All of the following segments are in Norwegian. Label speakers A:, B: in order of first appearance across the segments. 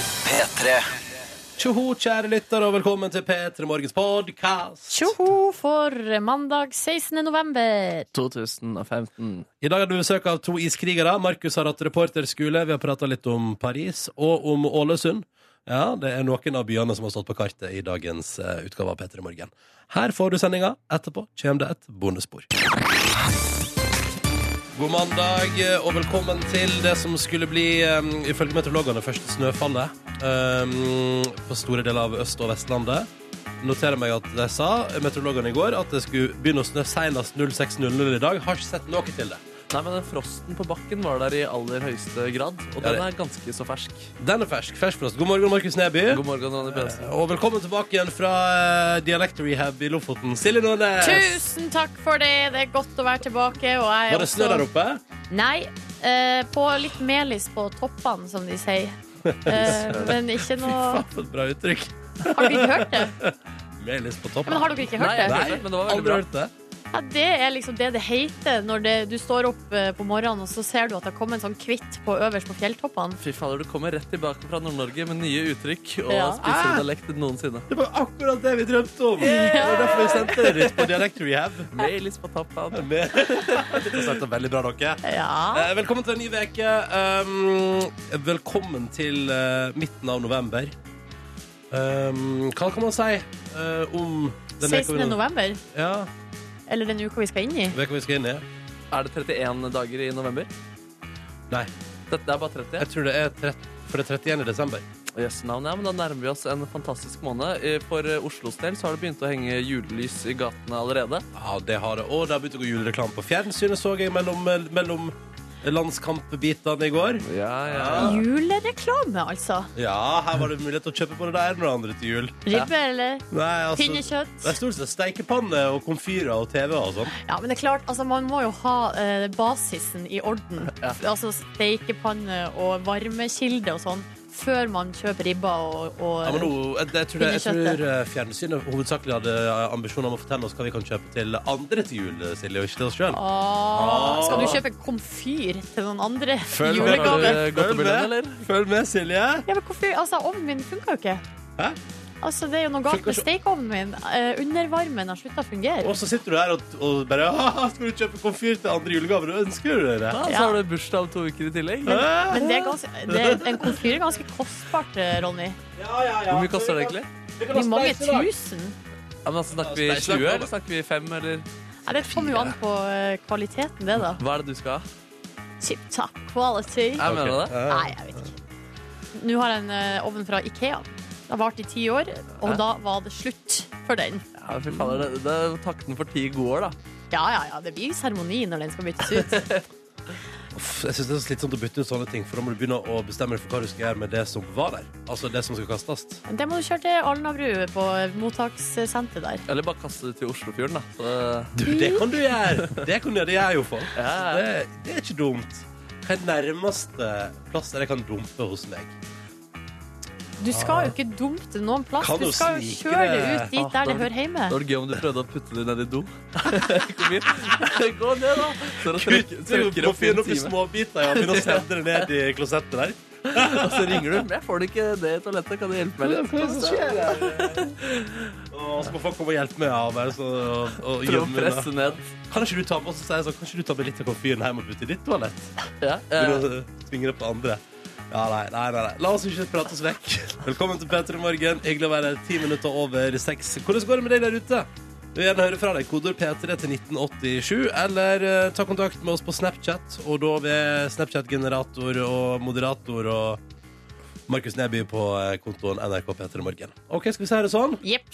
A: P3.
B: Tjoho, kjære lytter, og velkommen til P3 Morgens podkast.
C: Tjoho for mandag 16. november.
D: 2015.
B: I dag har du besøk av to iskrigere. Markus har hatt reporterskole. Vi har prata litt om Paris og om Ålesund. Ja, det er noen av byene som har stått på kartet i dagens eh, utgave av P3 Morgen. Her får du sendinga. Etterpå kommer det et bonusspor. God mandag, eh, og velkommen til det som skulle bli, eh, ifølge meteorologene, første snøfallet eh, på store deler av Øst- og Vestlandet. Noterer meg at de sa, meteorologene i går, at det skulle begynne å snø senest 06.00 i dag. Har ikke sett noe til det.
D: Nei, men den frosten på bakken var der i aller høyeste grad, og
B: Ja,
D: den
B: det-
D: er ganske så fersk.
B: Den er fersk. Fersk for oss. God morgen, Markus Neby. Eh,
D: God morgen, Ronny Pedersen.
B: Og velkommen tilbake igjen fra eh, Dialect Rehab i Lofoten. Silje Nordnes.
C: Tusen takk for det. Det er godt å være tilbake. Og jeg er
B: Var det snø
C: også-
B: der oppe?
C: Nei. eh, på litt melis på toppene, som de sier. Eh, men ikke
B: Fy
C: noe
B: faen, for et bra uttrykk.
C: Har dere ikke hørt det?
B: Melis på
C: Ja,
B: toppen.
C: Men har dere ikke
D: Nei,
C: hørt
D: jeg
C: det?
D: hørte det, men det var veldig
B: Aldri
D: bra.
B: hørt det.
C: Ja, det er liksom det det heter når det, du står opp eh, på morgenen og så ser du at det har kommet en sånn kvitt på øverst på fjelltoppene.
D: Fy fader, du kommer rett tilbake fra Nord-Norge med nye uttrykk og
C: Ja.
D: spissere dialekt enn noensinne.
B: Det var akkurat det vi drømte om. Det var derfor vi sendte det dit på Dialect Rehab.
D: Melis på tappen.
B: Med- Det startet veldig bra, dere.
C: Ja.
B: Eh, Velkommen til en ny veke Um, velkommen til eh, midten av november. Um, hva kan man si eh, om den veka
C: 16.
B: vi, nå-
C: november,
B: ja,
C: eller den uka vi skal inn i.
B: veka vi skal inn i?
D: Er det 31 dager i november?
B: Nei,
D: Dette er bare 30.
B: jeg tror det er 30, for det er 31. i desember.
D: Yes, navn, ja, men Da nærmer vi oss en fantastisk måned. Eh, For eh, Oslos del så har det begynt å henge julelys i gatene allerede.
B: Ja, det har det. Og det har begynt å gå julereklame på fjernsynet, så jeg mellom, mellom landskampbitene i går.
D: Ja, ja.
C: Julereklame, altså.
B: Ja, her var det mulighet til å kjøpe både det ene og det andre til jul.
C: Ribbe eller
B: Nei, altså...
C: pinnekjøtt.
B: Det er stort sett steikepanne og komfyrer og TV og sånn.
C: Ja, men det er klart, altså man må jo ha eh, basisen i orden. Altså steikepanne og varmekilde og sånn, før man kjøper ribba og, og
B: Ja, men nå, jeg, jeg, tror, jeg
C: Pinnekjøttet.
B: tror eh, fjernsynet hovedsakelig hadde eh, ambisjoner om å fortelle oss hva vi kan kjøpe til andre til jul, eh, Silje, og ikke til oss sjøl.
C: Åh, Ah, Skal du
B: Ah.
C: kjøpe komfyr til noen andre
B: Følg med.
D: Har du
C: julegave?
D: eh, gått til bølgen, eller?
B: Følg med, Silje.
C: Ja, men komfyr, altså ovnen min funker jo ikke.
B: Hæ?
C: Altså, det er jo noe galt
B: Funker
C: med
B: så-
C: stekeovnen min. Eh, undervarmen har slutta å fungere.
B: Og så sitter du der og, og bare «Haha, Skal du kjøpe komfyr til andre julegaver? Og ønsker du deg det?
D: Ja, så
C: Ja.
D: har du bursdag om to uker i tillegg.
B: Hæ?
C: Men det er ganske, det, en komfyr er ganske kostbart, eh, Ronny.
B: Ja, ja, ja.
D: Hvor mye koster det egentlig?
C: Det blir mange tusen.
D: Ja, men altså, snakker vi
B: Ja, steik-
D: 20, eller snakker vi 5, eller
C: Ja, det kommer jo an på eh, kvaliteten, det, da.
D: hva er det du skal ha?
C: Tip top quality.
D: Jeg mener det.
C: Nei, jeg vet ikke. Nå har jeg en eh, ovn fra Ikea. Den har vart i ti år, og
D: Hæ?
C: da var det slutt for den.
D: Ja, fy fader, det, det er takten for ti gode år, da.
C: Ja, ja, ja, det blir seremoni når den skal byttes ut.
B: Uff, Jeg synes det er så slitsomt å bytte ut sånne ting, for da må du begynne å bestemme deg for hva du skal gjøre med det som var der. Altså det som skal kastes.
C: Men Det må du kjøre til Alnabru på mottakssenteret der.
D: Eller bare kaste det til Oslofjorden, da. Så,
B: Du,
C: Mm.
B: det kan du gjøre! Det kan du gjøre, det gjør jeg jo folk.
D: ja, ja.
B: Det, det er ikke dumt. Hva er nærmeste plass der jeg kan dumpe hos meg?
C: Du skal jo ikke dumpe noen plass.
B: Kan
C: Du
B: jo
C: skal jo
B: snike
C: kjøre det
B: det.
C: ut dit
D: Ah,
C: der det
D: da-
C: hører hjemme.
D: det var gøy om du prøvde å putte det ned i do. Kom igjen. Gå ned, da. Så da trekker, trekker opp i en
B: opp i
D: time.
B: småbiter ja, begynner å sende det ned i klosettet der.
D: Og så ringer du. Men jeg får det ikke det i toalettet. Kan du hjelpe meg litt?
B: Og så må folk komme og hjelpe meg av meg. Så, og,
D: Prøv å
B: og gjemme meg.
D: presse ned.
B: Kan ikke du ta med, og så sier jeg sånn, kan ikke du ta med litt av komfyren hjem og putte i ditt toalett?
D: Ja, ja.
B: Begynner å tvinge det på andre. Ja, nei, nei, nei, nei. La oss ikke prate oss vekk. Velkommen til P3 Morgen. Hyggelig å være ti minutter over seks. Hvordan går det med deg der ute? Vi vil gjerne høre fra deg. Kodord P3 til 1987, eller eh, ta kontakt med oss på Snapchat, og da ved Snapchat-generator og moderator og Markus Neby på eh, kontoen NRK P3 Morgen. OK, skal vi si det sånn?
C: Jepp.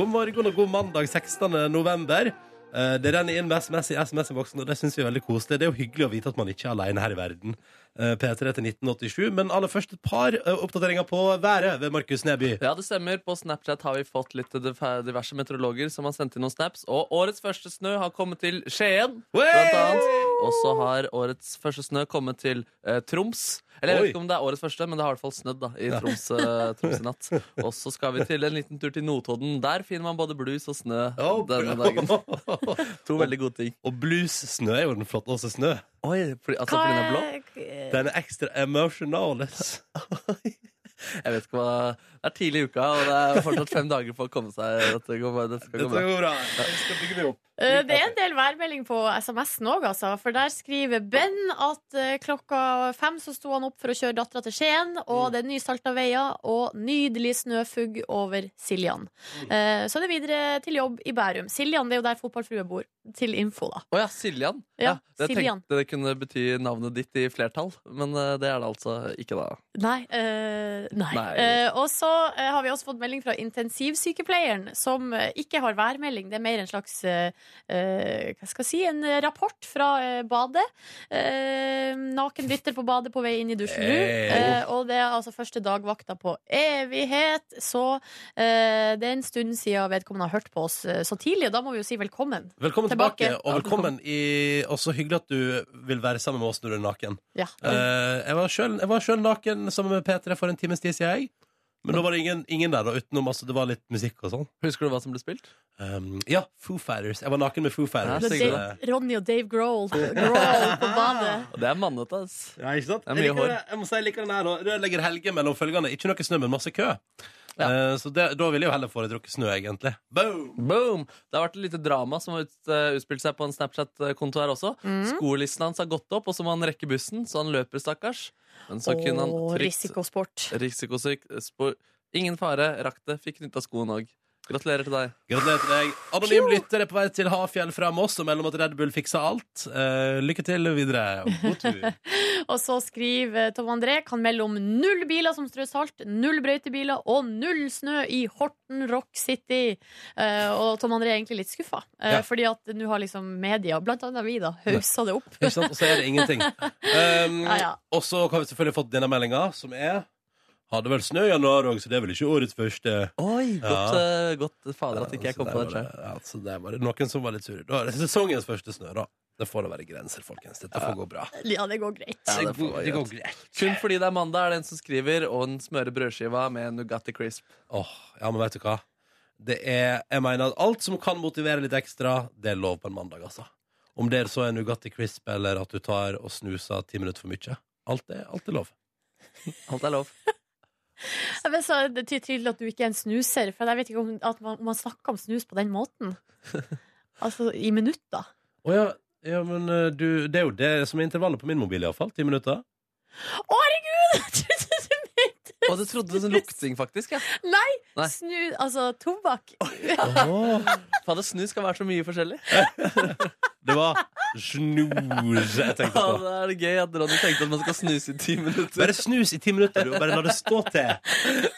B: God morgen og god mandag 16. november. Eh, Det renner inn SMS i SMS-boksen, og det syns vi er veldig koselig. Det er jo hyggelig å vite at man ikke er alene her i verden. Eh, P3 til 1987. Men aller først et par eh, oppdateringer på været ved Markus Neby.
D: Ja, det stemmer. På Snapchat har vi fått litt div- diverse meteorologer som har sendt inn noen snaps. Og årets første snø har kommet til Skien, blant annet. Og så har årets første snø kommet til eh, Troms. Eller jeg
B: Oi.
D: vet ikke om det er årets første, men det har i hvert fall snødd da, i Troms, eh, Troms i natt. Og så skal vi til en liten tur til Notodden. Der finner man både blues og snø
B: Oh,
D: denne dagen.
B: bra.
D: To veldig gode ting.
B: og blues-snø er jo den flotteste snø.
D: Oi, fordi, altså
C: Hva
D: fordi den er blå?
C: er
B: Den er ekstra emotional.
D: Jeg vet ikke hva Det er tidlig i uka, og det er fortsatt fem dager for å komme seg. Dette går bra. Dette skal
B: Dette
D: gå bra.
B: går bra. Jeg skal bygge meg opp.
C: Eh, Det er en del værmelding på SMS-en òg, altså. For der skriver Ben at eh, klokka fem så sto han opp for å kjøre dattera til Skien, og det er nysalta veier og nydelig snøfugg over Siljan. Eh, Så er det videre til jobb i Bærum. Siljan det er jo der fotballfrue bor. Til info, da.
D: Å ja, Siljan.
C: Ja,
D: jeg
C: Siljan.
D: tenkte det kunne bety navnet ditt i flertall, men eh, det er det altså ikke, da.
C: Nei. eh, nei.
D: Nei.
C: Eh, og så eh, har vi også fått melding fra intensivsykepleieren, som eh, ikke har værmelding. Det er mer en slags eh, eh, hva skal jeg si, en eh, rapport fra eh, badet. Eh, naken dytter på badet på vei inn i dusjen nå.
B: Hey.
C: Eh, og det er altså første dagvakta på evighet. Så eh, det er en stund siden vedkommende har hørt på oss eh, så tidlig, og da må vi jo si velkommen.
B: Velkommen tilbake,
C: Tilbake.
B: og velkommen i Og så hyggelig at du vil være sammen med oss når du er naken.
C: Ja.
B: Eh, jeg var selv- jeg var sjøl naken sammen med P3 for en times tid siden, jeg. Men da var det ingen, ingen der, da, utenom altså, det var litt musikk og sånn.
D: Husker du hva som ble spilt?
B: Um, ja, Foo Fighters. Jeg var naken med Foo Fighters.
D: Ja,
C: Det
D: så
C: er
D: hyggelig.
B: Eh,
C: Dave- Ronny og Dave Grohl, Grohl på badet.
D: Og det er mannete, ass.
B: Ja, ikke sant?
D: Det er
B: Jeg
D: mye
B: liker,
D: hår.
B: det. jeg må si jeg liker den her nå. Rødlegger helge mellom følgende. Ikke noe snø, men masse kø. Eh, så det, da ville jeg jo heller foretrukket snø, egentlig. Boom!
D: Boom! Det har vært et lite drama som har ut, eh, utspilt seg på en Snapchat-konto her også.
C: Mm.
D: Skolelissen hans har gått opp, og så må han rekke bussen, så han løper, stakkars. Men så kunne han
C: Mm. Og
D: trygt
C: risikosport.
D: Risikosyk spor. Ingen fare, rakk det, fikk knytta skoen òg. Gratulerer til deg.
B: Gratulerer til deg. Anonym lytter er på vei til Hafjell fra Moss og melder om at Red Bull fikser alt. Eh, lykke til videre. og God tur.
C: Og så skriver eh, Tom André kan melde om null biler som strø salt, null brøytebiler og null snø i Horten Rock City. Eh, og Tom André er egentlig litt skuffa, eh,
B: Ja.
C: fordi at nå har liksom media, blant annet vi, da, haussa det opp.
B: Ikke sant? Og så er det ingenting. Um,
C: Ja, ja.
B: Og så har vi selvfølgelig fått denne meldinga, som er Hadde vel snø i januar òg, så det er vel ikke årets første.
D: Oi, Godt, eh, godt fader at ikke jeg kom
B: Så
D: på
B: der
D: det
B: var
D: sjøl.
B: Ja, så der var det noen som var litt sure. Da er det sesongens første snø, da. Det får da være grenser, folkens. Dette får gå bra.
C: Ja, det går greit.
D: Ja, det får være
B: det går greit.
D: Kun fordi det er mandag, er det en som skriver, og den smører brødskiva med Nugatti Crisp.
B: Åh, ja, men vet du hva? Det er, jeg mener at alt som kan motivere litt ekstra, det er lov på en mandag, altså. Om det så er Nugatti Crisp, eller at du tar og snuser ti minutter for mye. Alt er, alt er lov.
D: Alt er lov.
C: Ja, Men så er det ty- tydelig at du ikke er en snuser, for jeg vet ikke om at man, om man snakker om snus på den måten. Altså i minutter.
B: Å ja, ja, men eh, du, det er jo det som er intervallet på min mobil, iallfall. Ti minutter.
C: Å, herregud! Jeg
D: Og du trodde
C: trodde du mente
D: det var en lukting, faktisk. ja
C: Nei!
D: Nei.
C: Snu, altså tobakk.
D: Fader, snus skal være så mye forskjellig.
B: Det var snus jeg tenkte
D: Ja,
B: på.
D: det er gøy at Ronny tenkte at man skal snuse i ti minutter.
B: Bare snus i ti minutter, du, og bare la det stå til.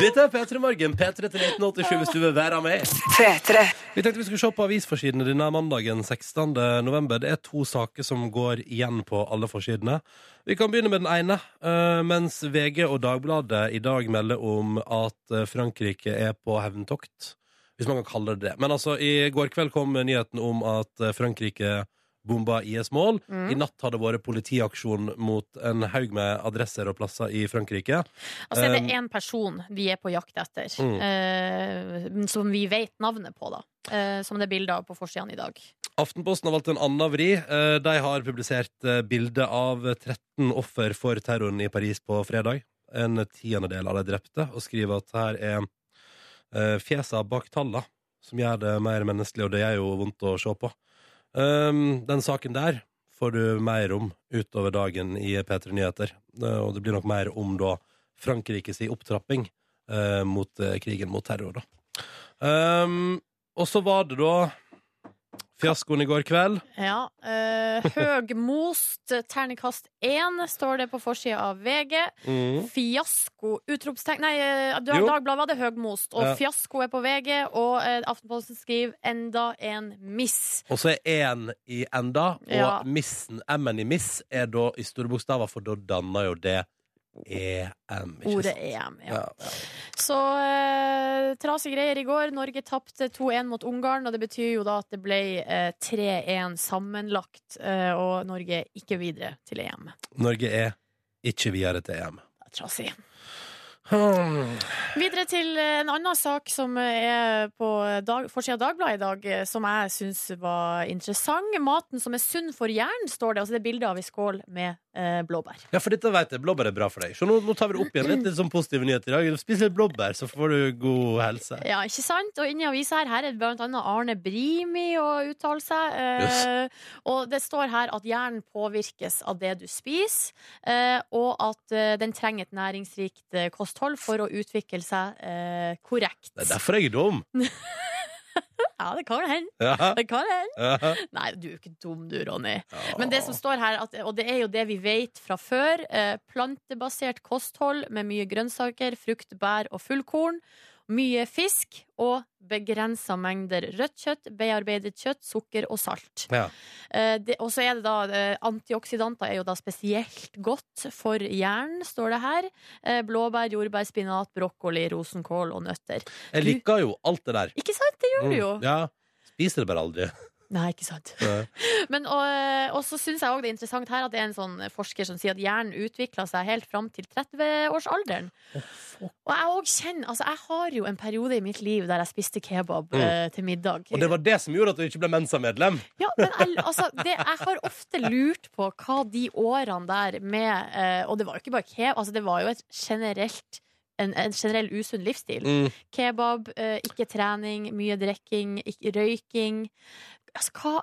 B: Dette er P3 Morgen. P3 til 1987 hvis du vil være med. Vi tenkte vi skulle se på avisforsidene denne mandagen 16. november. Det er to saker som går igjen på alle forsidene. Vi kan begynne med den ene. eh, Mens VG og Dagbladet i dag melder om at eh, Frankrike er på hevntokt. Hvis man kan kalle det det. Men altså, i går kveld kom nyheten om at eh, Frankrike bomba IS-mål. I natt har det vært politiaksjon mot en haug med adresser og plasser i Frankrike.
C: Altså er
B: Um,
C: det én person vi er på jakt etter,
B: Mm.
C: eh, som vi vet navnet på, da. Eh, som det er bilder av på forsiden i dag.
B: Aftenposten har valgt en annen vri. Eh, De har publisert eh, bilde av 13 offer for terroren i Paris på fredag. En tiendedel av de drepte, og skriver at her er eh, fjesa bak tallene som gjør det mer menneskelig, og det er jo vondt å se på. Um, Den saken der får du mer om utover dagen i P3 Nyheter, Eh, og det blir nok mer om da Frankrikes opptrapping eh, mot eh, krigen mot terror, da. Um, og så var det da Fiaskoen i går kveld.
C: Ja. eh, Høgmost, terningkast én, står det på forsida av VG. Fiasko, utropstegn Nei, eh, Dag-
B: Jo.
C: Dagbladet hadde høgmost, og
B: Ja.
C: fiasko er på VG. Og eh, Aftenposten skriver 'enda en miss'.
B: Og så er én i enda, og
C: Ja.
B: missen, M-en i miss, er da i store bokstaver, for da danner jo det EM. ikke
C: Ordet E
B: sant?
C: EM. Ja.
B: Ja.
C: Så eh, trasige greier i går. Norge tapte 2-1 mot Ungarn, og det betyr jo da at det ble eh, 3-1 sammenlagt, eh, og Norge ikke videre til E EM.
B: Norge er ikke videre til EM.
C: Det er Trasig.
B: Hmm.
C: Videre til eh, en annen sak som er på dag, forsida av Dagbladet i dag, eh, som jeg syns var interessant. Maten som er sunn for hjernen, står det. Altså det er bilde av ei skål med eh, blåbær.
B: Ja, for dette vet jeg. Blåbær er bra for deg. Så nå, nå tar vi det opp igjen. Litt, litt sånn positive nyheter i dag. Spis litt blåbær, så får du god helse.
C: Ja, ikke sant? Og inni avisa her, her er det blant annet Arne Brimi å uttale seg. Eh, Og det står her at hjernen påvirkes av det du spiser, eh, og at eh, den trenger et næringsrikt eh, kosthold for å utvikle seg eh, korrekt.
B: Det er derfor jeg er dum.
C: Ja, det kan hende.
B: Ja.
C: Det kan hende.
B: Ja.
C: Nei, du er jo ikke dum du, Ronny. Men det som står her, at, og det er jo det vi vet fra før, eh, plantebasert kosthold med mye grønnsaker, frukt, bær og fullkorn, mye fisk og begrensa mengder rødt kjøtt, bearbeidet kjøtt, sukker og salt.
B: Ja.
C: Eh, det- Og så er det da eh, antioksidanter er jo da spesielt godt for hjernen, står det her. Eh, Blåbær, jordbær, spinat, brokkoli, rosenkål og nøtter.
B: Jeg liker jo alt det der.
C: Ikke sant? Det gjør du jo.
B: Mm. Ja. Spiser det bare aldri.
C: Nei, ikke sant.
B: Nei.
C: Men, og, eh, og så syns jeg òg det er interessant her at det er en sånn forsker som sier at hjernen utvikler seg helt fram til 30-årsalderen. og jeg òg kjenner Altså, jeg har jo en periode i mitt liv der jeg spiste kebab
B: Mm.
C: eh, til middag.
B: Og det var det som gjorde at du ikke ble Mensa-medlem.
C: Ja, men jeg, altså, det, jeg har ofte lurt på hva de årene der med eh, Og det var jo ikke bare kebab, altså, det var jo et generelt en, en generell usunn livsstil.
B: Mm.
C: Kebab, eh, ikke trening, mye drikking, ikke røyking. Altså, hva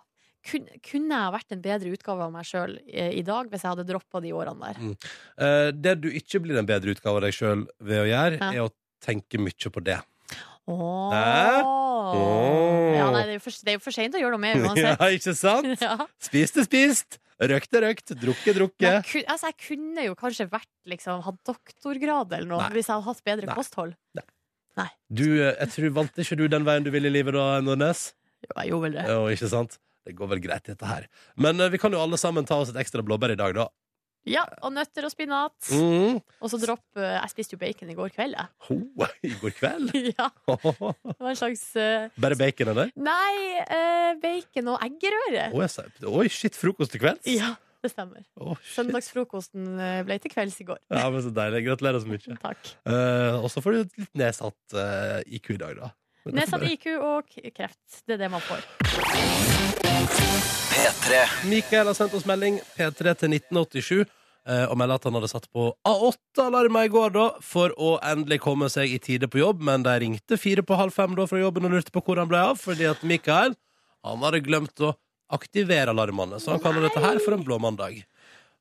C: kunne, kunne jeg vært en bedre utgave av meg sjøl eh, i dag hvis jeg hadde droppa de årene der?
B: Eh, det du ikke blir en bedre utgave av deg sjøl ved å gjøre,
C: Ja.
B: er å tenke mye på det.
C: Åh.
B: Hæ? Åh.
C: Ja, nei, det er jo for, det er jo for seint å gjøre noe med
B: ja,
C: uansett.
B: ikke sant?
C: Ja.
B: Spiste, spist. Røkte, røkt. Drukket,
C: Men jeg
B: drukket.
C: kun- altså, jeg kunne jo kanskje vært liksom, hatt doktorgrad eller noe
B: Nei.
C: hvis jeg hadde hatt bedre
B: Nei.
C: kosthold.
B: Du, eh, jeg tror, Vant ikke du den veien du ville i livet da, Nordnes?
C: Jo, jeg gjorde vel det.
B: Ja, ikke sant? Det går vel greit, dette her. Men eh, vi kan jo alle sammen ta oss et ekstra blåbær i dag, da.
C: Ja, Og nøtter og spinat.
B: Mm.
C: Og så dropp eh, Jeg spiste jo bacon i går kveld, jeg.
B: Ho, I går kveld?
C: ja, det var en slags eh,
B: Bare bacon, eller?
C: Nei, eh, bacon og eggerøre.
B: Oi, jeg sa- Oi, shit, frokost til kvelds?
C: Ja, sånn. det stemmer.
B: Å, shit.
C: Søndagsfrokosten eh, ble til kvelds i går.
B: Ja, men så deilig. Gratulerer så mye.
C: Takk.
B: Eh, og så får du et litt nedsatt eh, IQ i dag, da. Men det får
C: Nedsatt
B: bare-
C: IQ og k- kreft. Det er det man får.
B: Mikael har sendt oss melding P3 til 1987 eh, og melder at han hadde satt på A8-alarma i går da, for å endelig komme seg i tide på jobb, men de ringte fire på halv fem da fra jobben og lurte på hvor han ble av, fordi at Mikael han hadde glemt å aktivere alarmene, så han kaller dette her for en blå mandag.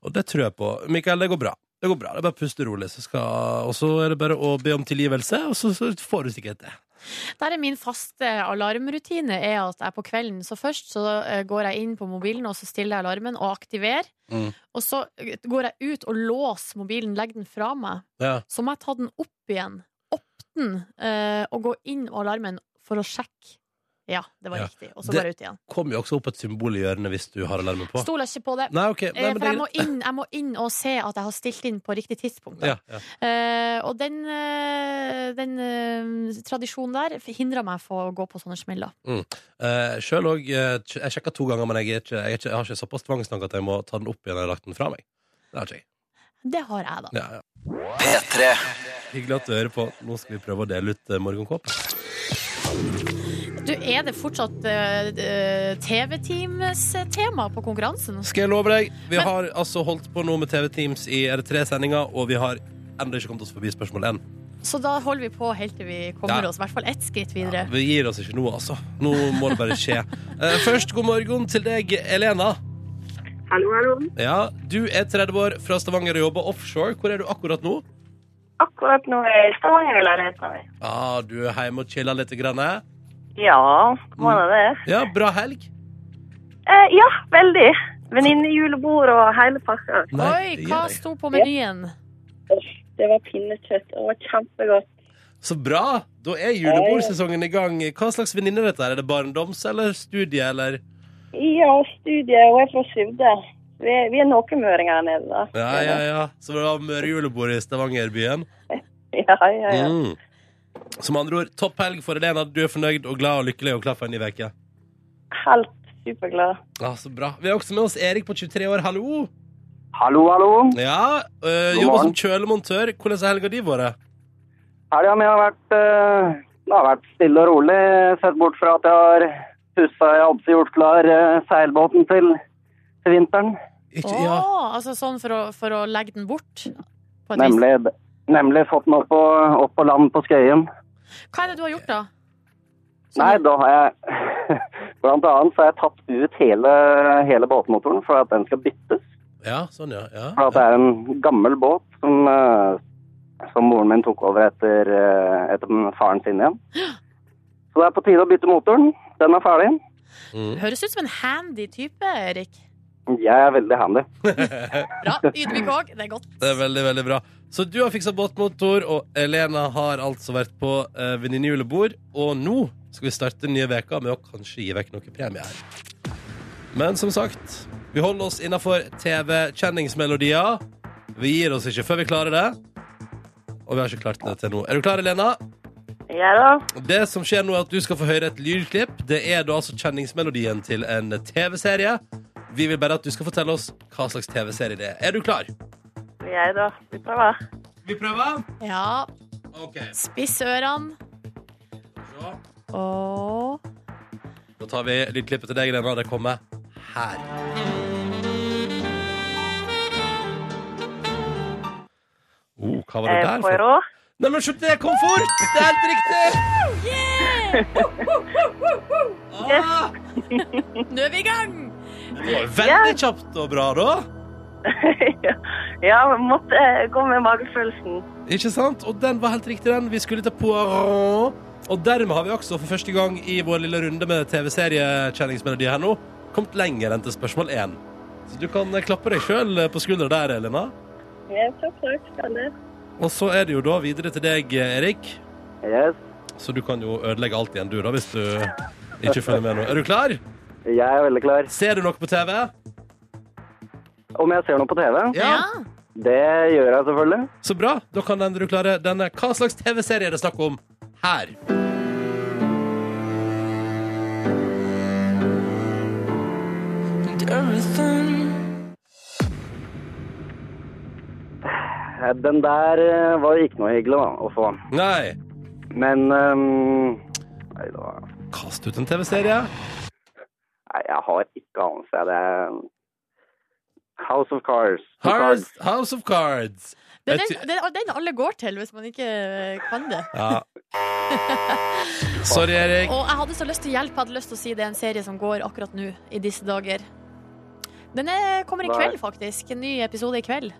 B: Og det tror jeg på. Mikael, det går bra. Det går bra, det er bare å puste rolig, så skal... og så er det bare å be om tilgivelse, og så, så får du sikkert det.
C: Der er min faste alarmrutine er at jeg på kvelden så først så eh, går jeg inn på mobilen og så stiller jeg alarmen og aktiverer.
B: Mm.
C: Og så eh, går jeg ut og låser mobilen, legger den fra meg.
B: Ja.
C: Så må jeg ta den opp igjen, opp den, eh, og gå inn og alarmen for å sjekke. Ja, det var
B: Ja.
C: riktig. Og så
B: Det-
C: går jeg ut igjen.
B: Kommer jo også opp et symbol i hjørnet hvis du har alarmen på.
C: Stoler ikke på det.
B: Nei, ok. Nei,
C: Eh,
B: men
C: For
B: det er
C: jeg må,
B: greit.
C: inn, jeg må inn og se at jeg har stilt inn på riktig tidspunkt. da.
B: Ja, ja.
C: Eh, og den, eh, den eh, tradisjonen der hindrer meg for å gå på sånne smeller.
B: Uh, selv òg Jeg sjekka to ganger, men jeg, er ikke, jeg, er ikke, jeg har ikke såpass tvangstanke at jeg må ta den opp igjen når jeg har lagt den fra meg. Det har ikke jeg.
C: Det har jeg, da.
B: Ja, ja. Hyggelig at du hører på. Nå skal vi prøve å dele ut eh, morgenkåp.
C: Du, Er det fortsatt eh, TV-teams tema på konkurransen?
B: Skal jeg love deg, vi
C: Men-
B: har altså holdt på nå med TV Teams i er det tre sendinger, og vi har ennå ikke kommet oss forbi spørsmål én.
C: Så da holder vi på helt til vi kommer
B: Ja.
C: oss i hvert fall ett skritt videre.
B: Vi gir oss ikke nå, altså. Nå må det bare skje. Eh, først, god morgen til deg, Elena.
A: Hallo, hallo.
B: Ja, Du er 30 år, fra Stavanger og jobber offshore. Hvor er du akkurat nå?
A: Akkurat nå er jeg i Stavanger-leiligheten min.
B: Ah, du er hjemme og chiller litt. Grann, eh?
A: Ja, må det det?
B: ja, bra helg.
A: Eh, ja, veldig. Venninne, julebord og hele pakka.
B: Nei,
C: Oi,
B: det
C: hva
B: gjør jeg.
C: sto på menyen?
A: Det var pinnekjøtt, og det var kjempegodt.
B: Så bra! Da er julebordsesongen i gang. Hva slags venninne er dette? her? Er det barndoms- eller studie, eller
A: Ja, studiet, og jeg er fra Syvde. Vi er, vi er noenmøringer her nede, da.
B: Ja, ja, ja. Så det var mørjulebord i Stavanger-byen.
A: Ja, ja, ja.
B: Mm. Som andre ord, topp helg for Elena. Du er fornøyd og glad og lykkelig og klar for en ny uke.
A: Helt superglad.
B: Ja, så bra. Vi har også med oss Erik på 23 år. Hallo!
E: Hallo, hallo.
B: Ja, øh,
E: God
B: Jobber som
E: morgen.
B: kjølemontør. Hvordan har helga di vært?
E: Helga mi har vært eh, Det har vært stille og rolig, sett bort fra at jeg har pussa Jeg hadde gjort klar eh, seilbåten til, til vinteren.
B: Ikke,
C: Å,
B: ja.
C: altså sånn for å, for å legge den bort? På et vis.
E: Nemlig, nemlig fått den opp på, opp på land på Skøyen.
C: Hva er det du har gjort, da?
E: Nei, da har jeg Blant annet så har jeg tatt ut hele, hele båtmotoren for at den skal byttes.
B: ja, sånn, ja. ja.
E: For at det er en gammel båt som, eh, som moren min tok over etter, eh, etter faren sin igjen. Så det er på tide å bytte motoren. Den er ferdig.
B: Mm.
C: Høres ut som en handy type, Erik.
E: Jeg er veldig handy.
C: Bra. Ydmyk òg. Det er godt.
B: Det er veldig, veldig bra. Så du har fiksa båtmotor, og Elena har altså vært på eh, venninnejulebord. Og nå skal vi starte den nye veka med å kanskje gi vekk noe premie her. Men som sagt, vi holder oss innafor TV-kjenningsmelodier. Vi gir oss ikke før vi klarer det. Og vi har ikke klart det til nå. Er du klar, Elena?
A: Ja da.
B: Det som skjer nå er at du skal få høre et lydklipp. Det er da altså kjenningsmelodien til en TV-serie. Vi vil bare at du skal fortelle oss hva slags TV-serie det er. Er du klar?
A: Jeg da. Vi prøver.
B: Vi prøver.
C: Ja,
B: Ok.
C: spiss ørene
B: så.
C: og
B: Da tar vi lydklippet til deg, Lena. Det kommer her. Oh,
A: Eh,
B: hva var det der for?
A: Poirot.
B: Nei, men se, det kom fort! Det er helt riktig! Ah,
C: Nå er vi i gang!
B: det var veldig kjapt og bra, da.
A: ja, men måtte eh, gå med magefølelsen.
B: Ikke sant? Og den var helt riktig, den. Vi skulle til Poirot. Og dermed har vi også for første gang i vår lille runde med TV-seriekjenningsmelodi her nå kommet lenger enn til spørsmål én. Så du kan eh, klappe deg sjøl på skuldra der, Elena.
A: Ja, takk, takk. Kan det.
B: Og så er det jo da videre til deg, eh, Erik.
E: Yes.
B: Så du kan jo ødelegge alt igjen, du, da, hvis du ikke følger med nå. Er du klar?
E: Jeg er veldig klar.
B: Ser du noe på TV?
E: Om jeg ser noe på TV? Det gjør jeg selvfølgelig.
B: Så bra. Da kan den du klare denne. Hva slags TV-serie er det snakk om her?
E: Eh, Den der eh, var ikke noe hyggelig da, å få.
B: Nei.
E: Men ehm, nei, det var-
B: Kast ut en TV-serie.
E: nei, jeg har ikke anelse. jeg. Det er ehm, House of Cars.
B: House, House of Cards.
C: Det er
B: Et-
C: den, det er den alle går til hvis man ikke eh, kan det.
B: Ja. Sorry, Erik.
C: Og jeg hadde så lyst til hjelp, jeg hadde lyst til å si det er en serie som går akkurat nå, i disse dager. Den er, kommer i
E: Nei.
C: kveld, faktisk. En ny episode i kveld.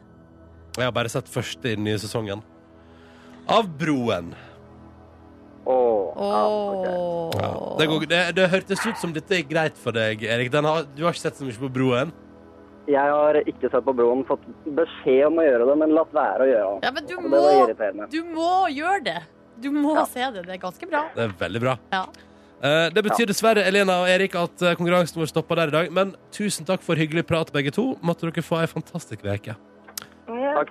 B: Jeg har bare sett første i den nye sesongen. Av Broen.
E: Åh, ja, ok.
C: Åh.
B: Ja. Det, går, det, det hørtes ut som dette er greit for deg, Erik. Den har, du har ikke sett så mye på Broen?
E: Jeg har ikke sett på broen, fått beskjed om å gjøre det, men latt være å gjøre det.
C: Ja, men du
E: Og det var
C: må,
E: irriterende.
C: du må gjøre det! Du må
E: Ja.
C: se det. Det er ganske bra.
B: Det er veldig bra.
C: Ja.
B: Eh, Det betyr dessverre Elena og Erik, at eh, konkurransen vår stopper der i dag. Men tusen takk for hyggelig prat, begge to. Måtte dere få ei fantastisk uke.
A: Ja,
E: Takk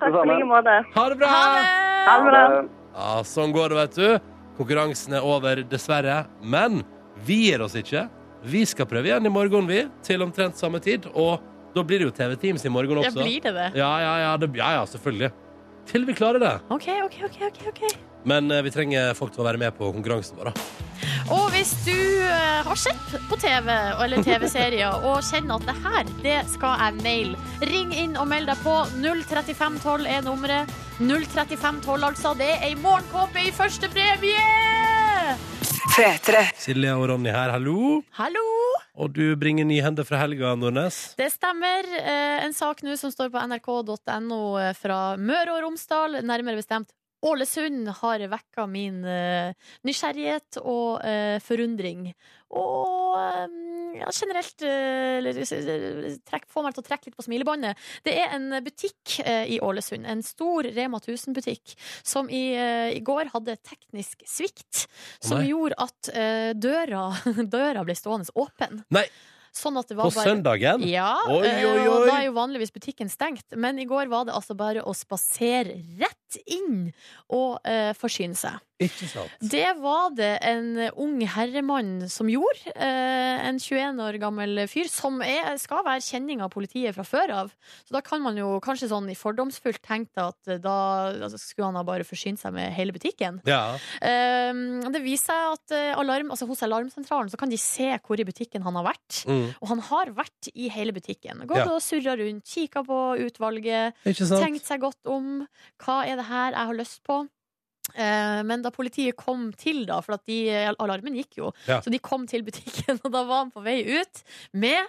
A: takk,
E: det
A: på
E: samme.
A: like måte.
B: Ha det bra!
C: Ha
A: Ha
C: det!
A: det bra.
B: Ja, sånn går det, vet du. Konkurransen er over, dessverre. Men vi gir oss ikke. Vi skal prøve igjen i morgen, vi. Til omtrent samme tid. Og da blir det jo TV Teams i morgen
C: Ja,
B: også.
C: blir det det?
B: Ja, ja, ja, det, ja, ja selvfølgelig. Til vi klarer det.
C: OK, OK, OK. ok, ok.
B: Men eh, vi trenger folk til å være med på konkurransen vår, da.
C: Og hvis du eh, har sett på TV eller TV-serier og kjenner at det her, det skal jeg maile, ring inn og meld deg på. 03512 er nummeret. 03512, altså. Det er ei morgenkåpe i første premie!
B: Silje og Ronny her, hallo.
C: Hallo!
B: Og du bringer nyhender fra helga, Nordnes.
C: Det stemmer. Eh, En sak nå som står på nrk.no eh, fra Møre og Romsdal, nærmere bestemt. Ålesund har vekka min eh, nysgjerrighet og eh, forundring. Og eh, ja, generelt eh, eller, eh, trekk, få meg til å trekke litt på smilebåndet. Det er en butikk eh, i Ålesund, en stor Rema 1000-butikk, som i, eh, i går hadde teknisk svikt. Som
B: nei.
C: gjorde at eh, døra, døra ble stående åpen.
B: Nei.
C: Sånn at det var
B: På
C: bare
B: søndagen.
C: ja,
B: Oi,
C: eh,
B: oi,
C: og
B: oi.
C: da er jo vanligvis butikken stengt, men i går var det altså bare å spasere rett inn og eh, forsyne seg.
F: Ikke sant.
C: Det var det en ung herremann som gjorde. Eh, en 21 år gammel fyr som er, skal være kjenning av politiet fra før av. Så da kan man jo kanskje sånn i fordomsfullt tenke at da altså, skulle han ha bare forsynt seg med hele butikken.
B: Ja.
C: Eh, det viser seg at eh, alarm, altså, hos alarmsentralen så kan de se hvor i butikken han har vært.
B: Mm.
C: Og han har vært i hele butikken. Gått
B: Ja.
C: og surra rundt, kikka på utvalget
F: Ikke sant?
C: tenkt seg godt om. Hva er det her jeg har lyst på? Eh, Men da politiet kom til, da, for at de, alarmen gikk jo,
B: Ja.
C: så de kom til butikken, og da var han på vei ut med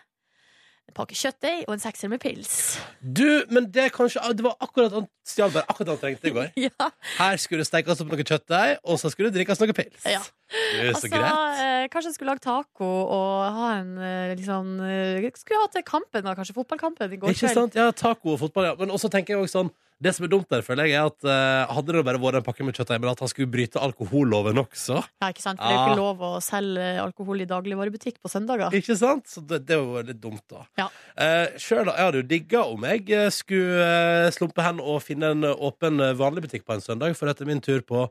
C: en pakke kjøttdeig og en sekser med pils.
F: Du, men det er kanskje Det var akkurat han stjal bare akkurat det han trengte i går.
C: Ja,
F: Her skulle det stekes opp noe kjøttdeig, og så skulle det drikkes noe pils.
C: Ja.
F: Det er så
C: altså,
F: greit.
C: eh, kanskje jeg skulle lage taco og ha en eh, liksom eh, Skulle hatt kampen, da, kanskje fotballkampen i går
F: Ikke sant? Ja, taco og fotball, ja. Men også tenker jeg også sånn det som er dumt der, føler jeg, er at eh, hadde det bare vært en pakke med kjøttdeig, men at han skulle bryte alkoholloven også.
C: Ja, ikke sant? For det er jo
F: Ah.
C: ikke lov å selge alkohol i dagligvarebutikk på søndager.
F: Ikke sant? Så det, det var litt dumt, da.
C: Ja.
B: Eh, Sjøl hadde jo digga om jeg eh, skulle eh, slumpe hen og finne en eh, åpen, eh, vanlig butikk på en søndag, for etter min tur på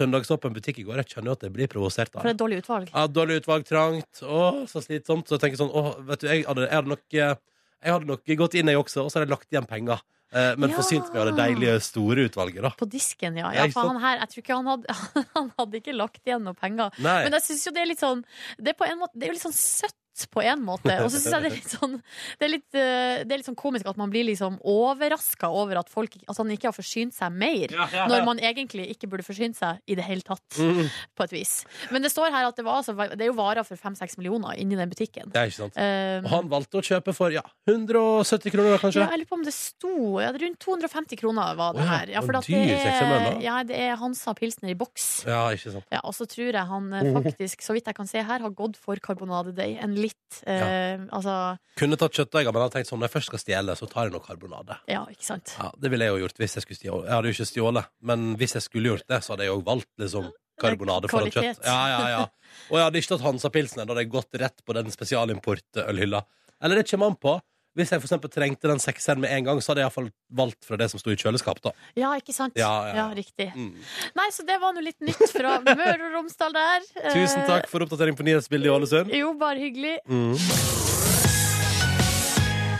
B: søndagsåpen butikk i går, jeg kjenner jo at jeg blir provosert av
C: For det er et dårlig utvalg.
B: Ja, dårlig utvalg, trangt, åh, så slitsomt. Så jeg tenker sånn, åh, vet du, jeg hadde, jeg hadde, nok, eh, jeg hadde nok gått inn, jeg også, og så hadde jeg lagt igjen penger. Eh, men
C: Ja.
B: forsynt meg av det deilige, store utvalget, da.
C: På disken, ja.
B: Ja,
C: ja
B: ikke
C: for
B: sant?
C: han her, jeg tror ikke han hadde, han hadde ikke lagt igjen noe penger.
B: Nei.
C: Men jeg synes jo det er litt sånn Det er, på en måte, det er jo litt sånn søtt på en måte. Og så syns jeg det er litt sånn det er litt, eh, det er litt sånn komisk at man blir liksom overraska over at, folk, altså at han ikke har forsynt seg mer. Når man egentlig ikke burde forsynt seg i det hele tatt.
B: Mm.
C: På et vis. Men det står her at det, var, altså, det er jo varer for fem-seks millioner inni den butikken.
B: Det er ikke sant.
C: Eh,
B: Og han valgte å kjøpe for, ja, 170 kroner, da, kanskje?
C: ja, jeg lurer på om det sto ja, det er Rundt 250 kroner
B: Å
C: var det
B: ja,
C: her. Ja, for
B: en
C: at det,
B: dyr
C: er,
B: seksemølle.
C: ja, det er Hansa Pilsner i boks.
B: Ja, ikke sant.
C: Ja, og så tror jeg han eh, faktisk, så vidt jeg kan se her, har gått for karbonadedeig. En litt eh, Altså,
B: Kunne tatt kjøttdeiger, men jeg hadde tenkt sånn, når jeg først skal stjele, så tar jeg noe karbonade.
C: ja, ikke sant.
B: Ja, det ville jeg jo gjort hvis jeg skulle stjåle. Jeg hadde jo ikke stjålet, men hvis jeg skulle gjort det, så hadde jeg jo valgt liksom karbonade foran
C: Kvalitet.
B: kjøtt. Ja, ja, ja. Og jeg hadde ikke tatt Hansa-pilsen, da hadde jeg gått rett på den spesialimportølhylla. Eller det kommer an på. Hvis jeg for eksempel trengte den sekseren med en gang, så hadde jeg iallfall valgt fra det som sto i kjøleskapet, da.
C: Ja, ikke sant.
B: Ja, ja, ja.
C: riktig.
B: Mm.
C: Nei, så det var nå litt nytt fra Møre og Romsdal der. Eh,
B: Tusen takk for oppdatering på nyhetsbildet i Ålesund.
C: Jo, bare hyggelig.
B: Mm.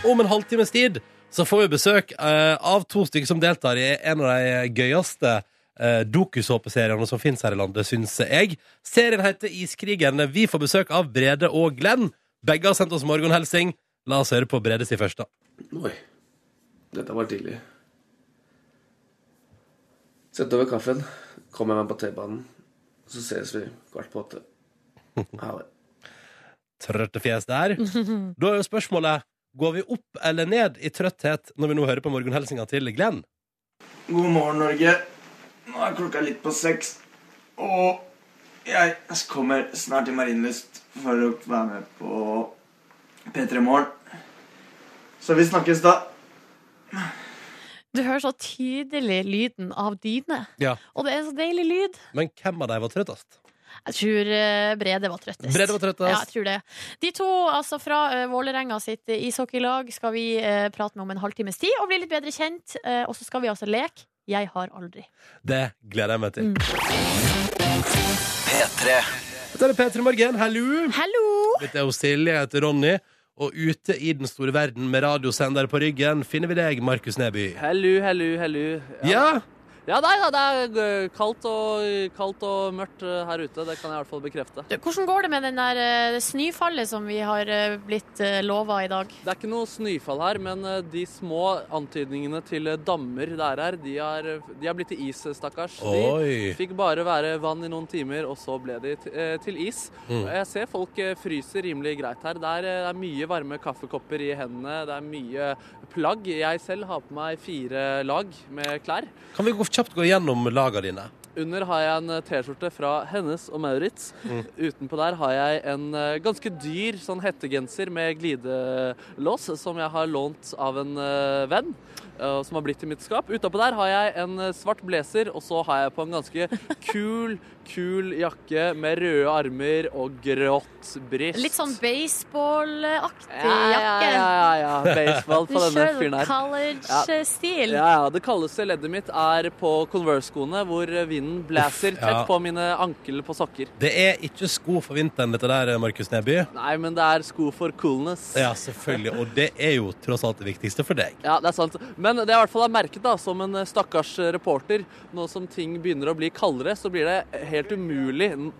B: Om en halvtimes tid så får vi besøk eh, av to stykker som deltar i en av de gøyeste uh, dokusåpeseriene som finnes her i landet, syns jeg. Serien heter Iskrigen. Vi får besøk av Brede og Glenn. Begge har sendt oss morgenhelsing. La oss høre på Brede si først, da.
G: Oi. Dette var tidlig. Sett over kaffen. Kom med meg på T-banen. Så ses vi kvart på åtte. Ha det.
B: Trøtte fjes der. Da er jo spørsmålet Går vi opp eller ned i trøtthet når vi nå hører på morgenhelsinga til Glenn?
H: God morgen, Norge. Nå er klokka litt på seks. Og jeg kommer snart til Marienlyst for å være med på P3 Morgen. Så vi snakkes da.
C: Du hører så tydelig lyden av dyne.
B: Ja.
C: Og det er en så deilig lyd.
B: Men hvem av dem var trøttest?
C: Jeg tror eh, Brede var trøttest.
B: Brede var trøttest.
C: Ja, jeg tror det. De to altså fra uh, Vålerenga sitt eh, ishockeylag skal vi eh, prate med om en halvtimes tid og bli litt bedre kjent. Eh, og så skal vi altså leke Jeg har aldri.
B: Det gleder jeg meg til. Dette er P3 Morgen. Hallo!
C: Hallo!
B: Dette er jo Silje, jeg heter Ronny. Og ute i den store verden med radiosender på ryggen finner vi deg, Markus Neby.
D: Hellu, hellu, hellu.
B: Ja,
D: Ja, nei da, det er eh, kaldt og, kaldt og mørkt eh, her ute. Det kan jeg i hvert fall bekrefte.
C: Du, Hvordan går det med den der eh, snøfallet som vi har eh, blitt uh, lova i dag?
D: Det er ikke noe snøfall her, men eh, de små antydningene til eh, dammer det er her, de har, de har blitt til is, eh, stakkars.
B: Oi.
D: De fikk bare være vann i noen timer, og så ble de t eh, til is. Og Jeg ser folk eh, fryser rimelig greit her. Det er, eh, det er mye varme kaffekopper i hendene, det er mye plagg. Jeg selv har på meg fire lag med klær.
B: Kan vi gå kjapt gå gjennom laga dine?
D: Under har jeg en eh, T-skjorte fra Hennes og Maurits. Utenpå der har jeg en eh, ganske dyr sånn hettegenser med glidelås, som jeg har lånt av en eh, venn. eh, Som har blitt i mitt skap. Utapå der har jeg en eh, svart blazer, og så har jeg på en ganske kul, kul jakke med røde armer og grått bryst.
C: Litt sånn baseballaktig
D: ja, ja,
C: jakke.
D: ja, ja, ja. Baseball på denne fyren her.
C: college-stil.
D: Ja, ja, Det kaldeste leddet mitt er på Converse-skoene, hvor vinden blæser
B: Uff,
D: tett
B: ja.
D: på mine ankel på sokker.
B: Det er ikke sko for vinteren, dette der, Markus Neby.
D: Nei, men det er sko for coolness.
B: Ja, selvfølgelig. Og det er jo tross alt det viktigste for deg.
D: Ja, det er sant. Men det jeg i hvert fall har merket da, som en eh, stakkars eh, reporter, nå som ting begynner å bli kaldere, så blir det helt umulig N-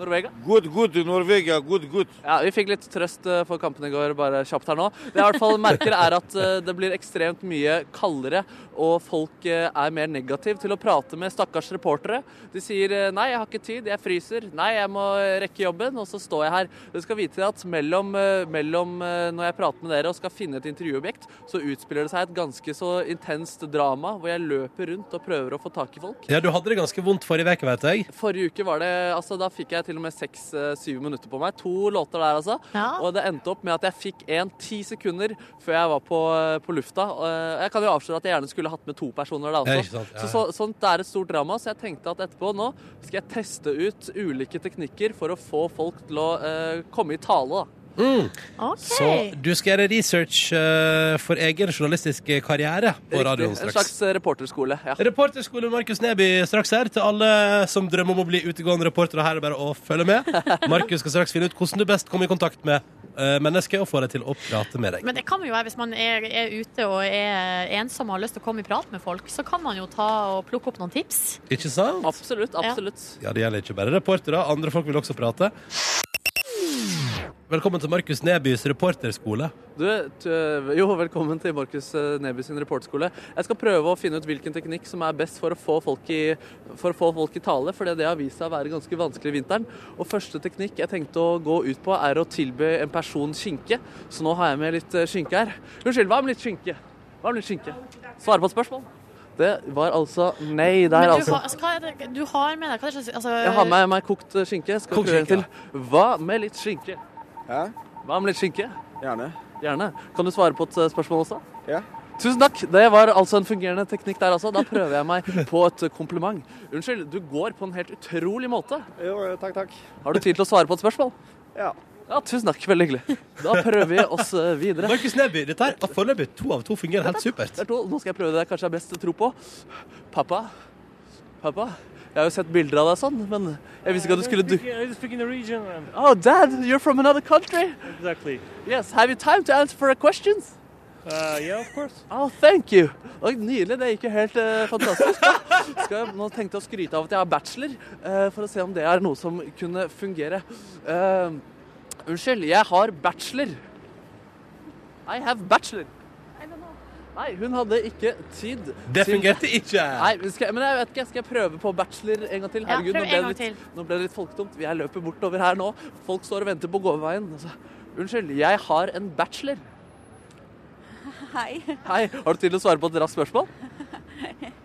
D: Norvega?
I: Good, good, Norvegia, good, good.
D: Ja, Vi fikk litt trøst eh, for kampen i går, bare kjapt her nå. Det jeg i hvert fall merker, er at eh, det blir ekstremt mye kaldere, og folk eh, er mer negative til å prate med stakkars reportere. De sier eh, 'nei, jeg har ikke tid, jeg fryser', 'nei, jeg må eh, rekke jobben', og så står jeg her. Du skal vite at mellom, eh, mellom eh, når jeg prater med dere og skal finne et intervjuobjekt, så utspiller det seg et ganske så intenst drama hvor jeg løper rundt og prøver å få tak i folk.
B: Ja, Du hadde det ganske vondt forrige uke, vet jeg.
D: Forrige uke var det, altså da fikk jeg til og med seks-syv minutter på meg. To låter der, altså.
C: Ja.
D: Og det endte opp med at jeg fikk en ti sekunder før jeg var på, på lufta. Og Jeg kan jo avsløre at jeg gjerne skulle hatt med to personer da
B: Ja,
D: også.
B: ikke sant? Ja,
D: Så, så, sånt det er et stort drama, så jeg tenkte at etterpå nå skal jeg teste ut ulike teknikker for å få folk til å eh, komme i tale, da.
C: OK.
B: Mm. Så du skal gjøre research eh, for egen journalistisk karriere på radioen
D: En
B: straks.
D: slags reporterskole. ja.
B: Reporterskole Markus Neby straks her til alle som drømmer om å bli utegående reportere. Her er det bare å følge med. Markus skal straks finne ut hvordan du best kommer i kontakt med eh, mennesker og får dem til å prate med deg.
C: Men det kan man jo være hvis man er, er ute og er ensom og har lyst til å komme i prat med folk. Så kan man jo ta og plukke opp noen tips.
B: Ikke sant?
D: Absolutt. absolutt.
B: Ja, det gjelder ikke bare reportere. Andre folk vil også prate. Velkommen til Markus Nebys reporterskole.
D: Du, t- eh, jo, velkommen til Markus eh, Neby sin reportskole. Jeg skal prøve å finne ut hvilken teknikk som er best for å få folk i, for å få folk i tale, for det har vist seg å være ganske vanskelig i vinteren. Og første teknikk jeg tenkte å gå ut på, er å tilby en person skinke. Så nå har jeg med litt eh, skinke her. Unnskyld, hva med litt skinke? Hva med litt skinke? Svare på et spørgsmål. Det var altså nei der,
C: Men du,
D: altså.
C: har- altså, hva er det du har med deg? Hva er det slags altså,
D: Jeg har med meg kokt eh, skinke. Skal
B: Kokt
D: vi prøve en
B: skinke,
D: til? Hva med litt skinke?
I: Hæ?
D: Hva med litt skinke?
I: Gjerne.
D: Gjerne. Kan du svare på et eh, spørsmål også?
I: Ja.
D: Tusen takk. Det var altså en fungerende teknikk der altså. Da prøver jeg meg på et eh, kompliment. Unnskyld, du går på en helt utrolig måte.
I: Jo, takk, takk.
D: Har du tid til å svare på et spørsmål?
I: Ja.
D: Ja, tusen takk. Veldig hyggelig. Da prøver vi oss eh, videre.
B: Markus Neby, dette her har foreløpig to av to fungerer helt supert.
D: Der to. Nå skal jeg prøve det jeg kanskje har best tro på. Pappa. Pappa. Jeg har jo sett bilder av deg sånn, men jeg visste ikke at du skulle dukke
J: I speak in the region. um,
D: Oh, dad, you're from another country.
J: Exactly.
D: Yes, have you time to answer for our questions?
J: Uh, yeah, of course.
D: Oh, thank you! Oi, nydelig, det gikk jo helt eh, fantastisk. Da skal jeg nå tenkte jeg å skryte av at jeg har bachelor, eh, for å se om det er noe som kunne fungere. Eh, unnskyld, jeg har bachelor. I have bachelor. Nei, hun hadde ikke tid.
B: Det
D: til-
B: fungerte ikke.
D: Nei, men skal, jeg- men jeg vet ikke, skal jeg prøve på bachelor en gang til?
C: Ja, prøv
D: nå
C: en
D: ble,
C: gang
D: det
C: til.
D: litt, nå ble det litt folketomt. Jeg løper bortover her nå. Folk står og venter på gåveveien. Altså, unnskyld, jeg har en bachelor.
K: Hei.
D: Hei, har du tid til å svare på et raskt spørsmål?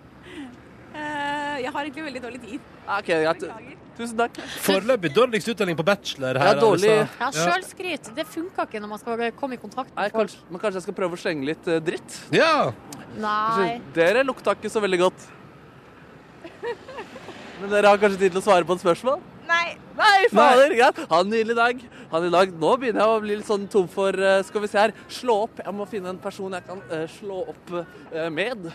K: Eh, jeg har egentlig veldig dårlig tid.
D: Ja, Ah, Ok, greit.
K: Beklager.
D: Tusen takk.
B: Foreløpig dårligst uttelling på bachelor
D: Ja,
B: her.
D: dårlig.
B: altså.
C: Ja, Sjølskryt. Det funka ikke når man skal komme i kontakt
D: Nei,
C: med folk.
D: kanskje, men kanskje jeg skal prøve å slenge litt eh, dritt?
B: Ja.
C: Nei.
D: Dere lukta ikke så veldig godt. Men dere har kanskje tid til å svare på et spørsmål?
K: Nei.
D: Nei, fader! Greit. Ha en nydelig dag. Ha en nydelig dag. Nå begynner jeg å bli litt sånn tom for eh, Skal vi se her. Slå opp. Jeg må finne en person jeg kan eh, slå opp eh, med.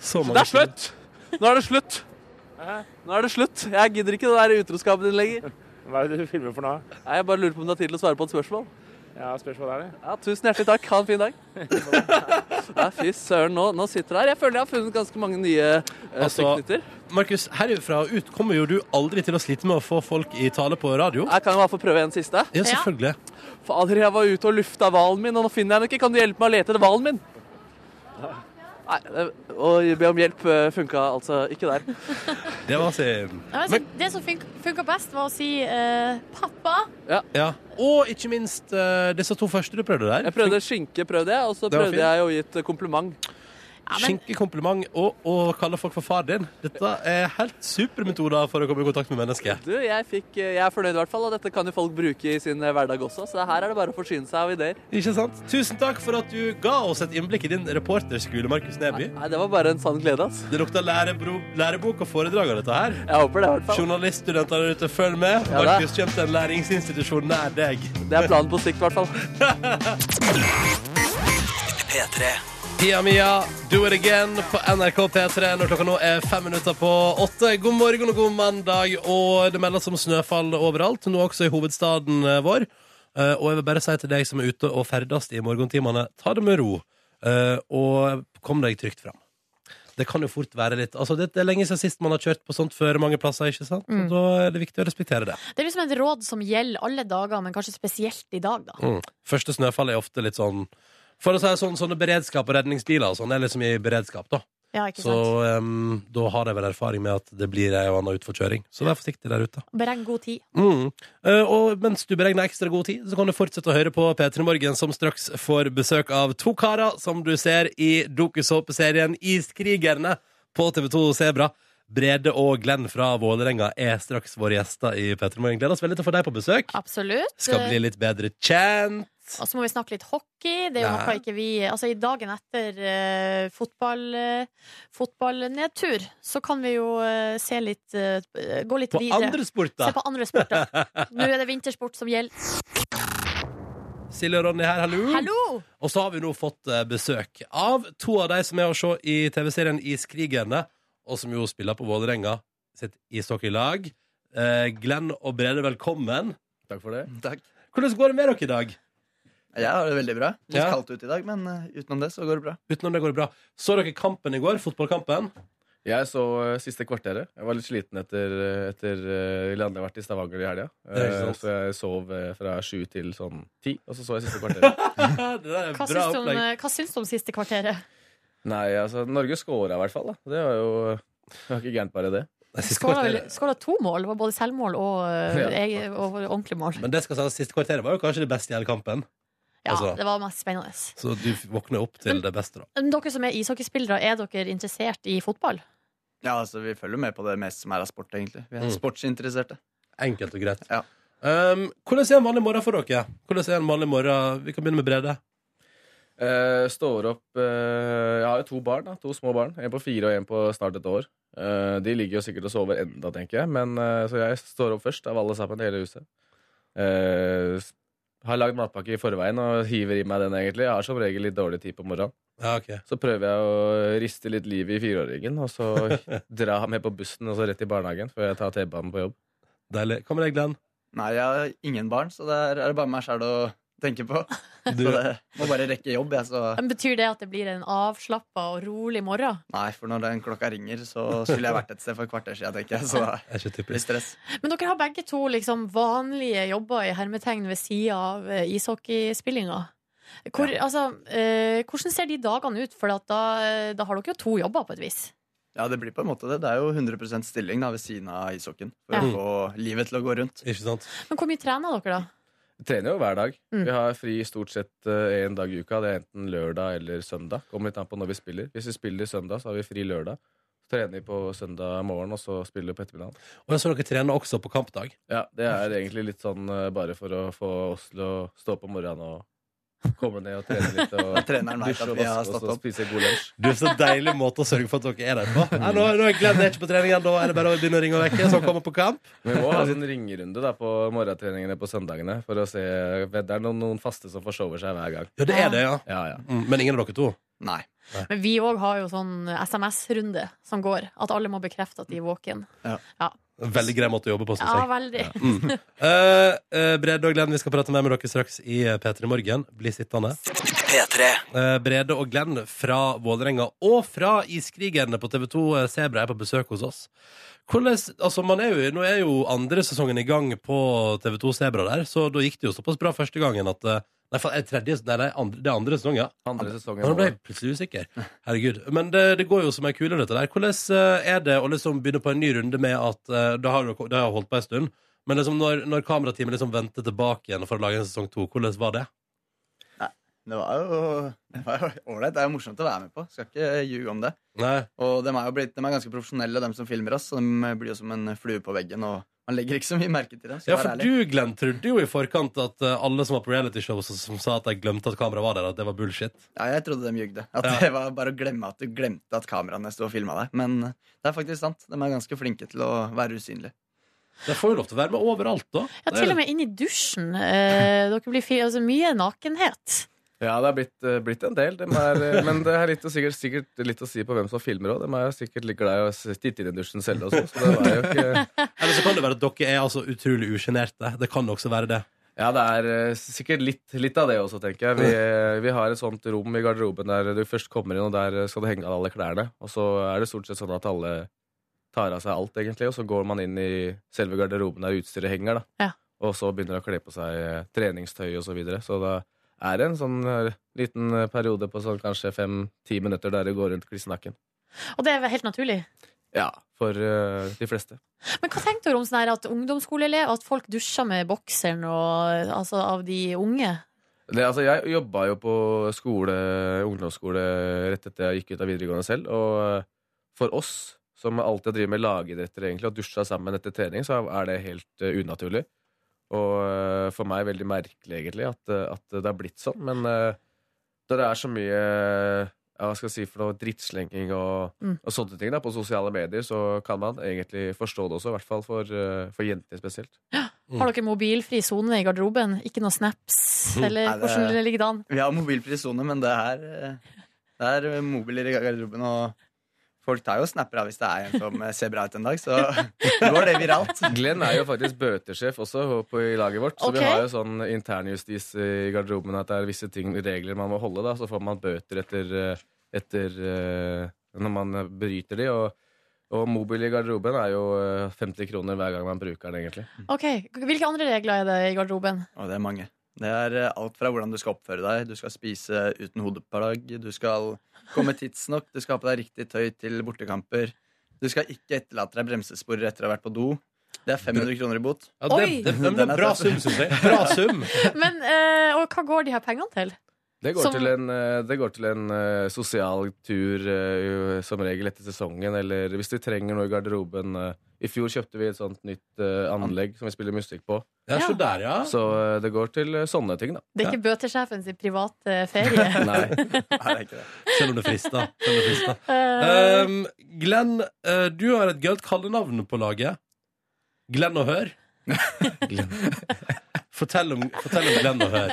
B: Så mange
D: Det er slutt! Nå er det slutt. Nå er det slutt. Jeg gidder ikke det der utroskapen din lenger.
J: Hva er det du filmer for nå?
D: Nei, Jeg bare lurer på om du har tid til å svare på et spørsmål.
J: Ja, spørsmålet er det.
D: Ja, tusen hjertelig takk. Ha en fin dag. Nei, fy søren, nå, nå sitter jeg her. Jeg føler jeg har funnet ganske mange nye eh,
B: Altså-
D: teknikker.
B: Markus, herifra og ut kommer jo du aldri til å slite med å få folk i tale på radio.
D: Jeg kan jo bare få prøve en siste.
B: Ja, selvfølgelig.
D: Fader, jeg var ute og lufta hvalen min, og nå finner jeg den ikke. Kan du hjelpe meg å lete etter hvalen min? Nei, eh, å be om hjelp eh, funka altså ikke der.
B: Det var eh, sin.
C: Ja, altså, det som funka best, var å si eh, 'pappa'.
B: Ja. Og ikke minst eh, disse to første du prøvde der.
D: Jeg prøvde skinke, prøvde jeg, og så
B: Det var
D: prøvde
B: fint.
D: jeg å gi et kompliment.
B: Skinkekompliment og å kalle folk for far din. Dette er helt supermetoder for å komme i kontakt med mennesker.
D: Du, jeg, fikk, eh, jeg er fornøyd i hvert fall, og dette kan jo folk bruke i sin eh, hverdag også, så her er det bare å forsyne seg av ideer.
B: Ikke sant? Tusen takk for at du ga oss et innblikk i din reporterskole, Markus Neby.
D: Nei, det var bare en sann glede, ass.
B: Det lukter lærebro, lærebok og foredrag av dette her.
D: Jeg håper det, i hvert fall.
B: Journaliststudenter der ute, følg med.
D: Ja da.
B: Markus kommer til en læringsinstitusjon nær deg.
D: Det er planen på sikt, i hvert
B: fall.
L: P3.
B: Pia Mia, do it again på NRK P3 når klokka nå er fem minutter på åtte. God morgen og god mandag, og det meldes om snøfall overalt, nå også i hovedstaden eh, vår. Eh, Og jeg vil bare si til deg som er ute og ferdes i morgentimene, ta det med ro, eh, og kom deg trygt fram. Det kan jo fort være litt Altså, det det er lenge siden sist man har kjørt på sånt før mange plasser, ikke sant? Og da er det viktig å respektere det.
C: Det er liksom et råd som gjelder alle dager, men kanskje spesielt i dag, da.
B: Mm. Første snøfall er ofte litt sånn For å si det sånn, sånne beredskap og redningsbiler og sånn er liksom i beredskap, da.
C: Ja, ikke
B: Så
C: sant?
B: em, da har jeg vel erfaring med at det blir ei og anna utforkjøring. Så vær forsiktig der ute.
C: Beregn god tid.
B: Mm. Eh, og mens du beregner ekstra god tid, så kan du fortsette å høre på P3 Morgen, som straks får besøk av to karer som du ser i dokusåpeserien Iskrigerne på TV2 Sebra. Brede og Glenn fra Vålerenga er straks våre gjester i P3 Morgen. Gleder oss veldig til å få deg på besøk.
C: Absolutt.
B: Skal bli litt bedre kjent.
C: Eh, Og så må vi snakke litt hockey. Det er jo
B: Ja.
C: noe ikke vi Altså, i dagen etter eh, fotball, eh, fotballnedtur, så kan vi jo eh, se litt eh, Gå litt
B: På
C: videre.
B: andre sporter.
C: Se på andre sporter. Nå er det vintersport som gjelder.
B: Silje og Ronny her, hallo.
C: Hallo!
B: Og så har vi nå fått eh, besøk av to av de som er å se i TV-serien Iskrigerne, og som jo spiller på Vålerenga sitt ishockeylag. Eh, Glenn og Brede, velkommen.
M: Takk for det.
C: Mm,
B: Hvordan går det med dere i dag?
M: Jeg har det veldig bra. Litt
B: Ja.
M: kaldt ute i dag, men eh, utenom det så går det bra.
B: Utenom det går det bra. Så dere kampen i går, fotballkampen?
M: Jeg så eh, siste kvarteret. Jeg var litt sliten etter, eh, etter eh, jeg hadde vært i Stavanger i helga.
B: Det er ikke
M: Eh,
B: sant.
M: Så jeg sov eh, fra sju til sånn ti, og så så jeg siste kvarteret.
C: Hva syns, du om, eh, hva syns du om siste kvarteret?
M: Nei, altså, Norge scora i hvert fall, da. Det var jo det var ikke gærent, bare det.
C: Skåla vel- skåla to mål. Det var både selvmål og, eh,
B: Ja,
C: eg- og ordentlig mål.
B: Men det skal sies, siste kvarteret var jo kanskje det beste i hele kampen.
C: Ja,
B: Altså,
C: det var mest spennende.
B: Så du våkner opp til det beste, da.
C: Men Dere som er ishockeyspillere, er dere interessert i fotball?
M: Ja, altså, vi følger med på det meste som er av sport, egentlig. Vi er sportsinteresserte.
B: Enkelt og greit. Um, hvordan er en vanlig morgen for dere? Hvordan er en vanlig morgen? Vi kan begynne med Brede.
M: Eh, står opp eh, Jeg har jo to barn, da, to små barn. En på fire og en på snart et år. Eh, de ligger jo sikkert og sover enda, tenker jeg. Men, eh, så jeg står opp først av alle sammen i hele huset. Eh, s- har lagd matpakke i forveien og hiver i meg den, egentlig. Jeg har som regel litt dårlig tid på morgenen.
B: Ja, ok.
M: Så prøver jeg å riste litt liv i fireåringen, og så dra ham med på bussen og så rett i barnehagen før jeg tar T-banen på jobb.
B: Deilig. Hva med deg, Glenn?
M: Nei, jeg har ingen barn, så der er det bare meg sjæl å tenke på. Så det må bare rekke jobb, jeg, så
C: Men Betyr det at det blir en avslappa og rolig morgen?
M: Nei, for når den klokka ringer, så skulle jeg vært et sted for et kvarter siden, tenker jeg. Så det blir stress.
C: Men dere har begge to liksom vanlige jobber i hermetegn ved sida av eh, ishockeyspillinga. Hvor, altså, eh, hvordan ser de dagene ut? For at da, eh, da har dere jo to jobber, på et vis.
M: Ja, det blir på en måte det. Det er jo 100 stilling da, ved siden av ishockeyen for
C: Ja.
M: å få livet til å gå rundt.
B: Ikke sant?
C: Men hvor mye trener dere, da?
M: Vi trener jo hver dag.
C: Mm.
M: Vi har fri stort sett én dag i uka. Det er enten lørdag eller søndag. Kommer litt an på når vi spiller. Hvis vi spiller søndag, så har vi fri lørdag. Så trener vi på søndag morgen, og så spiller vi på ettermiddagen.
B: Og jeg så dere trener også på kampdag.
M: Ja, det er egentlig litt sånn eh, bare for å få oss til å stå opp om morgenen og komme ned og trene litt. Og
B: Ja, treneren vet
M: dusje
B: at
M: og
B: vi har
M: vaske oss
B: stått
M: og
B: opp.
M: spise god lunsj.
B: Du, Så deilig måte å sørge for at dere er der på. Nei, nå, nå glemmer jeg ikke på treningen, da er det bare å begynne å ringe og vekke. Så kommer på kamp.
M: Men vi må ha en ringerunde da, på morgentreningene på søndagene. For å se, Det er noen, noen faste som forsover seg hver gang.
B: Ja, det er det, ja.
M: ja,
B: Mm, Men ingen av dere to?
M: Nei.
C: Men vi òg har jo sånn SMS-runde som går. At alle må bekrefte at de er våken. Ja.
B: Veldig grei måte å jobbe på, syns
C: Ja,
B: jeg.
C: veldig.
B: Mm. Eh, eh, Brede og Glenn, vi skal prate mer med dere straks i eh, P3 Morgen. Bli sittende.
L: P3.
B: Eh, Brede og Glenn fra Vålerenga og fra Iskrigerne på TV2 Sebra er på besøk hos oss. Hvordan, altså man er jo, nå er jo andre sesongen i gang på TV2 Sebra der, så da gikk det jo såpass bra første gangen at eh, Nei, faen, er det tredje, nei, det er andre, det er andre sesong, ja.
M: Andre sesongen,
B: Nå ble jeg plutselig usikker. Herregud. Men det, det går jo som ei kule, dette der. Hvordan eh, er det å liksom begynne på en ny runde med at eh, Det har jo det har jo holdt på ei stund, men liksom når, når kamerateamet liksom vendte tilbake igjen for å lage en sesong to, hvordan var det?
I: det var jo det var jo ålreit. Det er jo morsomt å være med på. Skal ikke ljuge om det.
B: Nei.
I: Og de er jo blitt, de er ganske profesjonelle, de som filmer oss. Så de blir jo som en flue på veggen. Og man legger ikke så mye merke til dem.
B: Ja,
I: skal jeg
B: for
I: være ærlig.
B: du, Glenn, trodde jo i forkant at eh, alle som var på realityshow som- som sa at de glemte at kameraet var der, at det var bullshit.
I: Ja, jeg trodde de ljugde. At det var bare å glemme at du glemte at kameraene sto og filma deg. Men eh, det er faktisk sant. De er ganske flinke til å være usynlige.
B: De får jo lov til å være med overalt, da.
C: Ja, til og med inn i dusjen. Eh, dere blir fi- altså, mye nakenhet.
M: Ja, det er blitt, eh, blitt en del. Dem er, eh, men det er litt, å- sikkert, sikkert litt å si på hvem som filmer òg. De er sikkert like glad i å s- titte inn i dusjen selv også, så det var jo ikke
B: Eller så kan det være at dere er altså utrolig usjenerte. Det kan også være det.
M: Ja, det er eh, sikkert litt, litt av det også, tenker jeg. Vi, eh, vi har et sånt rom i garderoben der du først kommer inn, og der eh, skal du henge av alle klærne. Og så er det stort sett sånn at alle tar av seg alt, egentlig, og så går man inn i selve garderoben der utstyret henger, da. Og så begynner de å kle på seg eh, treningstøy og så videre. Så da er det en sånn eh, liten eh, periode på sånn kanskje fem-ti minutter der det går rundt klissnakken.
C: Og det er vel helt naturlig.
M: Ja, for eh, de fleste.
C: Men hva tenkte dere om sånn her at ungdomsskoleelever At folk dusjer med bokseren og, altså, av de unge?
M: Det, altså, jeg jobba jo på skole, ungdomsskole rett etter jeg gikk ut av videregående selv. Og eh, for oss som alltid har drevet med lagidretter egentlig, og dusja sammen etter trening, så er det helt eh, unaturlig. Og eh, for meg veldig merkelig, egentlig, at, eh, at det er blitt sånn. Men eh, da det er så mye eh, ja, hva skal jeg si for noe drittslenging og,
C: Mm.
M: og sånne ting da, på sosiale medier, så kan man egentlig forstå det også. I hvert fall for, eh, for jenter spesielt.
C: Har dere mobilfri sone i garderoben? Ikke noe snaps?
M: Mm.
C: Eller
M: Nei, det-
C: hvordan det ligger det an?
I: Vi har mobilfri sone, men det er, eh, det er mobiler i garderoben. Og folk tar jo og snapper av hvis det er en som eh, ser bra ut en dag. Så går det viralt.
M: Glenn er jo faktisk bøtesjef også på, i laget vårt. Så
I: Ok.
M: vi har jo sånn internjustis i garderoben at det er visse ting, regler man må holde. da Så får man bøter etter, eh, etter eh, når man bryter de. Og, og mobil i garderoben er jo eh, 50 kroner hver gang man bruker den, egentlig.
C: Ok, Hvilke andre regler er det i garderoben?
I: Og det er mange. Det er eh, alt fra hvordan du skal oppføre deg. Du skal spise uten hodeplagg. Du skal komme tidsnok. Du skal ha på deg riktig tøy til bortekamper. Du skal ikke etterlate deg bremsesporer etter å ha vært på do. Det er 500 kroner i bot.
B: Ja, det- Oi! det- det- det- bra sum, synes jeg. Bra sum.
C: Men, eh, og hva går de her pengene til?
M: Det går,
C: Som-
M: til en, eh, det går til en eh, sosial tur eh, jo, som regel etter sesongen, eller hvis du trenger noe i garderoben. eh. I fjor kjøpte vi et sånt nytt eh, anlegg som vi spiller musikk på.
B: Ja, så Ja. der, ja.
M: Så eh, det går til eh, sånne ting, da.
C: Det er ikke bøtesjefen sin private ferie.
M: Nei.
B: Selv om det frister. Selv om det frister.
C: Eh.
B: Um, Glenn, eh, du har et gøyalt kallenavn på laget. Glenn og Hør. Fortell, om, fortell om Glenn og Hør.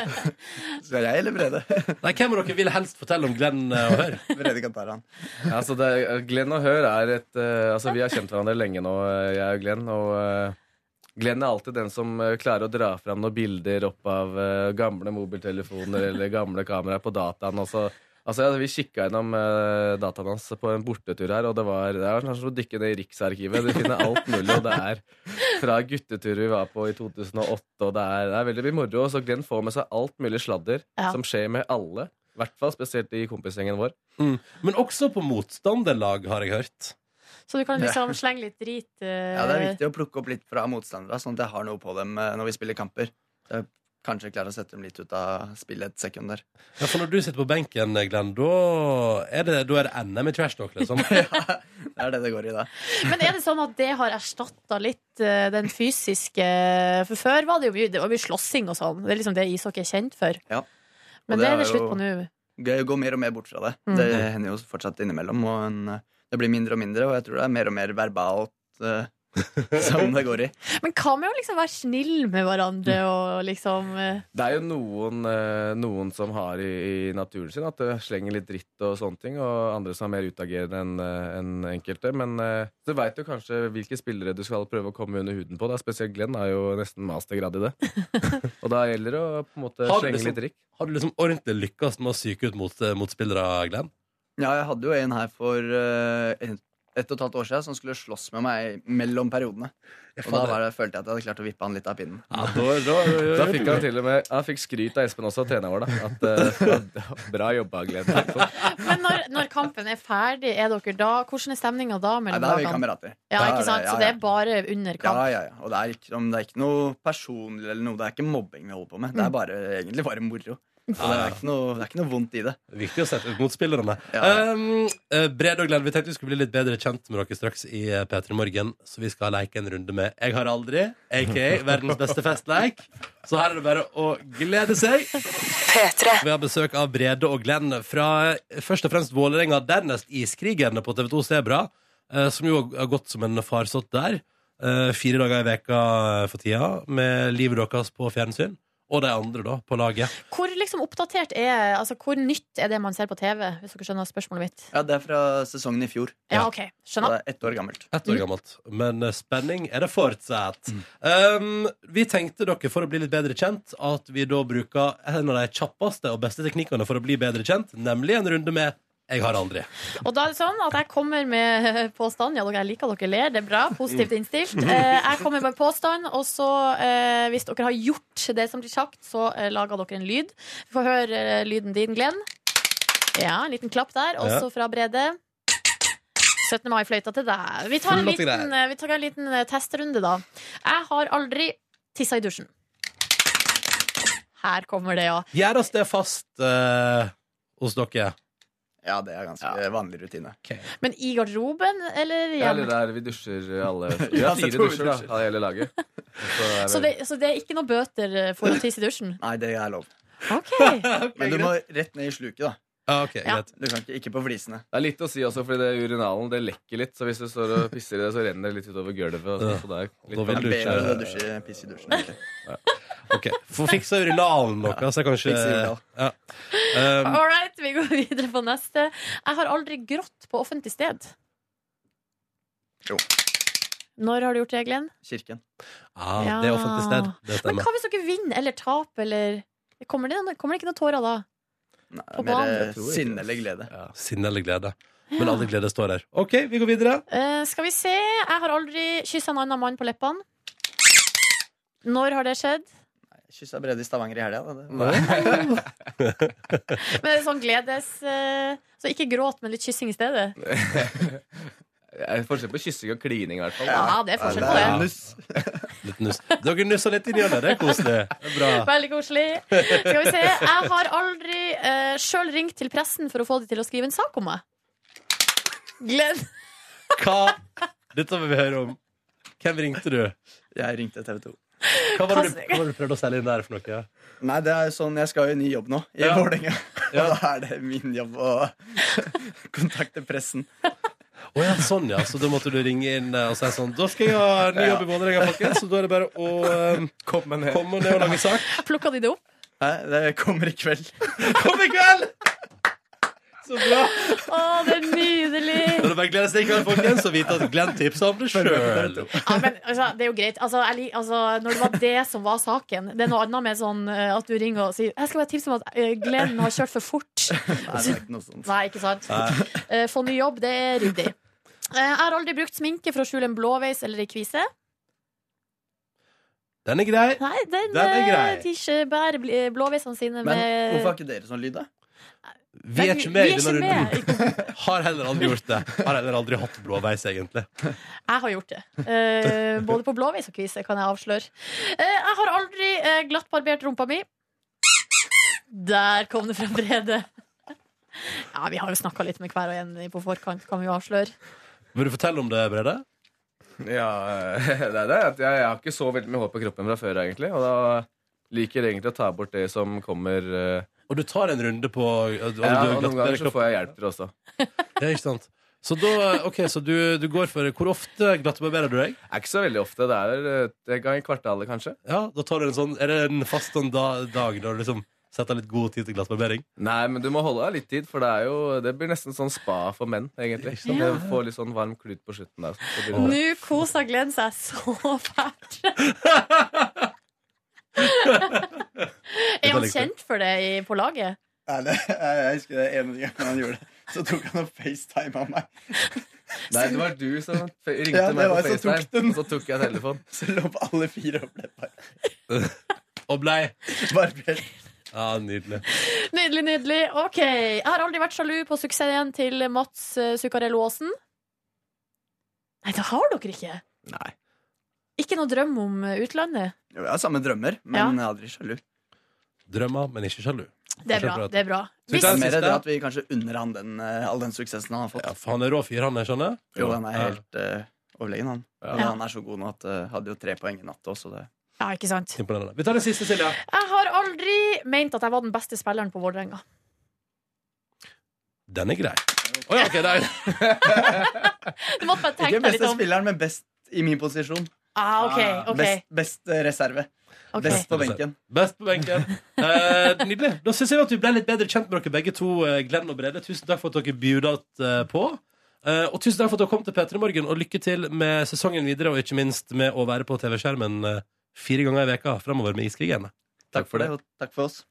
I: Skal jeg eller Brede?
B: Nei, Hvem av dere vil helst fortelle om Glenn eh, og Hør?
I: Brede kan ta han.
M: Ja, altså det, er- Glenn og Hør er et eh, Altså Vi har kjent hverandre lenge nå, eh, jeg og Glenn. Og eh, Glenn er alltid den som eh, klarer å dra fram noen bilder opp av eh, gamle mobiltelefoner eller gamle kameraer på dataen. Og så, altså ja, Vi kikka gjennom eh, dataen hans på en bortetur her, og det var Det er sånn som å dykke ned i Riksarkivet. Du finner alt mulig, og det er fra gutteturer vi var på i 2008, og det er, det er veldig mye moro. Så Glenn får med seg alt mulig sladder
B: Ja.
M: som skjer med alle. I hvert fall spesielt i kompisgjengen vår.
B: Mm. Men også på motstanderlag, har jeg hørt.
C: Så du kan liksom slenge litt drit. eh,
I: Ja, det er viktig å plukke opp litt fra motstandere, sånn at jeg har noe på dem eh, når vi spiller kamper. Så jeg kanskje klarer å sette dem litt ut av spillet et sekund der.
B: Ja, For når du sitter på benken, eh, Glenn, da er det, da er det NM i trash talk, liksom.
I: Det er det det går i da.
C: Men er det sånn at det har erstatta litt eh, den fysiske eh, For før var det jo mye, det var mye slåssing og sånn. Det er liksom det ishockey er kjent for.
I: Ja.
C: Men
I: Og
C: det er
I: er
C: det slutt
I: jo
C: på nå.
I: Gøy å gå mer og mer bort fra det.
C: Mm.
I: Det hender jo fortsatt innimellom, og en, eh, det blir mindre og mindre, og jeg tror det er mer og mer verbalt eh, som det går i.
C: Men hva med å liksom være snill med
I: Mm.
C: hverandre og liksom eh,
M: Det er jo noen, eh, noen som har i, i naturen sin at det slenger litt dritt og sånne ting, og andre som er mer utagerende enn eh, enn enkelte. Men eh, du veit jo kanskje hvilke spillere du skal prøve å komme under huden på. Da. Spesielt Glenn er jo nesten mastergrad i det. og da gjelder det å på en måte
B: Har du
M: slenge
B: liksom-
M: litt drikk.
B: Har du liksom ordentlig lykkes med å psyke ut mot, eh, motspillere, Glenn?
I: Ja, jeg hadde jo en her for eh, en- ett og et halvt år siden som skulle slåss med meg mellom periodene. Og da
M: fader.
I: var det, følte jeg at jeg hadde klart å vippe han litt av pinnen.
M: Da fikk han til og med Han fikk skryt av Espen også, treneren vår, da. At, eh, bra jobba, Glenn.
C: Men når, når kampen er ferdig, er dere da Hvordan er stemninga da mellom
I: Nei, da er vi
C: lagene?
I: kamerater.
C: Ja,
I: Da er
C: ikke
I: det-
C: sant?
I: ja,
C: Så det
I: ja.
C: er bare under kamp.
I: Ja, ja, ja.
C: Mm.
I: Og det er, ikke, om det er ikke noe personlig eller noe. Det er ikke mobbing vi holder på med. Det er bare, egentlig bare moro. Så det, er ikke noe, det er ikke noe vondt i det.
B: Viktig å sette ut motspillerne.
I: Ja.
B: Um, eh, Brede og Glenn, vi tenkte vi skulle bli litt bedre kjent med dere straks i eh, P3 Morgen, så vi skal leke en runde med Jeg har aldri, aka verdens beste festleik. Så her er det bare å glede seg. Vi har besøk av Brede og Glenn fra eh, først og fremst Vålerenga, dernest Iskrigerne på TV2 Sebra, eh, som jo har gått som en farsott der. eh, Fire dager i veka for tida, med livet deres på fjernsyn. Og de andre, da, på laget.
C: Hvor liksom oppdatert er Altså, hvor nytt er det man ser på TV? Hvis dere skjønner spørsmålet mitt.
I: Ja, Det er fra sesongen i fjor.
C: Ja, ok, skjønner
I: Så det er ett år gammelt.
B: Ett år gammelt. Men eh, spenning er det fortsatt. Um, vi tenkte dere, for å bli litt bedre kjent, at vi da bruker en av de kjappeste og beste teknikkene for å bli bedre kjent, nemlig en runde med Jeg har aldri.
C: Og da er det sånn at jeg kommer med påstand. Ja, dere, jeg liker at dere ler, det er bra. Positivt
B: Mm.
C: innstilt. Eh, Jeg kommer med påstand, og så, eh, hvis dere har gjort det som blir sagt, så eh, lager dere en lyd. Vi får høre eh, lyden din, Glenn. Ja, en liten klapp der.
N: Ja.
C: Også fra Brede. 17. mai-fløyta til deg. Vi tar en
N: Flotte
C: liten,
N: greier.
C: eh, vi tar en liten eh, testrunde, da. Jeg har aldri tissa i dusjen. Her kommer det, ja.
B: Gjør oss det fast eh, hos dere.
I: Ja, det er ganske vanlig rutine.
C: Men i garderoben eller
M: Ja, eller
C: hjemme?
M: der vi dusjer alle Vi
I: Ja,
M: har
I: det
M: fire
I: tror vi
M: dusjer, da, av hele laget. Så er
C: Så det, så det er ikke noe bøter eh, for å tisse i dusjen?
I: Nei, det er lov. Men du må rett ned i sluket, da.
M: Ja. greit.
I: Du kan ikke, ikke på flisene.
M: Det er litt å si også, fordi det urinalen det lekker litt. Så hvis du står og pisser i det, så renner det litt utover gulvet. Og sånn, så det er litt
B: Da vil du
I: Det er bedre å
B: ikke
I: dusje, pisse i dusjen. egentlig.
B: Ok, Få fiksa urinalen deres, så kanskje
I: Fikse urinal.
B: ja. um,
C: All right, vi går videre på neste. Jeg har aldri grått på offentlig sted.
I: Jo.
C: Når har du gjort det, Glenn?
I: Kirken.
B: ah, Det er offentlig sted. Det
C: Men
B: stemmer.
C: hva hvis dere vinner eller taper, eller Kommer det, kommer det ikke noen tårer da?
I: Nei,
C: På
I: mer
C: banen.
I: eh, sinne eller glede.
B: Sinne eller glede. Men aldri glede står der. OK, vi går videre.
C: Eh, skal vi se. Jeg har aldri kyssa en annen mann på leppene. Når har det skjedd?
I: Kyssa Brede i Stavanger i helga. da.
C: Men det er sånn gledes eh, Så ikke gråt, men litt kyssing i stedet.
M: Det er forskjell på kyssing og klining, i hvert fall.
C: Ja, det er forskjell på det.
B: Litt nuss. Dere nusser litt inn i hjørnet. Det er koselig. Det er bra.
C: Veldig koselig. Skal vi se. Jeg har aldri uh, sjøl ringt til pressen for å få dem til å skrive en sak om meg. Glenn.
B: Hva Dette vil vi høre om. Hvem ringte du?
I: Jeg ringte TV 2.
B: Hva var det du, hva var det du prøvde å selge inn der for noe?
I: Nei, det er jo sånn, jeg skal jo i ny jobb nå, i
B: Ja.
I: Vålerenga. Og da er det min jobb å kontakte pressen.
B: Å ja, sånn ja. Så da måtte du ringe inn eh, og si sånn Da skal jeg ha ny jobb i Vålerenga, folkens, så da er det bare å eh,
I: komme ned.
B: og lage sak.
C: Plukka de det opp?
I: Nei, det kommer i kveld.
B: Kom i kveld! Så bra.
C: Å, det er nydelig.
B: Når det bare gleder seg i kveld, folkens, så vite at Glenn tipsa om det sjøl.
C: Ja, men altså, Det er jo greit. Altså, jeg, lik- altså, når det var det som var saken Det er noe annet med sånn eh, at du ringer og sier Jeg skal bare tipse om at eh, Glenn har kjørt for fort.
I: Nei, det er ikke noe sånt.
C: Nei, ikke sant?
I: Nei.
C: Eh, Få ny jobb, det er ryddig. Eh, Jeg har aldri brukt sminke for å skjule en blåveis eller ei kvise.
B: Den er grei.
C: Nei, den,
I: Den er
C: eh,
I: grei.
C: De ikke bærer bl- blåveisene sine
I: Men
C: med
I: hvorfor har ikke dere sånn lyd, da?
B: Vi er ikke med i denne runden. Har heller aldri gjort det. Har heller aldri hatt blåveis, egentlig.
C: Jeg har gjort det. Eh, både på blåveis og kvise, kan jeg avsløre. Eh, jeg har aldri eh, glattbarbert rumpa mi. Der kom det fra Brede. Ja, vi har jo snakka litt med hver og en på forkant, kan vi jo avsløre.
B: Vil du fortelle om det, Brede?
M: Ja, eh, det er det. at Jeg, jeg har ikke så veldig mye hår på kroppen fra før, egentlig. Og da liker jeg egentlig å ta bort det som kommer eh,
B: Og du tar en runde på Ja, du
M: Ja,
B: har
M: og
B: glatt
M: noen ganger
B: bedre
M: så får jeg hjelp til det også.
B: Ja, ikke sant Så, da, ok, så du, du går for Hvor ofte glattbarberer du deg?
M: Er ikke så veldig ofte. Det er eh, en gang i kvartalet, kanskje.
B: Ja, da tar du en sånn Er det en fast sånn da, dag da du liksom setter litt god tid til glattbarbering?
M: Nei, men du må holde av litt tid, for det, er jo, det blir nesten sånn spa for menn, egentlig.
C: sant?
M: Ja. Du får litt sånn varm klut på slutten der. så blir det bra.
C: Nå koser Glenn seg så fælt. er han kjent for det i, på laget?
I: Nei, det, jeg, jeg husker det ene gangen han gjorde det. Så tok han og facetime av meg.
M: Nei, det var du som fe- ringte
I: Ja, det
M: meg
I: var
M: på
I: jeg som tok
M: FaceTime, og så tok jeg telefonen.
I: Så lå på alle fire og ble bare
B: Og blei
I: barbert.
B: Ja, nydelig
C: Nydelig, nydelig. OK. Jeg har aldri vært sjalu på suksessen til Mats eh, Zuccarello Aasen. Nei, det har dere ikke.
I: Nei.
C: Ikke noe drøm om eh, utlandet?
I: Jo, jeg har samme drømmer, men
C: Ja.
I: jeg er aldri sjalu.
B: Drømmer, men ikke sjalu.
C: Det er bra. det er bra
I: Hvis,
C: Hvis,
I: det er mer det at vi kanskje unner han den, eh, all den suksessen han har fått.
B: for han er rå fyr, han, jeg skjønner?
I: Jo, han er
B: Ja.
I: helt eh, overlegen, han. Men han er så god nå at uh, hadde jo tre poeng i natt også, det.
C: Ja, ikke sant?
B: Imponerende. Vi tar den siste, Silja.
C: Jeg har aldri ment at jeg var den beste spilleren på Vålerenga.
B: Den er grei. Å ja, ok, det er
C: Du måtte bare
I: Ikke
C: tenke deg
I: beste
C: litt om.
I: spilleren, men best i min posisjon.
C: Ah, ok, ok.
I: Best, best eh, reserve.
C: Ok.
I: Best på benken.
B: Best på benken. Eh, nydelig. Da syns jeg at vi ble litt bedre kjent med dere begge to, eh, Glenn og Brede. Tusen takk for at dere bjudet eh, på. Eh, og tusen takk for at dere kom til P3 Morgen, og lykke til med sesongen videre, og ikke minst med å være på TV-skjermen eh, fire ganger i veka framover med Iskrigerne.
I: Takk for det, og takk for oss.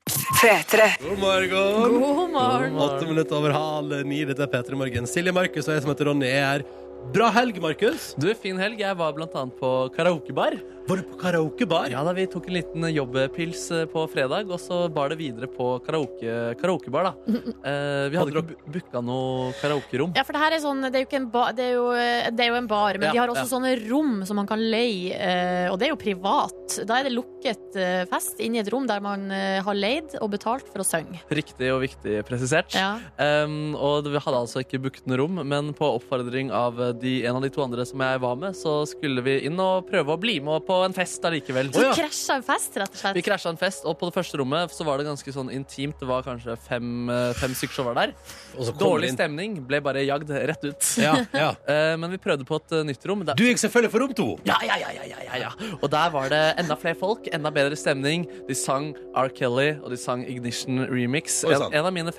B: God morgen.
C: God morgen.
B: Åtte minutter over halv ni. Dette er P3 Morgen. Silje Markus og jeg som heter Ronny er her. Bra helg, Markus.
D: Du, fin helg. Jeg var blant annet på karaokebar.
B: Var du på karaokebar?
D: Ja da, vi tok en liten jobbpils eh, på fredag, og så var det videre på karaoke, karaokebar, da. Eh, vi hadde ikke booka noe karaokerom.
C: Ja, for det her er sånn Det er jo, ikke en, ba, det er jo, eh, det er jo en bar, men
D: Ja,
C: de har også
D: ja.
C: sånne rom som man kan leie, eh, og det er jo privat. Da er det lukket eh, fest inne i et rom der man eh, har leid og betalt for å synge.
D: Riktig og viktig presisert.
C: Ja.
D: Ehm, og det- vi hadde altså ikke booket noe rom, men på oppfordring av de, en av de to andre som jeg var med, så skulle vi inn og prøve å bli med på en fest allikevel.
C: Så krasja en fest, rett og slett.
D: Vi krasja en fest, og på det første rommet så var det ganske sånn intimt. Det var kanskje fem, eh, fem stykker som var der.
B: Og så kom
D: Dårlig
B: det
D: stemning. Ble bare jagd rett ut.
B: Ja, ja.
D: Eh, men vi prøvde på et eh, nytt rom. Der-
B: Du gikk selvfølgelig for rom to.
D: ja, ja, ja, ja, ja, ja, ja. Og der var det enda flere folk, enda bedre stemning. De sang R. Kelly, og de sang Ignition Remix.
B: Oi,
D: En,
B: sant.
D: en av mine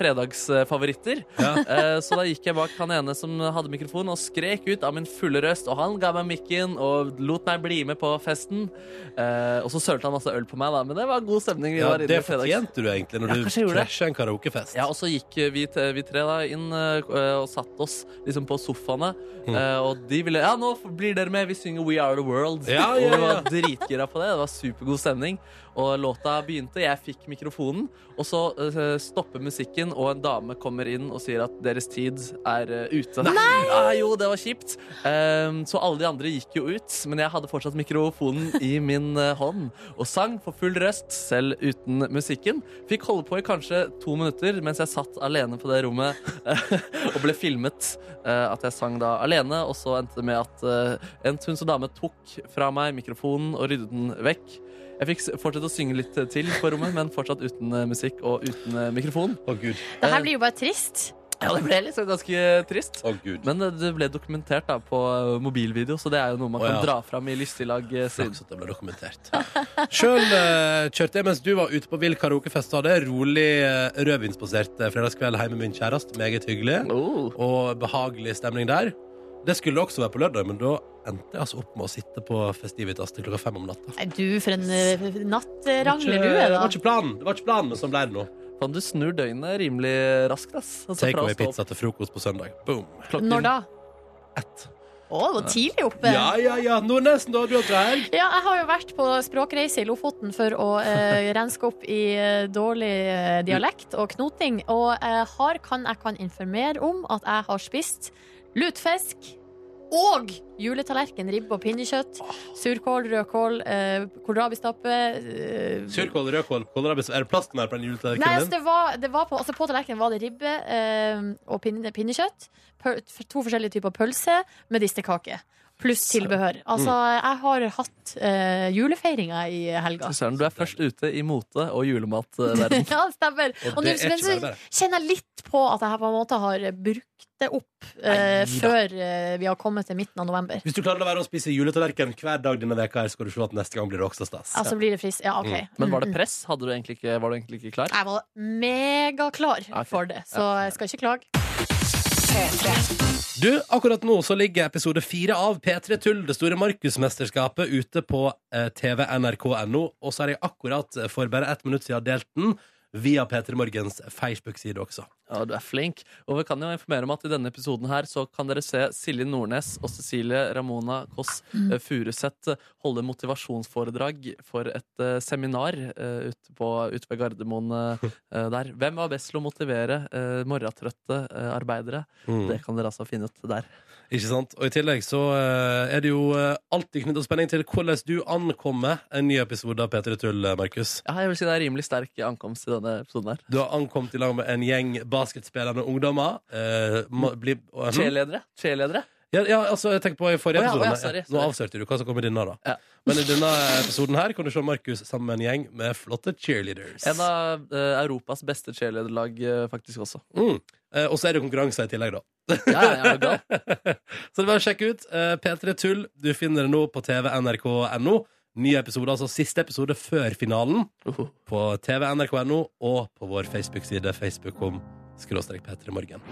D: fredagsfavoritter.
B: Ja.
D: Eh, Så da gikk jeg bak han ene som hadde mikrofon, og skrek ut av min fulle røst. Og han ga meg mikken og lot meg bli med på festen. Eh, Og så sølte han masse øl på meg, da. Men det var god stemning. Vi
B: Ja,
D: var inne
B: det
D: i fredags.
B: fortjente du egentlig når
D: Ja,
B: du
D: kanskje jeg gjorde det.
B: krasja en karaokefest.
D: Ja, og så gikk vi, t- vi tre da inn eh, og satt oss liksom på sofaene.
B: Mm.
D: eh, og de ville Ja, nå blir dere med! Vi synger We Are The World.
B: Ja, ja,
D: Og vi var dritgira på det. Det var supergod stemning. Og låta begynte, jeg fikk mikrofonen, og så eh, stopper musikken, og en dame kommer inn og sier at deres tid er eh, ute.
O: Nei!
D: Ja, jo, det var kjipt. Ehm, så alle de andre gikk jo ut, men jeg hadde fortsatt mikrofonen i min eh, hånd og sang for full røst, selv uten musikken. Fikk holde på i kanskje to minutter mens jeg satt alene på det rommet og ble filmet. eh, at jeg sang da alene, og så endte det med at eh, en tunds dame tok fra meg mikrofonen og ryddet den vekk. Jeg fikk s- fortsette å synge litt til på rommet, men fortsatt uten eh, musikk og uten eh, mikrofon.
B: Å, Gud.
C: Det her blir jo bare trist.
D: Ja, det ble liksom ganske trist. Men eh, det- det ble dokumentert da på eh, mobilvideo, så det er jo noe man
B: Å,
D: kan
B: ja.
D: dra fram i lystig lag. eh, siden.
B: Sjøl eh, kjørte jeg mens du var ute på vill karaokefest. og Hadde jeg rolig uh, rødvinsbasert eh, fredagskveld hjemme med min kjæreste. Meget hyggelig. Og behagelig stemning der. Det skulle også være på lørdag, men da endte jeg altså opp med å sitte på Festivitas til klokka fem om natta.
C: Nei, du, for en eh,
B: Det
C: nattrangler du er,
B: var
C: da.
B: ikke planen, det var ikke planen men sånn ble det nå.
D: Faen, du snur døgnet rimelig raskt, ass. Altså,
B: Take
D: fra å
B: away
D: stå
B: pizza til frokost på søndag. Boom.
C: Når da? Ett. Å, det var tidlig oppe.
B: Ja, ja, ja. Nordnesen, da har du hatt helg.
C: Ja, jeg har jo vært på språkreise i Lofoten for å eh, renske opp i eh, dårlig eh, dialekt og knoting. Og eh, har, kan, jeg kan informere om at jeg har spist lutfisk og juletallerken, ribbe og pinnekjøtt, surkål, rødkål, eh, kålrabistappe eh,
B: Surkål, rødkål, kålrabi Er det plass til mer på den
C: Nei, altså,
B: juletallerkenen
C: det
B: din?
C: var, det var på, altså på tallerkenen var det ribbe eh, og pinne, pinnekjøtt. Pøl, to forskjellige typer pølse med distekake. Pluss tilbehør. Altså, jeg har hatt eh, julefeiringer i helga.
D: Fy Søren, du er først ute i mote og julematverden.
C: ja, det stemmer.
D: Og
C: Og nå-
D: det er ikke
C: men så
D: verre.
C: kjenner jeg litt på at jeg på en måte har brukt det opp eh, før eh, vi har kommet til midten av november.
B: Hvis du klarer å la være å spise juletallerken hver dag denne veka, her, skal du se at neste gang blir det også stas.
C: Altså blir det frist. Ja, OK.
B: Mm.
D: Men var
C: Mm,
D: det
C: mm.
D: press? Hadde du egentlig ikke, var du egentlig ikke klar?
C: Jeg var megaklar
D: Ok.
C: for det, så jeg skal ikke klage.
B: Du, akkurat nå så ligger episode fire av P3 Tull, det store Markusmesterskapet, ute på eh, TV nrk.no. Og så har jeg akkurat eh, for bare ett minutt siden delt den via P3 Morgens Facebook-side også.
D: Ja, du er flink. Og vi kan jo informere om at i denne episoden her så kan dere se Silje Nordnes og Cecilie Ramona Kåss
B: Mm.
D: eh, Furuseth eh, holde motivasjonsforedrag for et eh, seminar eh, ute, på, ute ved Gardermoen eh, eh, der. Hvem var best til å motivere uh, morgentrøtte eh, arbeidere?
B: Mm.
D: Det kan dere altså finne ut der.
B: Ikke sant? Og i tillegg så eh, er det jo eh, alltid knyttet spenning til hvordan du ankommer en ny episode av P3 Tull, eh, Markus.
D: Ja, jeg vil si det er rimelig sterk ankomst i denne episoden her.
B: Du har ankommet i lag med en gjeng basketspillende ungdommer. Eh, må- bli, og-
D: Cheerledere? Cheerledere?
B: Ja, ja, altså, jeg tenkte på i forrige
D: Å ja, å
B: episode.
D: ja, sorry,
B: Nå
D: sorry.
B: avslørte du hva som kom i denne, da. Men i denne episoden her kan du se Markus sammen med en gjeng med flotte cheerleaders.
D: En av eh, Europas beste cheerleaderlag, eh, faktisk også.
B: Mm. Eh, og så er det konkurranser i tillegg, da. så det er bare å sjekke ut. Eh, P3 Tull, du finner det nå på tv.nrk.no. Ny episode, altså siste episode før finalen, på tv.nrk.no og på vår Facebook-side, facebook.com skråstrek P3 Morgen.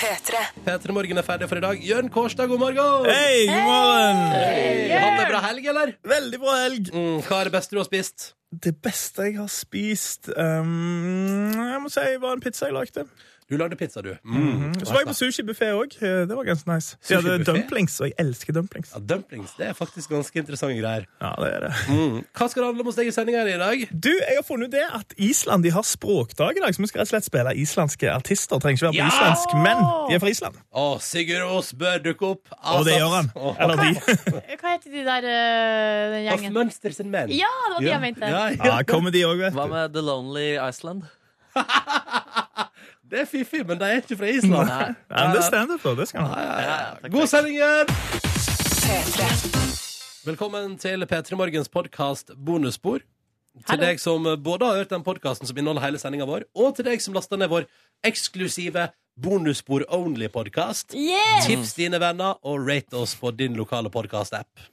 M: P3.
B: P3 Morgen er ferdig for i dag. Jørn Kårstad, god morgen!
M: Hei, god morgen! Hei!
B: Hadde en bra helg, eller? Veldig bra helg. Mm, hva er det beste du har spist?
M: Det beste jeg har spist ehm, Jeg må si var en pizza jeg lagde.
B: Du lagde pizza, du. Mm.
I: Mm.
M: Mhm. Så var jeg på sushibuffé òg. Det var ganske nice. Så jeg hadde
B: Sushibuffet?
M: dumplings, og jeg elsker dumplings.
B: Ja, dumplings, Det er faktisk ganske interessante greier.
M: Ja, det er det.
B: Mm. Hva skal det handle om hos deg i sendinga i dag?
M: Du, Jeg har funnet ut det at Island de har språkdag i dag, så vi skal rett og slett spille islandske artister. Trenger ikke være på
B: Ja!
M: islandsk, men de er fra Island.
B: Å, Sigurd Aas bør dukke opp. Altså,
M: Og det gjør han. Eller de.
C: Hva heter de der eh, den gjengen?
B: Hoffmønster sin menn.
C: Ja, det var de jeg mente.
M: kommer de òg, vet
D: Hva med The Lonely Iceland?
B: det er fiffig, men de er ikke fra Island.
D: Nei.
M: Ja, men det er standup, og det skal han ha.
B: God sending, Jørn! Velkommen til P3 Morgens podkast Bonusspor. Til
M: Hallo.
B: deg som både har hørt den podkasten som inneholder hele sendinga vår, og til deg som lasta ned vår eksklusive Bonusspor only-podkast.
C: Yes!
B: Tips dine venner, og rate oss på din lokale podkast-app.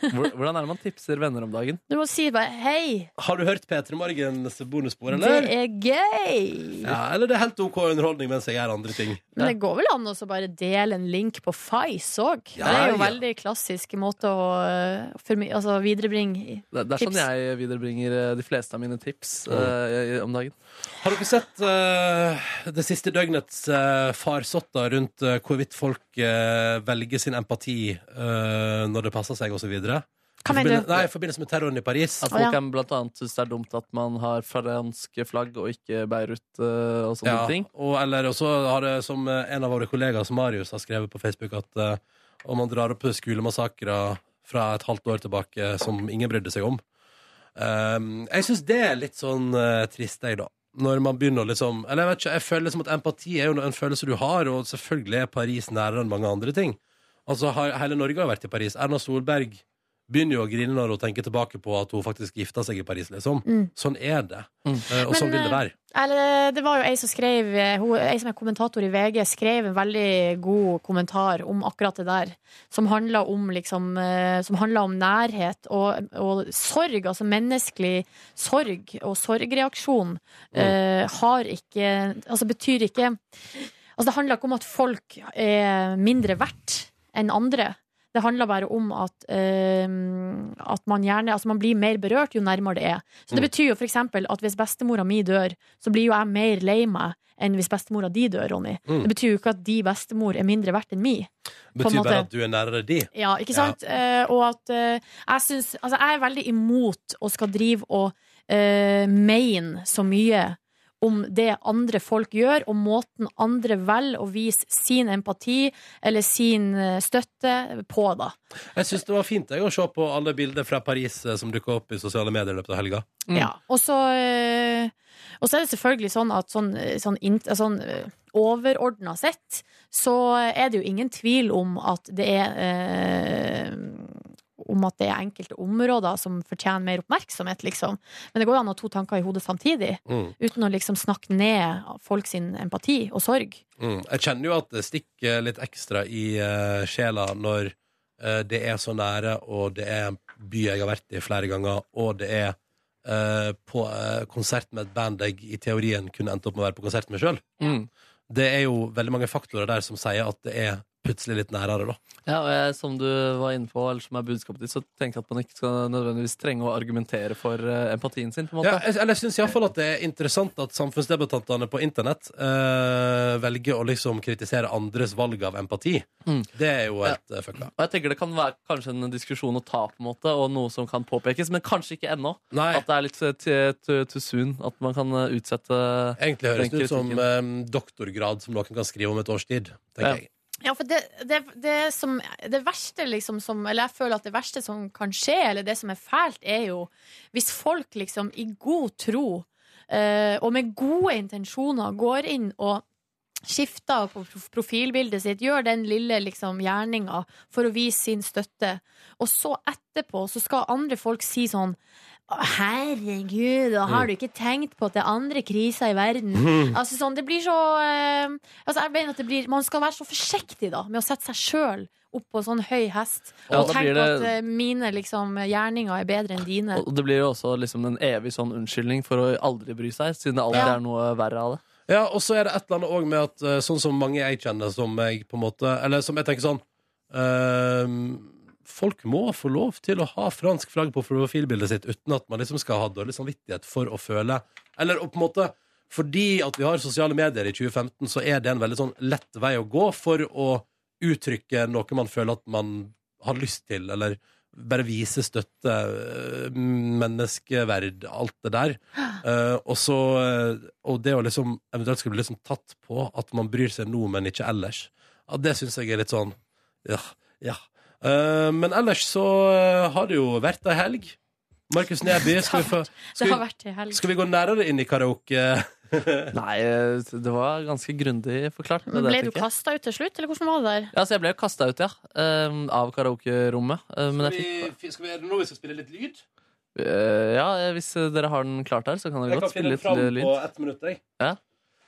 D: Hvordan er det man tipser venner om dagen?
C: Du må si bare hei,
B: Har du hørt P3 Morgens bonusspor,
C: det
B: eller?
C: er gøy.
B: Ja, eller det er helt OK underholdning mens jeg gjør andre ting.
C: Men det går vel an å så bare dele en link på Fice òg.
B: Ja,
C: det er jo
B: ja.
C: veldig klassisk måte å eh, formi- altså, viderebringe i-
D: Det, det er sånn jeg viderebringer eh, de fleste av mine tips eh, i- om dagen.
B: Har dere sett eh, det siste døgnets uh, farsotter rundt eh, hvorvidt folk eh, velger sin empati eh, når det passer seg, osv.? Hva
D: mener du?
B: Nei, I forbindelse med terroren i Paris.
D: At folk kan blant annet synes det er dumt at man har franske flagg og ikke Beirut eh, og sånne
B: Ja,
D: ting.
B: og eller også har det, som eh, en av våre kollegaer, som Marius, har skrevet på Facebook, at eh, om man drar opp skolemassakrer fra et halvt år tilbake som ingen brydde seg om ehm, Jeg syns det er litt sånn eh, trist, jeg, da. Når man begynner å liksom Eller jeg vet ikke, jeg føler liksom at empati er jo en følelse du har, og selvfølgelig er Paris nærere enn mange andre ting. Altså, har, Hele Norge har vært i Paris. Erna Solberg begynner jo å grine når hun tenker tilbake på at hun faktisk gifta seg i Paris, liksom.
C: Mm.
B: Sånn er det. Eh, og sånn
C: Men,
B: vil det
C: eh,
B: være.
C: Eller, det var jo ei som skrev eh, hun, Ei som er kommentator i VG, skrev en veldig god kommentar om akkurat det der. Som handla om, liksom, eh, som handlet om nærhet og, og sorg, altså menneskelig sorg og sorgreaksjon. eh, har ikke Altså betyr ikke Altså det handler ikke om at folk er mindre verdt enn andre. Det handler bare om at, eh, at man gjerne Altså man blir mer berørt jo nærmere det er. Så det
P: Mm.
C: betyr jo for eksempel at hvis bestemora mi dør, så blir jo jeg mer lei meg enn hvis bestemora di dør, Ronny.
B: Mm.
C: Det betyr jo ikke at di bestemor er mindre verdt enn mi. på en
B: Betyr
C: måte.
B: bare at du er nærere de.
C: Ja, ikke sant? Eh, og at eh, jeg syns Altså, jeg er veldig imot å skal drive og eh, mene så mye om det andre folk gjør, og måten andre velger å vise sin empati eller sin eh, støtte på, da.
B: Jeg syns det var fint jeg, å se på alle bilder fra Paris eh, som dukka opp i sosiale medier i løpet av helga.
C: Ja. Og så eh, og så er det selvfølgelig sånn at sånn, eh, sånn, int- eh, sånn overordna sett så er det jo ingen tvil om at det er eh, om at det er enkelte områder som fortjener mer oppmerksomhet, liksom. Men det går jo an å ha to tanker i hodet samtidig.
B: Mm.
C: Uten å liksom snakke ned folk sin empati og sorg.
B: Mm. Jeg kjenner jo at det stikker litt ekstra i eh, sjela når eh, det er så nære, og det er en by jeg har vært i flere ganger, og det er eh, på eh, konsert med et band jeg i teorien kunne endt opp med å være på konsert med sjøl.
D: Mm.
B: Det er jo veldig mange faktorer der som sier at det er plutselig litt nærere, da.
D: Ja, og jeg, Som du var inne på, eller som er budskapet ditt, så tenker jeg at man ikke skal nødvendigvis trenge å argumentere for eh, empatien sin. på en måte.
B: Ja, jeg, eller jeg syns iallfall at det er interessant at samfunnsdebattantene på internett eh, velger å liksom kritisere andres valg av empati.
D: Mm.
B: Det er jo helt eh, fucka.
D: Og jeg tenker Det kan være kanskje en diskusjon å ta, på en måte, og noe som kan påpekes, men kanskje ikke ennå. At det er litt eh, t- t- too soon. At man kan eh, utsette
B: Egentlig høres
D: den
B: det ut som
D: kritikken.
B: eh, doktorgrad som noen kan skrive om et års tid, tenker
D: Ja.
B: jeg.
C: Ja, for det, det, det, som, det verste liksom som Eller jeg føler at det verste som kan skje, eller det som er fælt, er jo hvis folk liksom i god tro eh, og med gode intensjoner går inn og skifter på prof- profilbildet sitt, gjør den lille liksom gjerninga for å vise sin støtte, og så etterpå så skal andre folk si sånn Herregud, og
D: Mm.
C: har du ikke tenkt på at det er andre kriser i verden?
Q: Mhm.
C: Altså sånn, det blir så eh, altså, jeg mener at det blir, Man skal være så forsiktig da med å sette seg sjøl opp på sånn høy hest
D: Ja,
C: og
D: da blir
C: tenke
D: det-
C: at eh, mine liksom, gjerninger er bedre enn dine.
D: Og det blir jo også liksom en evig sånn unnskyldning for å aldri bry seg, siden det alltid
C: Ja.
D: er noe verre av det.
B: Ja, og så er det et eller annet også med at eh, sånn som mange jeg kjenner som jeg på en måte Eller som jeg tenker sånn eh, Folk må få lov til å ha fransk flagg på profilbildet sitt uten at man liksom skal ha dårlig samvittighet for å føle Eller og på en måte fordi at vi har sosiale medier i 2015, så er det en veldig sånn lett vei å gå for å uttrykke noe man føler at man har lyst til, eller bare vise støtte, eh, menneskeverd, alt det der. Eh, og, så, eh, og det å liksom eventuelt skulle bli liksom tatt på at man bryr seg nå, men ikke ellers, ja, det syns jeg er litt sånn Ja, ja. Eh, men ellers så eh, har det jo vært ei helg. Markus Neby, skal vi få skal
C: det har
B: vi-
C: vært i helg.
B: skal vi gå nærmere inn i karaoke?
D: Nei, eh, det var ganske grundig forklart.
C: Men ble du kasta ut til slutt, eller hvordan var det der?
D: Ja, så jeg ble kasta ut, ja. ehm, Av karaokerommet. Ehm, Men jeg fikk
B: Skal vi gjøre det nå? Vi skal spille litt lyd?
D: Eh, Ja, hvis dere har den klart her, så kan dere
B: Jeg kan
D: godt
B: finne
D: spille
B: den
D: litt eh, lyd.
B: fram på ett minutt. Jeg.
D: Ja.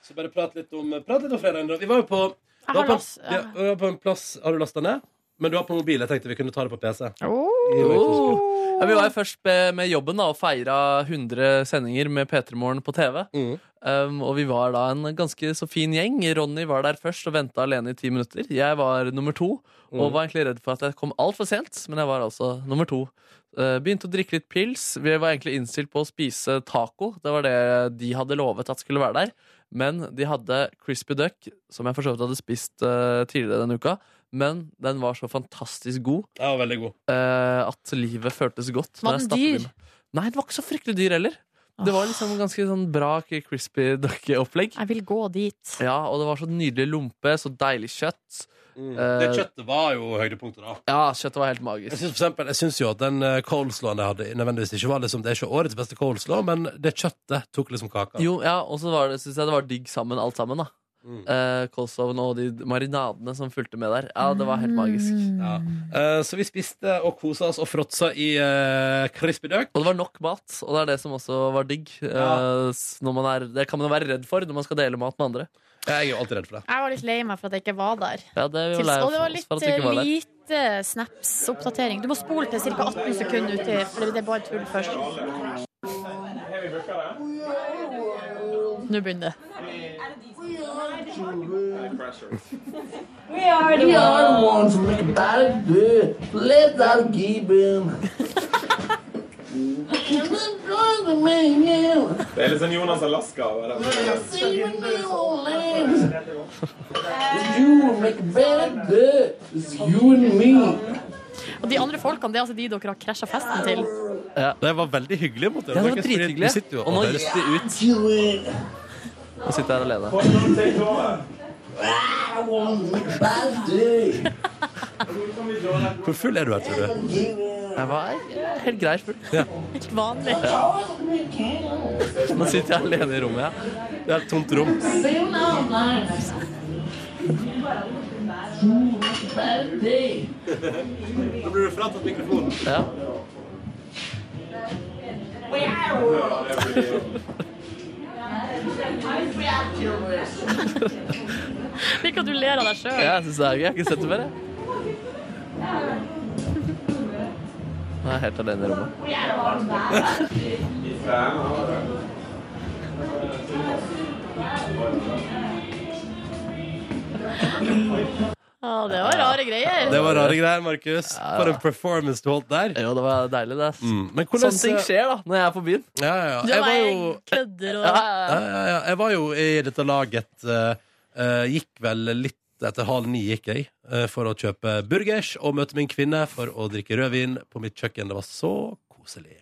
B: Så bare prat litt om, prat litt om fredagen. da. Vi var jo på,
D: Jeg
B: vi var
D: har
B: på,
D: last-
B: ja, vi var på en plass Har du lasta ned? Men du var på mobil. Jeg tenkte vi kunne ta det på PC. Det var ikke så
D: Oh.
B: skummelt.
D: Ja, vi var jo først be- med jobben da, og feira 100 sendinger med P3 Morgen på TV. Um, og vi var da en ganske så fin gjeng. Ronny var der først og venta alene i ti minutter. Jeg var nummer to,
R: Mm.
D: og var egentlig redd for at jeg kom altfor sent, men jeg var altså nummer to. Uh, begynte å drikke litt pils. Vi var egentlig innstilt på å spise taco. Det var det de hadde lovet at skulle være der. Men de hadde crispy duck, som jeg for så vidt hadde spist uh, tidligere denne uka. Men den var så fantastisk god,
B: Ja, veldig god.
D: eh, at livet føltes godt.
C: Var
D: når jeg
C: den
D: stappet i
C: dyr?
D: meg.
C: Ah.
D: Nei, den var ikke så fryktelig dyr heller. Det var liksom ganske sånn bra crispy duck-opplegg.
C: Jeg vil gå dit.
D: Ja, og det var så nydelig lompe, så deilig kjøtt.
B: Mm. Det
D: Eh,
B: kjøttet var jo høydepunktet, da.
D: Ja, kjøttet var helt magisk.
B: Jeg syns, for eksempel, jeg syns jo at den eh, coleslawen jeg hadde, nødvendigvis ikke var liksom, Det er ikke årets beste coleslaw, men det kjøttet tok liksom kaka.
D: Jo, ja, og så var det- synes jeg det var digg sammen, alt sammen. da
B: Mm.
D: Eh, Kolsloven og de marinadene som fulgte med der. Ja, Det var helt magisk.
C: Mm.
B: Ja. Eh, så vi spiste og kosa oss og fråtsa i eh, crispy duck.
D: Og det var nok mat, og det er det som også var digg.
B: Ja.
D: Eh, s- når man er, det kan man jo være redd for når man skal dele mat med andre.
B: Jeg er jo alltid redd for det.
C: Jeg var litt lei meg for at jeg ikke var der.
D: Ja, det er
C: Til-
D: jo lei
C: og det var
D: oss for at vi
C: litt eh,
D: ikke var der.
C: lite snaps-oppdatering. Du må spole til ca. 18 sekunder uti, for det er bare tull først. Nå begynner det.
Q: We are
M: We are the ones who make a bad good. Let that give him.
S: Det er litt sånn Jonas Alaska over det.
M: You make a bad good. It's you and me.
C: Og de andre folkene, det er altså de dere har krasja festen til.
B: Det var veldig hyggelig. Mot
D: Ja, det var drithyggelig. Og nå gikk de ut. Nå sitter jeg her alene.
M: Bad day.
B: Hvor full er du her, tror du?
D: Jeg var helt grei full.
C: Helt vanlig.
D: Nå sitter jeg alene i rommet. Ja. Det er et tomt rom.
M: Bad day.
B: Nå blir du fratatt mikrofonen.
D: Ja.
C: Liker at du ler av deg sjøl.
D: Ja, jeg syns det er gøy. Jeg har ikke sett det før, jeg. Nå er jeg helt alene i rommet.
C: Å, det var rare greier.
B: Det var rare greier, Markus. For en performance du holdt der.
D: Jo, det var deilig, det.
B: Mm. Men hvordan-
D: Sånne Sånn ting skjer da, når jeg er på byen.
B: Ja, ja, ja.
D: Du
B: Jeg var
D: bare
B: jo
C: kødder og
D: ja,
B: ja, ja, ja. Jeg var jo i dette laget eh, eh, Gikk vel litt etter halv ni gikk jeg eh, For å kjøpe burgers Og møte min kvinne for å drikke rødvin På mitt kjøkken, det var så koselig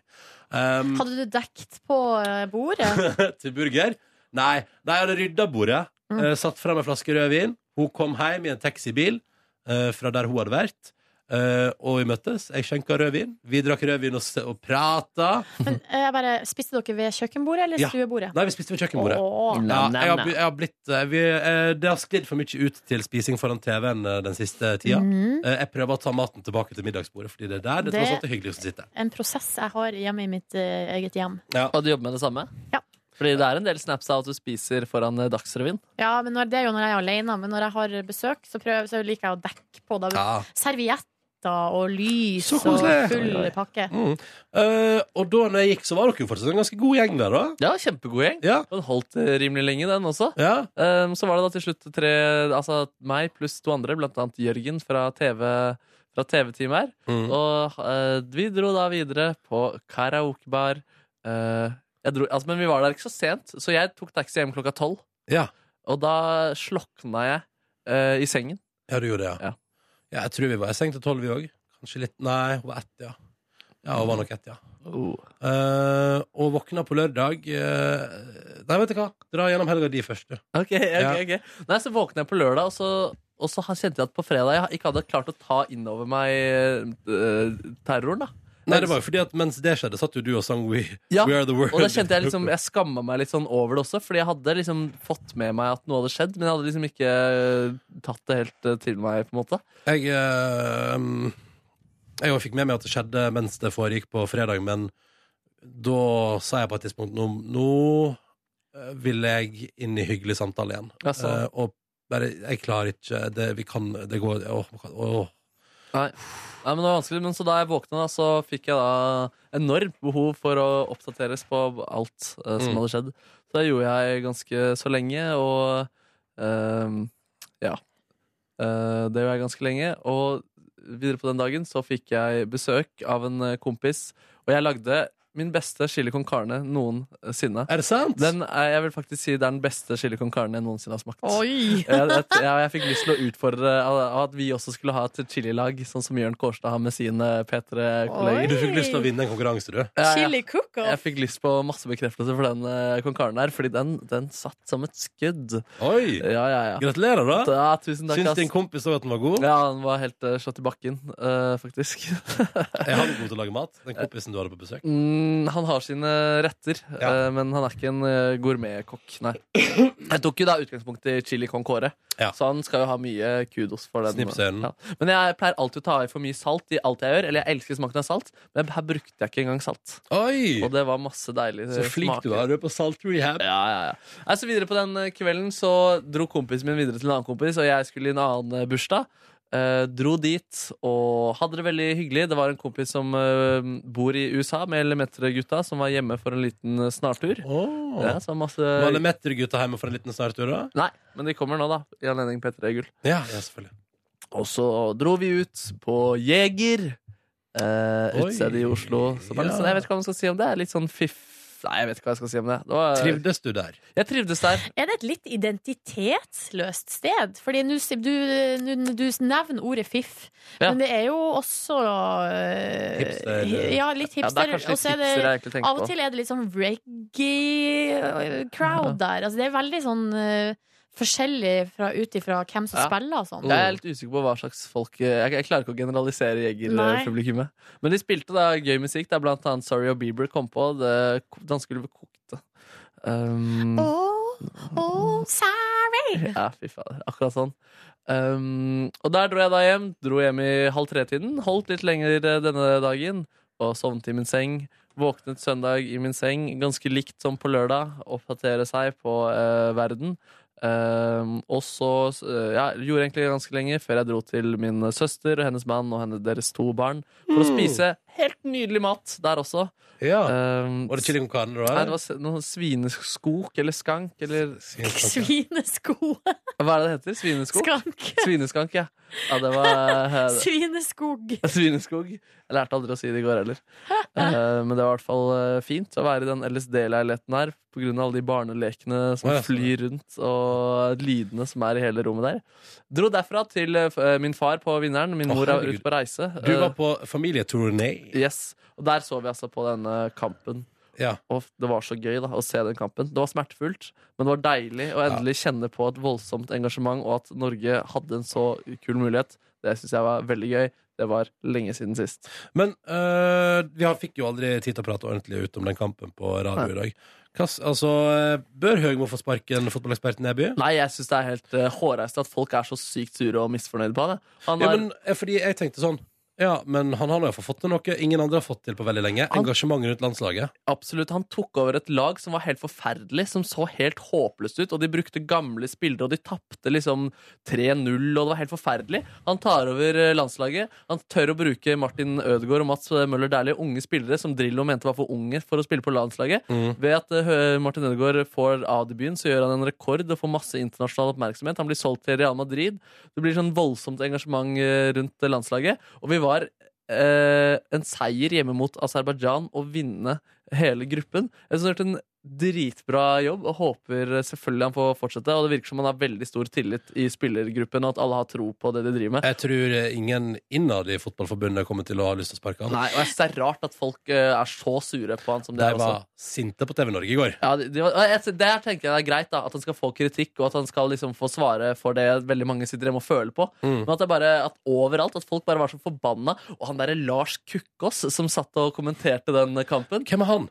D: Mm.
B: um,
C: Hadde du dekt på eh, bordet?
B: Til burger Nei, nei, jeg hadde rydda bordet
C: Mm.
B: eh, satt frem en flaske rødvin. Hun kom hjem i en taxibil eh, fra der hun hadde vært. Eh, og vi møttes. Jeg skjenka rødvin. Vi drakk rødvin og, s- og prata.
C: Men eh, jeg bare, Spiste dere ved kjøkkenbordet eller
B: Ja.
C: stuebordet?
B: Nei, vi spiste ved kjøkkenbordet.
C: Åh.
B: Ja, jeg har, bl- jeg har blitt, eh, vi, eh, det har sklidd for mye ut til spising foran TV-en eh, den siste tida.
C: Mhm.
B: Eh, jeg prøver å ta maten tilbake til middagsbordet, fordi det er der det,
C: Det-
B: tross alt er hyggelig å sitte.
C: En prosess jeg har hjemme i mitt eh, eget hjem.
D: Og du jobber med det samme? Fordi det er en del snaps av at du spiser foran eh, Dagsrevyen.
C: Ja, men når, Det er jo når jeg er alene, men når jeg har besøk, så, prøver, så liker jeg å dekke på. Da.
B: Ja.
C: Servietter og lys og
B: koselig.
C: full pakke.
B: Mm. Eh, og da når jeg gikk, så var dere jo fortsatt en ganske god gjeng der, da.
D: Ja, kjempegod gjeng. Den holdt eh, rimelig lenge, den også. Um, så var det da til slutt tre Altså meg pluss to andre, blant annet Jørgen fra TV Fra TV-teamet her.
B: Mm.
D: Og eh, vi dro da videre på karaokebar. Eh, jeg dro, altså, men vi var der ikke så sent, så jeg tok taxi hjem klokka tolv.
B: Ja.
D: Og da slokna jeg eh, i sengen.
B: Ja, du gjorde det, ja. Ja, jeg tror vi var i seng til tolv, vi òg. Kanskje litt Nei, hun var ett, ja. Ja, hun var nok ett, ja. Oh. Eh, og våkna på lørdag eh, Nei, vet du hva? Dra gjennom helga di først, du.
D: Ok, ok,
B: Ja.
D: ok Nei, så våkna jeg på lørdag Og så, og så har- kjente jeg at på fredag Jeg ikke hadde klart å ta innover meg eh, Terroren da
B: Nei, det var jo fordi at mens det skjedde, satt jo du og sang We,
D: ja,
B: We Are The World.
D: og da kjente jeg liksom Jeg skammet meg litt sånn over det også Fordi jeg hadde liksom fått med meg at noe hadde skjedd Men jeg hadde liksom ikke eh, tatt det helt eh, til meg på en måte
B: Jeg, eh, jeg også fikk med meg at det skjedde mens det foregikk på fredag, men da sa jeg på et tidspunkt Nå, nå eh, vil jeg inn i hyggelig samtale igjen.
D: Ja, sånn.
B: Eh, og bare Jeg klarer ikke Det, vi kan, det går Åh. man kan- åh.
D: Nei. Nei, men det var vanskelig Men så da jeg våkna da Så fikk jeg da enormt behov for å oppdateres på alt eh, som
B: Mm.
D: hadde skjedd Så det gjorde jeg ganske så lenge Og ehm, ja Eh, Det gjorde jeg ganske lenge Og videre på den dagen så fikk jeg besøk av en eh, kompis Og jeg lagde min beste chili con carne noensinne
B: Er det sant?
D: Den er, jeg vil faktisk si det er den beste chili con carne jeg noensinne har smakt jeg,
C: Oi!
D: jeg, jeg, jeg fikk lyst til å utfordre av- av at vi også skulle ha et chililag, sånn som Jørn Kårstad har med sine P3-kolleger.
B: Oi! Du fikk lyst til å vinne en konkurranse, du?
C: Chili cook-off.
D: Jeg fikk lyst på masse bekreftelse for den eh, konkaren her, fordi den, den satt som et skudd.
B: Oi!
D: Ja, ja, ja.
B: Gratulerer, da.
D: Ja, tusen takk,
B: Syns
D: ass.
B: din kompis òg at den var god?
D: Ja, den var helt eh, slått i bakken, eh, faktisk.
B: Er han god til å lage mat? Den kompisen du hadde på besøk?
D: Mm, han har sine retter, eh, men han er ikke en eh, gourmetkokk, nei. Jeg tok jo da utgangspunkt i chili con core, så han skal jo ha mye kudos for den.
B: Snipsølen.
D: Ja. Men jeg pleier alltid å ta i for mye salt i alt jeg gjør, eller jeg elsker smaken av salt, men her brukte jeg ikke engang salt. Og det var masse deilig
B: Så flink du
D: smaker.
B: er du er på salt rehab.
D: Ja, ja, ja. Nei, så videre på den eh, kvelden så dro kompisen min videre til en annen kompis, og jeg skulle i en annen eh, bursdag. Eh, dro dit og hadde det veldig hyggelig. Det var en kompis som eh, bor i USA med Elemeter-gutta, som var hjemme for en liten eh, snartur.
B: Oh.
D: Ja, så masse...
B: Var det Metter-gutta hjemme for en liten snartur, da?
D: Nei, men de kommer nå, da. I anledning P3 Gull.
B: Ja, ja, selvfølgelig.
D: Og så dro vi ut på Jeger. Eh,
B: Oi.
D: utstedet i Oslo. Som er litt
B: Ja.
D: sånn, jeg vet ikke hva man skal si om det. Litt sånn fiff... Nei, jeg vet ikke hva jeg skal si om det. det var,
B: Trivdes du der?
D: Jeg trivdes der.
C: Er det et litt identitetsløst sted? Fordi nå si- du, du, du nevner ordet fiff,
D: Ja.
C: men det er jo også øh,
D: Hipster.
C: Ja, litt
D: Ja, det er kanskje
C: hipster.
D: litt
C: Og så er det-
D: hipster jeg egentlig tenker
C: Av
D: på.
C: og til er det litt sånn reggae-crowd der. Altså, det er veldig sånn øh, forskjellig fra, ut ifra hvem som
D: Ja.
C: spiller og sånn.
D: Jeg er litt usikker på hva slags folk eh, Jeg, jeg klarer ikke å generalisere
C: Nei.
D: jegerpublikummet. Men de spilte da gøy musikk, der blant annet Sorry og Bieber kom på. Det, dansegulvet kokte. Um,
C: Oh, sorry!
D: Ja, fy fader. Akkurat sånn. Um, og der dro jeg da hjem. Dro hjem i halv tre-tiden. Holdt litt lenger eh, denne dagen. Og sovnet i min seng. Våknet søndag i min seng, ganske likt som på lørdag. Oppdatere seg på eh, verden. Um, og så eh, ja, gjorde egentlig ganske lenge før jeg dro til min søster og hennes mann og henne, deres to barn for å
B: Mm.
D: spise helt nydelig mat der også.
B: Ja.
D: Um,
B: Var det chili con carne du var?
D: Nei, det var s- noe svineskok eller skank eller
C: Svinesko.
D: Hva er det det heter? Svineskog?
C: Skank.
D: Svineskank, ja. ja det var, eh,
C: Svineskog.
D: Svineskog. Jeg lærte aldri å si det i går heller. Eh, men det var i hvert fall eh, fint å være i den LSD-leiligheten her På grunn av alle de barnelekene som
B: Å, ja.
D: flyr rundt, og lydene som er i hele rommet der. Dro derfra til eh, f- eh, min far på Vinneren. Min
B: Å,
D: mor er
B: herregud.
D: ute på reise.
B: Du
D: Eh,
B: var på familieturné.
D: Yes, Og der så vi altså på denne kampen. Og det var så gøy da, å se den kampen. Det var smertefullt, men det var deilig å endelig kjenne på et voldsomt engasjement, og at Norge hadde en så kul mulighet. Det syns jeg var veldig gøy. Det var lenge siden sist.
B: Men eh, vi har- fikk jo aldri tid til å prate ordentlig ut om den kampen på radio i dag. Hva s- altså, eh, bør Høgmo få sparken, fotballeksperten Neby?
D: Nei, jeg syns det er helt uh, hårreisende at folk er så sykt sure og misfornøyde på det. Han
B: Ja,
D: er,
B: men, eh, fordi jeg tenkte sånn Ja, men han har nå iallfall fått til noe ingen andre har fått til på veldig lenge. Engasjement rundt landslaget.
D: Absolutt. Han tok over et lag som var helt forferdelig, som så helt håpløst ut. Og de brukte gamle spillere, og de tapte liksom 3-0, og det var helt forferdelig. Han tar over eh, landslaget. Han tør å bruke Martin Ødegaard og Mats Møller Dæhlie, unge spillere som Drillo mente var for unge for å spille på landslaget.
B: Mm.
D: Ved at eh, Martin Ødegaard får A-debuten, så gjør han en rekord og får masse internasjonal oppmerksomhet. Han blir solgt til Real Madrid. Det blir sånn voldsomt engasjement eh, rundt eh, landslaget. Og vi var eh, en seier hjemme mot Aserbajdsjan og vinne hele gruppen. Jeg synes han har gjort en dritbra jobb og håper selvfølgelig han får fortsette. Og det virker som han har veldig stor tillit i spillergruppen, og at alle har tro på det de driver med.
B: Jeg tror eh, ingen innad i Fotballforbundet kommer til å ha lyst til å sparke han.
D: Nei, og jeg synes det er rart at folk eh, er så sure på han som de
B: De
D: er også.
B: var sinte på TV Norge i går.
D: Ja, de, de, var- jeg, der tenker jeg det er greit da At han skal få kritikk Og at han skal liksom få svare for det Veldig mange sitter hjemme og føler på
B: Mm.
D: Men at det er bare At overalt At folk bare var så forbanna Og han der Lars Kukkås Som satt og kommenterte den kampen Eh,
B: Hvem er han?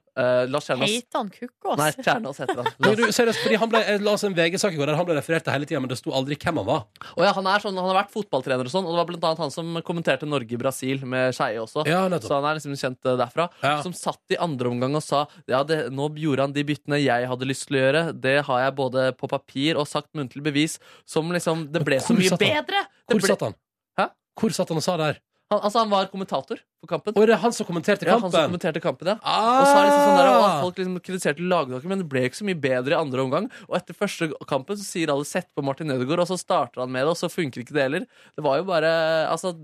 D: Lars Kjernås
C: Heter han Kukkås?
D: Nei, Kjernås heter han
B: Men du, seriøst, fordi han ble, jeg la oss en VG-sak i går der han ble referert til hele tida, men det sto aldri hvem han var.
D: Og ja, han, er sånn, han har vært fotballtrener og sånn, og det var blant annet han som kommenterte Norge-Brasil med Skeie også. så han er liksom kjent eh, derfra. Som satt i andre omgang og sa ja, det, nå gjorde han de byttene jeg hadde lyst til å gjøre. Det har jeg både på papir og sagt muntlig bevis. Som liksom Det ble så
B: hvor
D: mye
B: satt han?
D: bedre! Det
B: Hvor
D: ble-
B: satt han?
D: Hæ?
B: Hvor satt han og sa det her?
D: Han, altså, han var kommentator på kampen.
B: Og det er han som kommenterte
D: Ja, han som
B: kampen?
D: kommenterte kampen, ja.
B: Ah!
D: Og så er det liksom sånn der, og folk liksom kritiserte lagdere, men det ble ikke så mye bedre i andre omgang. Og etter første kampen så sier alle 'sett på Martin Ødegaard', og så starter han med det, og så funker ikke det heller. Det var jo bare Altså,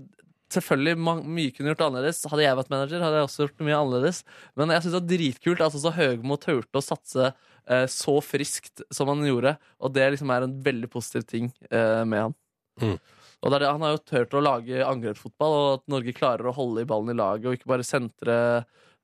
D: selvfølgelig ma- mye kunne gjort annerledes. Hadde jeg vært manager, hadde jeg også gjort mye annerledes. Men jeg syns det var dritkult altså, så Høgmo turte å satse eh, så friskt som han gjorde, og det liksom er en veldig positiv ting eh, med han.
B: Mm.
D: Og det er det, Han har jo tørt å lage angrepsfotball, og at Norge klarer å holde i ballen i laget og ikke bare sentre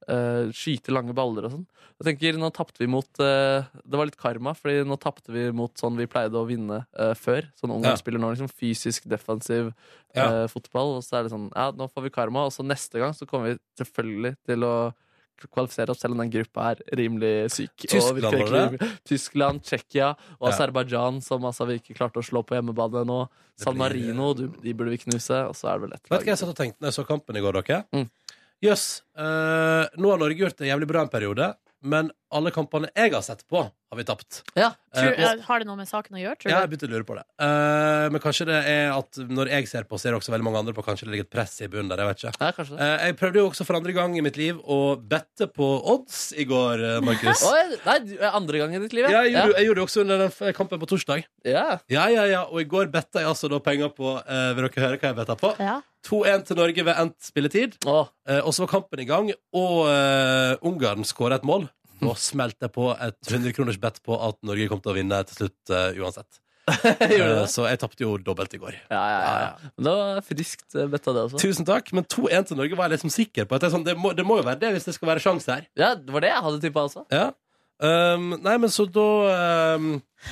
D: eh, skyte lange baller og sånn. Jeg tenker, nå tapte vi mot eh, Det var litt karma, fordi nå tapte vi mot sånn vi pleide å vinne eh, før. Sånn ungdomsspiller nå, liksom fysisk defensiv eh, fotball. Og så er det sånn Ja, nå får vi karma, og så neste gang så kommer vi selvfølgelig til å kvalifisere oss, selv om den gruppa er rimelig syk. og
B: Tyskland,
D: virker ikke
B: var det det?
D: rimelig. Tyskland, Tsjekkia og
B: Ja.
D: Aserbajdsjan, som altså vi ikke klarte å slå på hjemmebane nå. San Marino, du, de burde vi knuse. Og så er det vel et
B: Vet du hva jeg satt og tenkte når jeg så kampen i går, dere?
D: Mm.
B: Jøss. eh, nå har Norge gjort det jævlig bra en periode, men alle kampene jeg har sett på, har vi tapt.
C: Tror,
B: Eh, og-
C: har det noe med saken å gjøre, tror
B: ja, jeg
C: du?
B: begynte å lure på det. Eh, men kanskje det er at når jeg ser på, ser også veldig mange andre på. Kanskje det ligger et press i bunnen der. Jeg vet ikke. Eh, jeg prøvde jo også for andre gang i mitt liv å bette på odds i går, eh, Markus.
D: Oi, nei, du- andre gang i ditt liv,
B: Ja, jeg, gjorde,
D: Ja.
B: jeg gjorde det også under den f- kampen på torsdag.
D: Ja.
B: ja, ja, Og i går betta jeg altså da penger på eh, Vil dere høre hva jeg betta på?
C: Ja.
B: 2-1 til Norge ved endt spilletid. Eh, og så var kampen i gang, og eh, Ungarn skåra et mål. Da smelte jeg på et 100 kroners bet på at Norge kom til å vinne til slutt eh, uansett. Eh, så jeg tapte jo dobbelt i går.
D: Ja, ja, ja, ja. Men Det var friskt eh, betta, det også.
B: Tusen takk, men 2-1 til Norge var jeg liksom sikker på. At det, er sånn, det, må, det må jo være det hvis det skal være sjanse her.
D: Ja, det var det jeg hadde tippa også.
B: Ja. Um, nei, men så da um,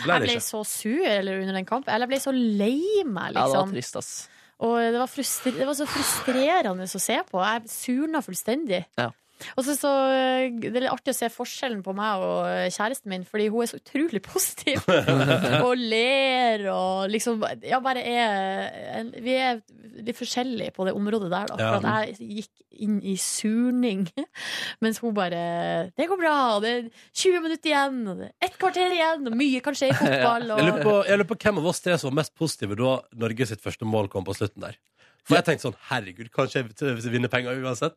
B: ble
C: Jeg
B: det
C: ble
B: ikke.
C: så sur eller, under den kampen. Eller jeg ble så lei meg,
D: Ja, det var
C: liksom.
D: trist, ass.
C: og det var, frustr det var så frustrerende å se på. Jeg surna fullstendig.
D: Ja.
C: Og så, så Det er litt artig å se forskjellen på meg og kjæresten min, fordi hun er så utrolig positiv. og ler og liksom Ja, bare er Vi er litt forskjellige på det området der, da. For
T: Ja.
C: at jeg gikk inn i surning, mens hun bare 'Det går bra', og det er 20 minutter igjen, og det er ett kvarter igjen, og mye kan skje i fotball,
B: Jeg lurer, på,
C: og
B: jeg lurer på hvem av oss tre som var mest positive da Norge sitt første mål kom på slutten der. For jeg tenkte sånn, herregud, kanskje jeg t- vinner penger uansett.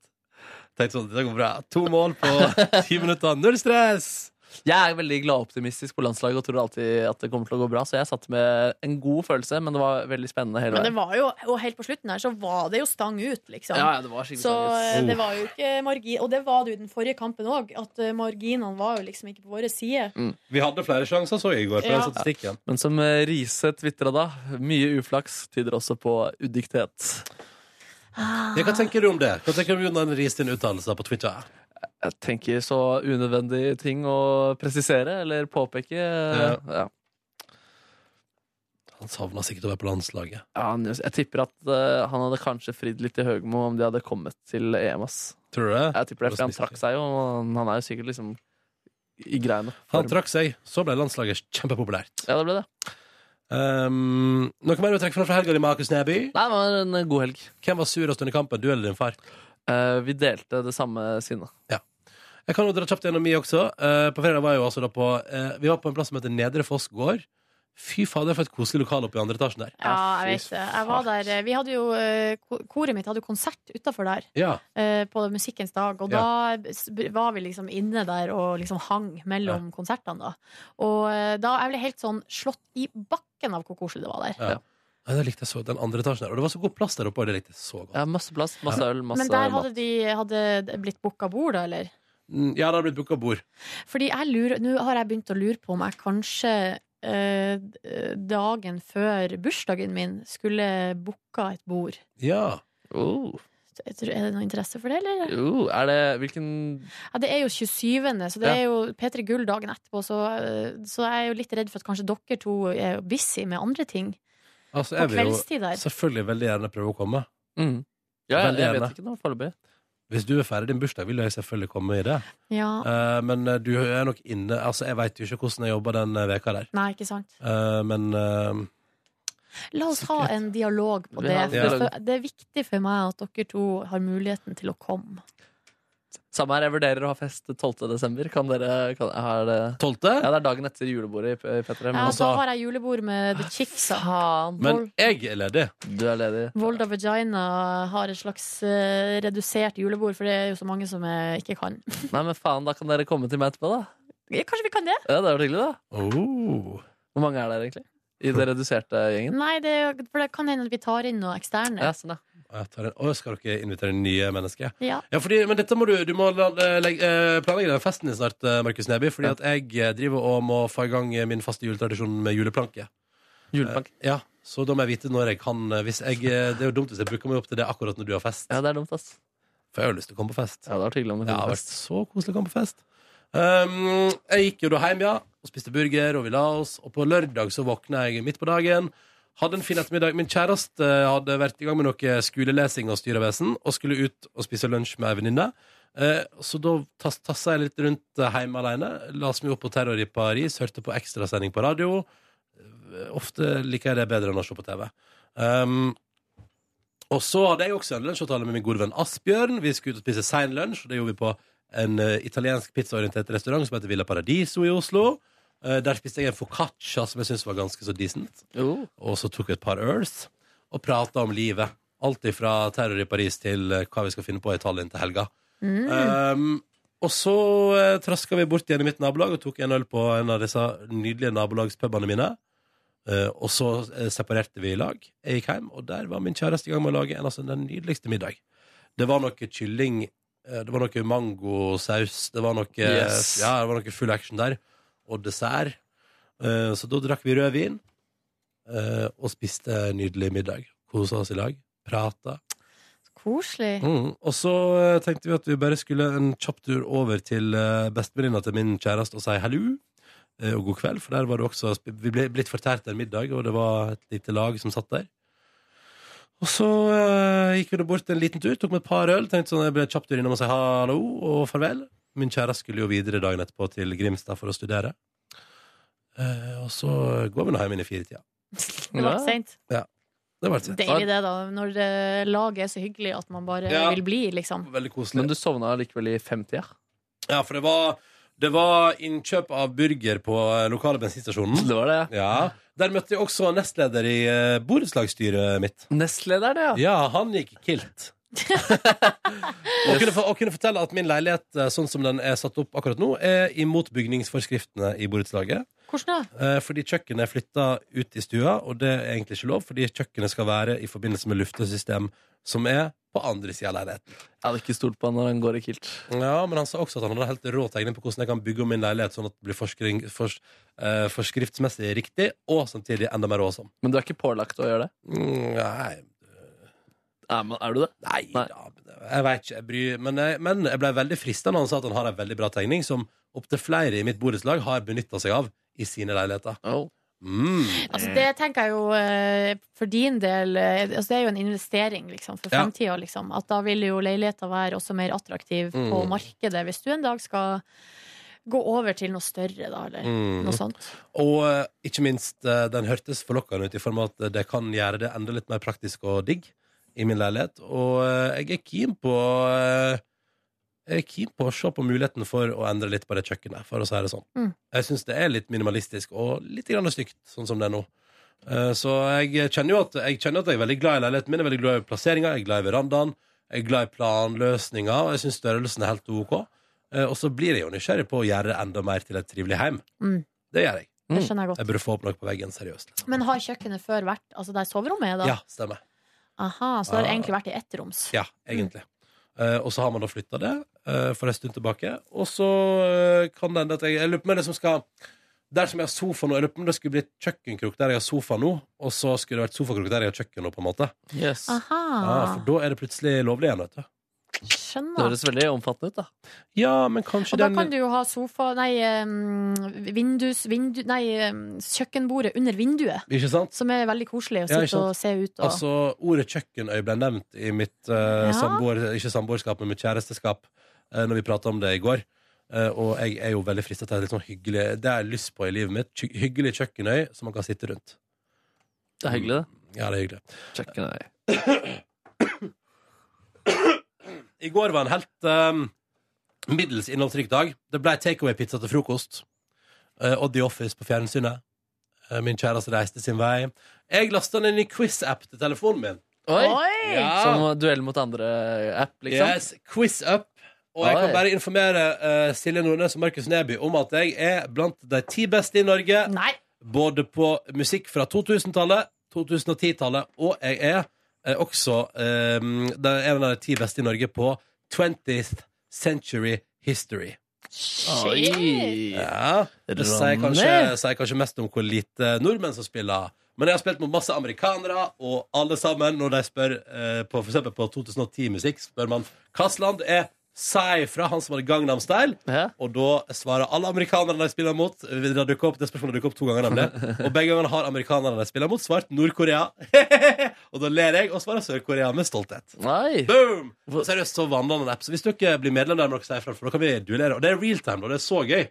B: Tenkte sånn, det går bra. To mål på ti minutter, null stress!
D: Jeg er veldig gladoptimistisk på landslaget og tror alltid at det kommer til å gå bra, så jeg satt med en god følelse, men det var veldig spennende hele
C: Men det
D: veien.
C: var jo, og helt på slutten her, så var det jo stang ut, liksom.
D: Ja, ja, det var skikkelig
C: så
D: stang ut.
C: eh, det
D: Oh.
C: var jo ikke margin, og det var det jo i den forrige kampen òg, at eh, marginene var jo liksom ikke på vår side.
B: Vi hadde flere sjanser, så jeg i går, på
C: Ja.
B: den statistikken.
D: Men som eh, Riise tvitra da, mye uflaks tyder også på udyktighet.
B: Ah. Ja, hva tenker du om det? Hva tenker du om Jonan Ries sine uttalelser på Twitter?
D: Jeg tenker så unødvendige ting å presisere eller påpeke.
B: Ja.
D: Ja.
B: Han savna sikkert å være på landslaget.
D: Ja, han- jeg tipper at eh, han hadde kanskje fridd litt til Høgmo om de hadde kommet til EM. Ass.
B: Tror du det?
D: Jeg tipper det, for han trakk seg jo. og Han er jo sikkert liksom i greiene.
B: Han trakk seg, så ble landslaget kjempepopulært.
D: Ja, det ble det.
B: Um, noe mer du trekker fram fra helga di, Markus Neby?
D: Nei, det var en eh, god helg. Eh,
B: Hvem var surest under kampen, du eller din far?
D: vi delte det samme sinnet.
B: Ja. Jeg kan jo dra kjapt gjennom mi også. Eh, på fredag var jeg jo altså da på eh, Vi var på en plass som heter Nedre Foss gård. Fy fader, for et koselig lokale oppe i andre etasjen der.
C: Ja, jeg vet det. Jeg var der eh, Vi hadde jo eh, ko- Koret mitt hadde jo konsert utafor der.
B: Ja.
C: eh, På Musikkens dag, og da s- b- var vi liksom inne der og liksom hang mellom konsertene. da Og eh, da jeg ble helt sånn slått i bakken av hvor koselig det var der.
B: Ja. Nei, det likte jeg så Den andre etasjen der. Og det var så god plass der oppe. og Det likte jeg så godt.
D: Ja, masse plass, masse øl,
C: Men der hadde de hadde det blitt booka bord, da, eller?
B: Mm, Ja, det hadde blitt booka bord.
C: Fordi jeg lurer, nå har jeg begynt å lure på om jeg kanskje eh, dagen før bursdagen min skulle booka et bord.
B: Ja.
D: Oh.
C: Jeg tror- Er det noe interesse for det, eller?
D: Jo, er det Hvilken
C: Ja, det er jo 27., så det
D: Ja.
C: er jo P3 Gull dagen etterpå, så, eh, så jeg er jo litt redd for at kanskje dere to er jo busy med andre ting.
B: Altså,
C: På
B: jeg vil jo
C: kveldstid der.
B: selvfølgelig veldig gjerne prøve å komme.
D: mm. Ja, jeg,
B: Veldig
D: jeg
B: gjerne.
D: vet ikke noe foreløpig.
B: Hvis du er ferdig din bursdag, vil jeg selvfølgelig komme i det.
C: Ja.
B: Eh, men eh, du er nok inne Altså, jeg veit jo ikke hvordan jeg jobber den eh, veka der.
C: Nei, ikke sant?
B: Eh, men eh,
C: La oss ha en dialog på
B: Vi
C: det.
B: har-
C: For
B: Ja.
C: for det er viktig for meg at dere to har muligheten til å komme.
D: Samme her, jeg vurderer å ha fest 12. desember. Kan dere kan, er det,
B: 12.?
D: Ja, det er dagen etter julebordet i P- i P3. men
C: Ja, da
D: altså-
C: har jeg julebord med The Chicksa.
D: Men
B: jeg er ledig.
D: Du er ledig.
C: Volda Vagina har et slags eh, redusert julebord, for det er jo så mange som eh, ikke kan.
D: Nei, men faen, da kan dere komme til meg etterpå, da.
C: Kanskje vi kan det?
D: Ja, det er jo hyggelig, da.
B: Oh.
D: Hvor mange er dere egentlig? I det reduserte gjengen?
C: Nei, det, er jo- for det kan hende at vi tar inn noen eksterne.
D: Ja, sånn, ja.
B: Og jeg tar en- Å, skal dere invitere nye mennesker?
C: Ja.
B: fordi, men dette må du, du må la- eh, legge- eh, planlegge den festen din snart, eh, Markus Neby. Fordi at jeg eh, driver og må få i gang eh, min faste juletradisjon med juleplanke.
D: Juleplanke?
B: Eh, ja, Så da må jeg vite når jeg kan eh, hvis jeg, eh, Det er jo dumt hvis jeg booker meg opp til det akkurat når du har fest.
D: Ja, det er dumt, ass.
B: For jeg har jo lyst til å komme på fest.
D: Ja, det har vært hyggelig om du
B: Ja,
D: kom
B: det
D: på
B: har vært
D: fest.
B: så koselig å komme på fest. Um, jeg gikk jo da hjem, ja, og spiste burger, og vi la oss. Og på lørdag så våkna jeg midt på dagen. Hadde en fin ettermiddag. Min kjæreste eh, hadde vært i gang med noe skolelesing og styrevesen, og skulle ut og spise lunsj med ei venninne. Eh, så da tas, tassa jeg litt rundt eh, hjemme alene. Las meg opp på Terror i Paris, hørte på ekstrasending på radio. Eh, Ofte liker jeg det bedre enn å se på TV. Um, og så hadde jeg også en lunsjavtale med min gode venn Asbjørn. Vi skulle ut og spise sein lunsj, og det gjorde vi på en eh, italiensk pizzaorientert restaurant som heter Villa Paradiso i Oslo. Eh, der spiste jeg en foccaccia som jeg syntes var ganske så decent. Og så tok vi et par øls og prata om livet. Alt ifra terror i Paris til eh, hva vi skal finne på i Italia til helga.
F: Mm.
B: Um, og så uh, traska vi bort igjen i mitt nabolag og tok en øl på en av disse nydelige nabolagspubene mine. Eh, og så eh, separerte vi i lag. Jeg gikk hjem, og der var min kjæreste i gang med å lage en, altså, den nydeligste middag. Det var noe kylling, eh, det var noe mangosaus, det var noe, eh,
F: Yes.
B: ja, det var noe full action der, og dessert. Eh, så da drakk vi rødvin eh, og spiste nydelig middag. Kosa oss i lag, prata.
C: Koselig.
B: Mm. Og så eh, tenkte vi at vi bare skulle en kjapp tur over til eh, bestevenninna til min kjæreste og si hallo eh, og god kveld, for der var det også sp- Vi ble blitt fortært en middag, og det var et lite lag som satt der. Og så eh, gikk vi da bort en liten tur, tok med et par øl, tenkte sånn jeg ble kjapp tur innom og si hallo og farvel. Min kjæreste skulle jo videre dagen etterpå til Grimstad for å studere. Eh, og så går vi nå hjem inn i firetida.
C: Det var ikke sent.
B: Ja. Det var litt sent.
C: Deilig det, da. Når eh, laget er så hyggelig at man bare
B: Ja.
C: vil bli, liksom.
B: Veldig koselig.
D: Men du sovna likevel i 50, ja?
B: Ja, for det var, det var innkjøp av burger på eh, lokale bensinstasjonen.
D: Det var det,
B: ja. Der møtte jeg også nestleder i eh, borettslagsstyret mitt.
D: Nestlederen, ja.
B: Ja, han gikk kilt. og, kunne, for- og kunne fortelle at min leilighet, eh, sånn som den er satt opp akkurat nå, er imot bygningsforskriftene i borettslaget.
C: Hvordan da?
B: Eh, Fordi kjøkkenet er flytta ut i stua, og det er egentlig ikke lov, fordi kjøkkenet skal være i forbindelse med luftesystem som er på andre sida av leiligheten.
D: Jeg hadde ikke stolt på han når han går i kilt.
B: Ja, men han sa også at han hadde helt rå tegning på hvordan jeg kan bygge om min leilighet sånn at det blir forskring, fors, eh, forskriftsmessig riktig, og samtidig enda mer råsom.
D: Men du er ikke pålagt å gjøre det?
B: Mm, nei.
D: Er, man- er du det?
B: Nei, da. Jeg vet ikke, jeg bryr Men jeg, men jeg ble veldig frista når han sa at han har en veldig bra tegning som opptil flere i mitt borettslag har benytta seg av i sine leiligheter.
D: Oh,
B: Mm.
C: Altså, det tenker jeg jo eh, for din del eh, altså, Det er jo en investering liksom, for
B: Ja.
C: fremtida. Liksom. At da vil jo leiligheta være også mer attraktiv på
B: Mm.
C: markedet hvis du en dag skal gå over til noe større, da, eller
B: Mm.
C: noe sånt.
B: Og eh, ikke minst, eh, den hørtes forlokkende ut i form av at det kan gjøre det enda litt mer praktisk og digg i min leilighet. Og eh, jeg er keen på eh, jeg er keen på å se på muligheten for å endre litt på det kjøkkenet, for å si det sånn.
C: Mm.
B: Jeg syns det er litt minimalistisk og litt grann stygt, sånn som det er nå. Eh, Så jeg kjenner jo at jeg, kjenner at jeg er veldig glad i leiligheten min, jeg er veldig glad i plasseringa, jeg er glad i verandaen, jeg er glad i planløsninga, og jeg syns størrelsen er helt OK. Eh, Og så blir jeg jo nysgjerrig på å gjøre det enda mer til et trivelig heim.
C: Mm.
B: Det gjør jeg.
C: Det skjønner jeg godt.
B: Jeg burde få opp noe på veggen, seriøst.
C: Men har kjøkkenet før vært altså der soverommet er, da?
B: Ja, stemmer.
C: Aha, så det har
B: Ah.
C: egentlig vært i ettroms.
B: Ja, egentlig. Eh, og så har man da flytta det eh, for en stund tilbake. Og så eh, kan det hende at jeg Jeg lurer på om det som skal Der som jeg har sofa nå, jeg lurer på om det skulle blitt kjøkkenkrok der jeg har sofa nå, og så skulle det vært sofakrok der jeg har kjøkken nå, på en måte.
D: Yes.
C: Aha.
B: Ja, Ah, for da er det plutselig lovlig igjen, vet du.
C: Skjønner.
D: Det høres veldig omfattende ut, da.
B: Ja, men kanskje
C: Og da
B: den
C: kan du jo ha sofa Nei, um, vindus, vindu, nei um, kjøkkenbordet under vinduet.
B: Ikke sant?
C: Som er veldig koselig å
B: Ja, ikke
C: sitte og
B: sant?
C: se ut og
B: Altså, ordet kjøkkenøy ble nevnt i mitt eh,
C: Ja.
B: samboer, ikke samboerskap, men mitt kjæresteskap eh, når vi prata om det i går. Eh, og jeg er jo veldig frista til et litt sånn hyggelig Det har jeg lyst på i livet mitt. kjø- Hyggelig kjøkkenøy som man kan sitte rundt.
D: Det er hyggelig, det.
B: Ja, det er hyggelig.
D: Kjøkkenøy.
B: I går var en helt um, middels innholdsrik dag. Det ble takeaway-pizza til frokost. Eh, og The Office på fjernsynet. Eh, min kjæreste reiste sin vei. Jeg lasta ned en ny quiz-app til telefonen min.
D: Oi!
B: Ja.
D: Som duell mot andre app, liksom?
B: Yes, quiz up. Og jeg
D: Oi.
B: kan bare informere eh, Silje Nordnes og Markus Neby om at jeg er blant de ti beste i Norge. Både på musikk fra 2000-tallet, 2010-tallet, og jeg er eh, også eh, den- en av de ti beste i Norge på 20th Century History.
D: Shit.
B: Ja, det sier kanskje,
D: Ronny.
B: sier kanskje mest om hvor lite nordmenn som spiller. Men jeg har spilt mot masse amerikanere, og alle sammen, når de spør eh, på, for eksempel på 2010-musikk, spør man hvilket land er Psy fra, han som hadde Gangnam Style. Og da svarer alle amerikanerne de spiller mot. Det, har dukket opp, det spørsmålet dukket opp to ganger, nemlig. Og begge gangene har amerikanerne de spiller mot, svart Nord-Korea. og da ler jeg og svarer Sør-Korea med stolthet. Boom! Og Seriøst, så vanlig en app. Så hvis dere blir medlem der, må dere si ifra, for da kan vi duellere. Og det er realtime, og det er så gøy.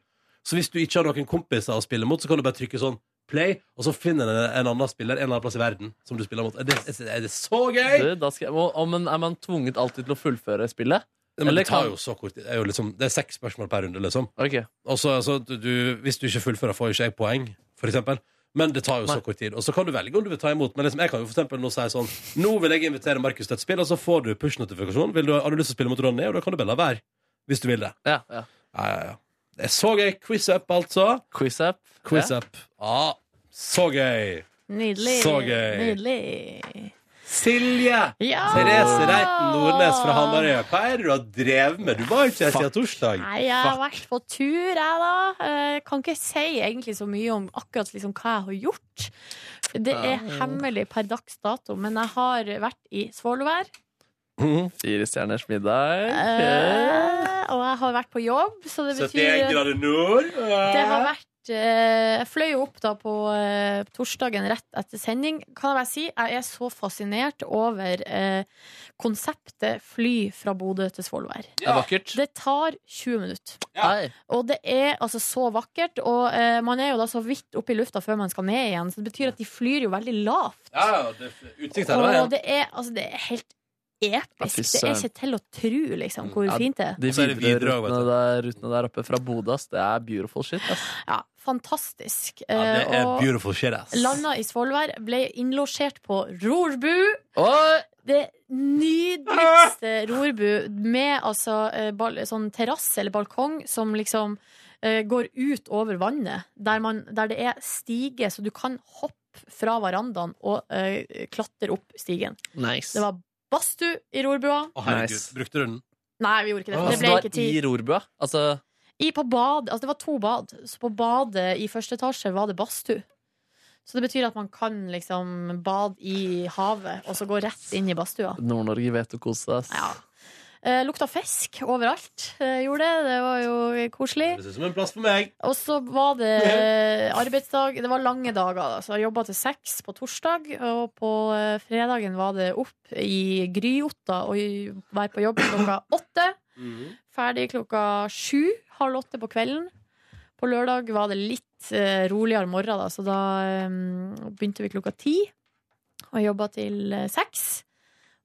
B: Så hvis du ikke har noen kompiser å spille mot, så kan du bare trykke sånn play, og så finner den en annen spiller en eller annen plass i verden som du spiller mot. Er det, er det så gøy?
D: Du, da skal jeg, og, og, men er man tvunget alltid til å fullføre spillet?
B: Nei, men det tar jo så kort tid. Det er jo liksom, det er seks spørsmål per runde, liksom. Og så, altså, du, du, hvis du ikke fullfører, får jo ikke jeg poeng, for eksempel. Men det tar jo så kort tid. Og så kan du velge om du vil ta imot. Men liksom, jeg kan jo for eksempel nå si sånn Nå vil jeg invitere Markus til et spill, og så får du push-notifikasjon. Vil du- Har du lyst til å spille mot Ronny, og da kan du bare la være. Hvis du vil det.
D: Ja, ja.
B: Ja, ja, ja. Det er så gøy. Quiz-up, altså.
D: Quiz-up.
B: Quiz
D: Ja.
B: up. Ja, så gøy.
C: Nydelig.
B: Så gøy.
C: Nydelig.
B: Silje!
C: Ja!
B: Therese Reiten Nordnes fra Hamarøy. Hva er det du har drevet med? Du var jo ikke her siden torsdag.
C: Nei, jeg har vært på tur, jeg, da. Eh, Kan ikke si egentlig så mye om akkurat liksom hva jeg har gjort. For Det
D: Ja.
C: er hemmelig per dags dato, men jeg har vært i Svolvær.
D: Fire stjerners middag.
C: Mm-hmm. eh, Og jeg har vært på jobb, så det betyr
B: 71 grader nord.
C: Det har vært eh, Jeg fløy jo opp da på eh, torsdagen rett etter sending. Kan jeg bare si jeg er så fascinert over eh, konseptet fly fra Bodø til Svolvær.
D: Det er vakkert.
C: Det tar 20 minutter.
D: Hei.
C: Og det er altså så vakkert. Og eh, man er jo da så vidt oppe i lufta før man skal ned igjen, så det betyr at de flyr jo veldig lavt.
B: Ja, ja, det er utsikt hele
C: Og
B: veien.
C: det er, altså, det er helt
D: fy
C: episk. Det er
D: søren.
C: ikke til å tro, liksom, hvor
D: Ja,
C: fint det er.
D: De
B: Og så er det
D: videre
B: videre også, vet
D: rutene der, rutene der oppe fra Bodø, ass. Det er beautiful shit, ass.
C: Ja, fantastisk.
D: Ja, det er
C: Eh, og-
B: Beautiful shit, ass.
C: Landa i Svolvær, ble innlosjert på Rorbu. Det nydeligste Rorbu med altså eh, bal sånn terrasse eller balkong som liksom eh, går ut over vannet. Der, man, der det er stige, så du kan hoppe fra verandaen og eh, klatre opp stigen.
D: Nice.
C: Det var badstue i Rorbua.
B: Å, herregud.
D: Nice.
B: Brukte du den?
C: Nei, vi gjorde ikke det. for
D: Altså,
C: Det ble ikke
D: var
C: tid.
D: i Rorbua. Altså,
C: I, på bad, altså det var to bad, så på badet i første etasje var det badstue. Så det betyr at man kan liksom bade i havet, og så gå rett inn i badstua.
D: Nord-Norge vet å kose seg. Ja.
C: Eh, lukta fisk overalt. Eh, gjorde det. Det var jo koselig.
F: Det ser ut som en plass for meg.
C: Og så var det eh, arbeidsdag. Det var lange dager. Da. Så jeg jobba til seks på torsdag, og på eh, fredagen var det opp i Gryotta og i- være på jobb klokka åtte. Ferdig klokka sju, halv åtte på kvelden. På lørdag var det litt eh, roligere morgen, da, så da eh, begynte vi klokka ti og jobba til eh, seks.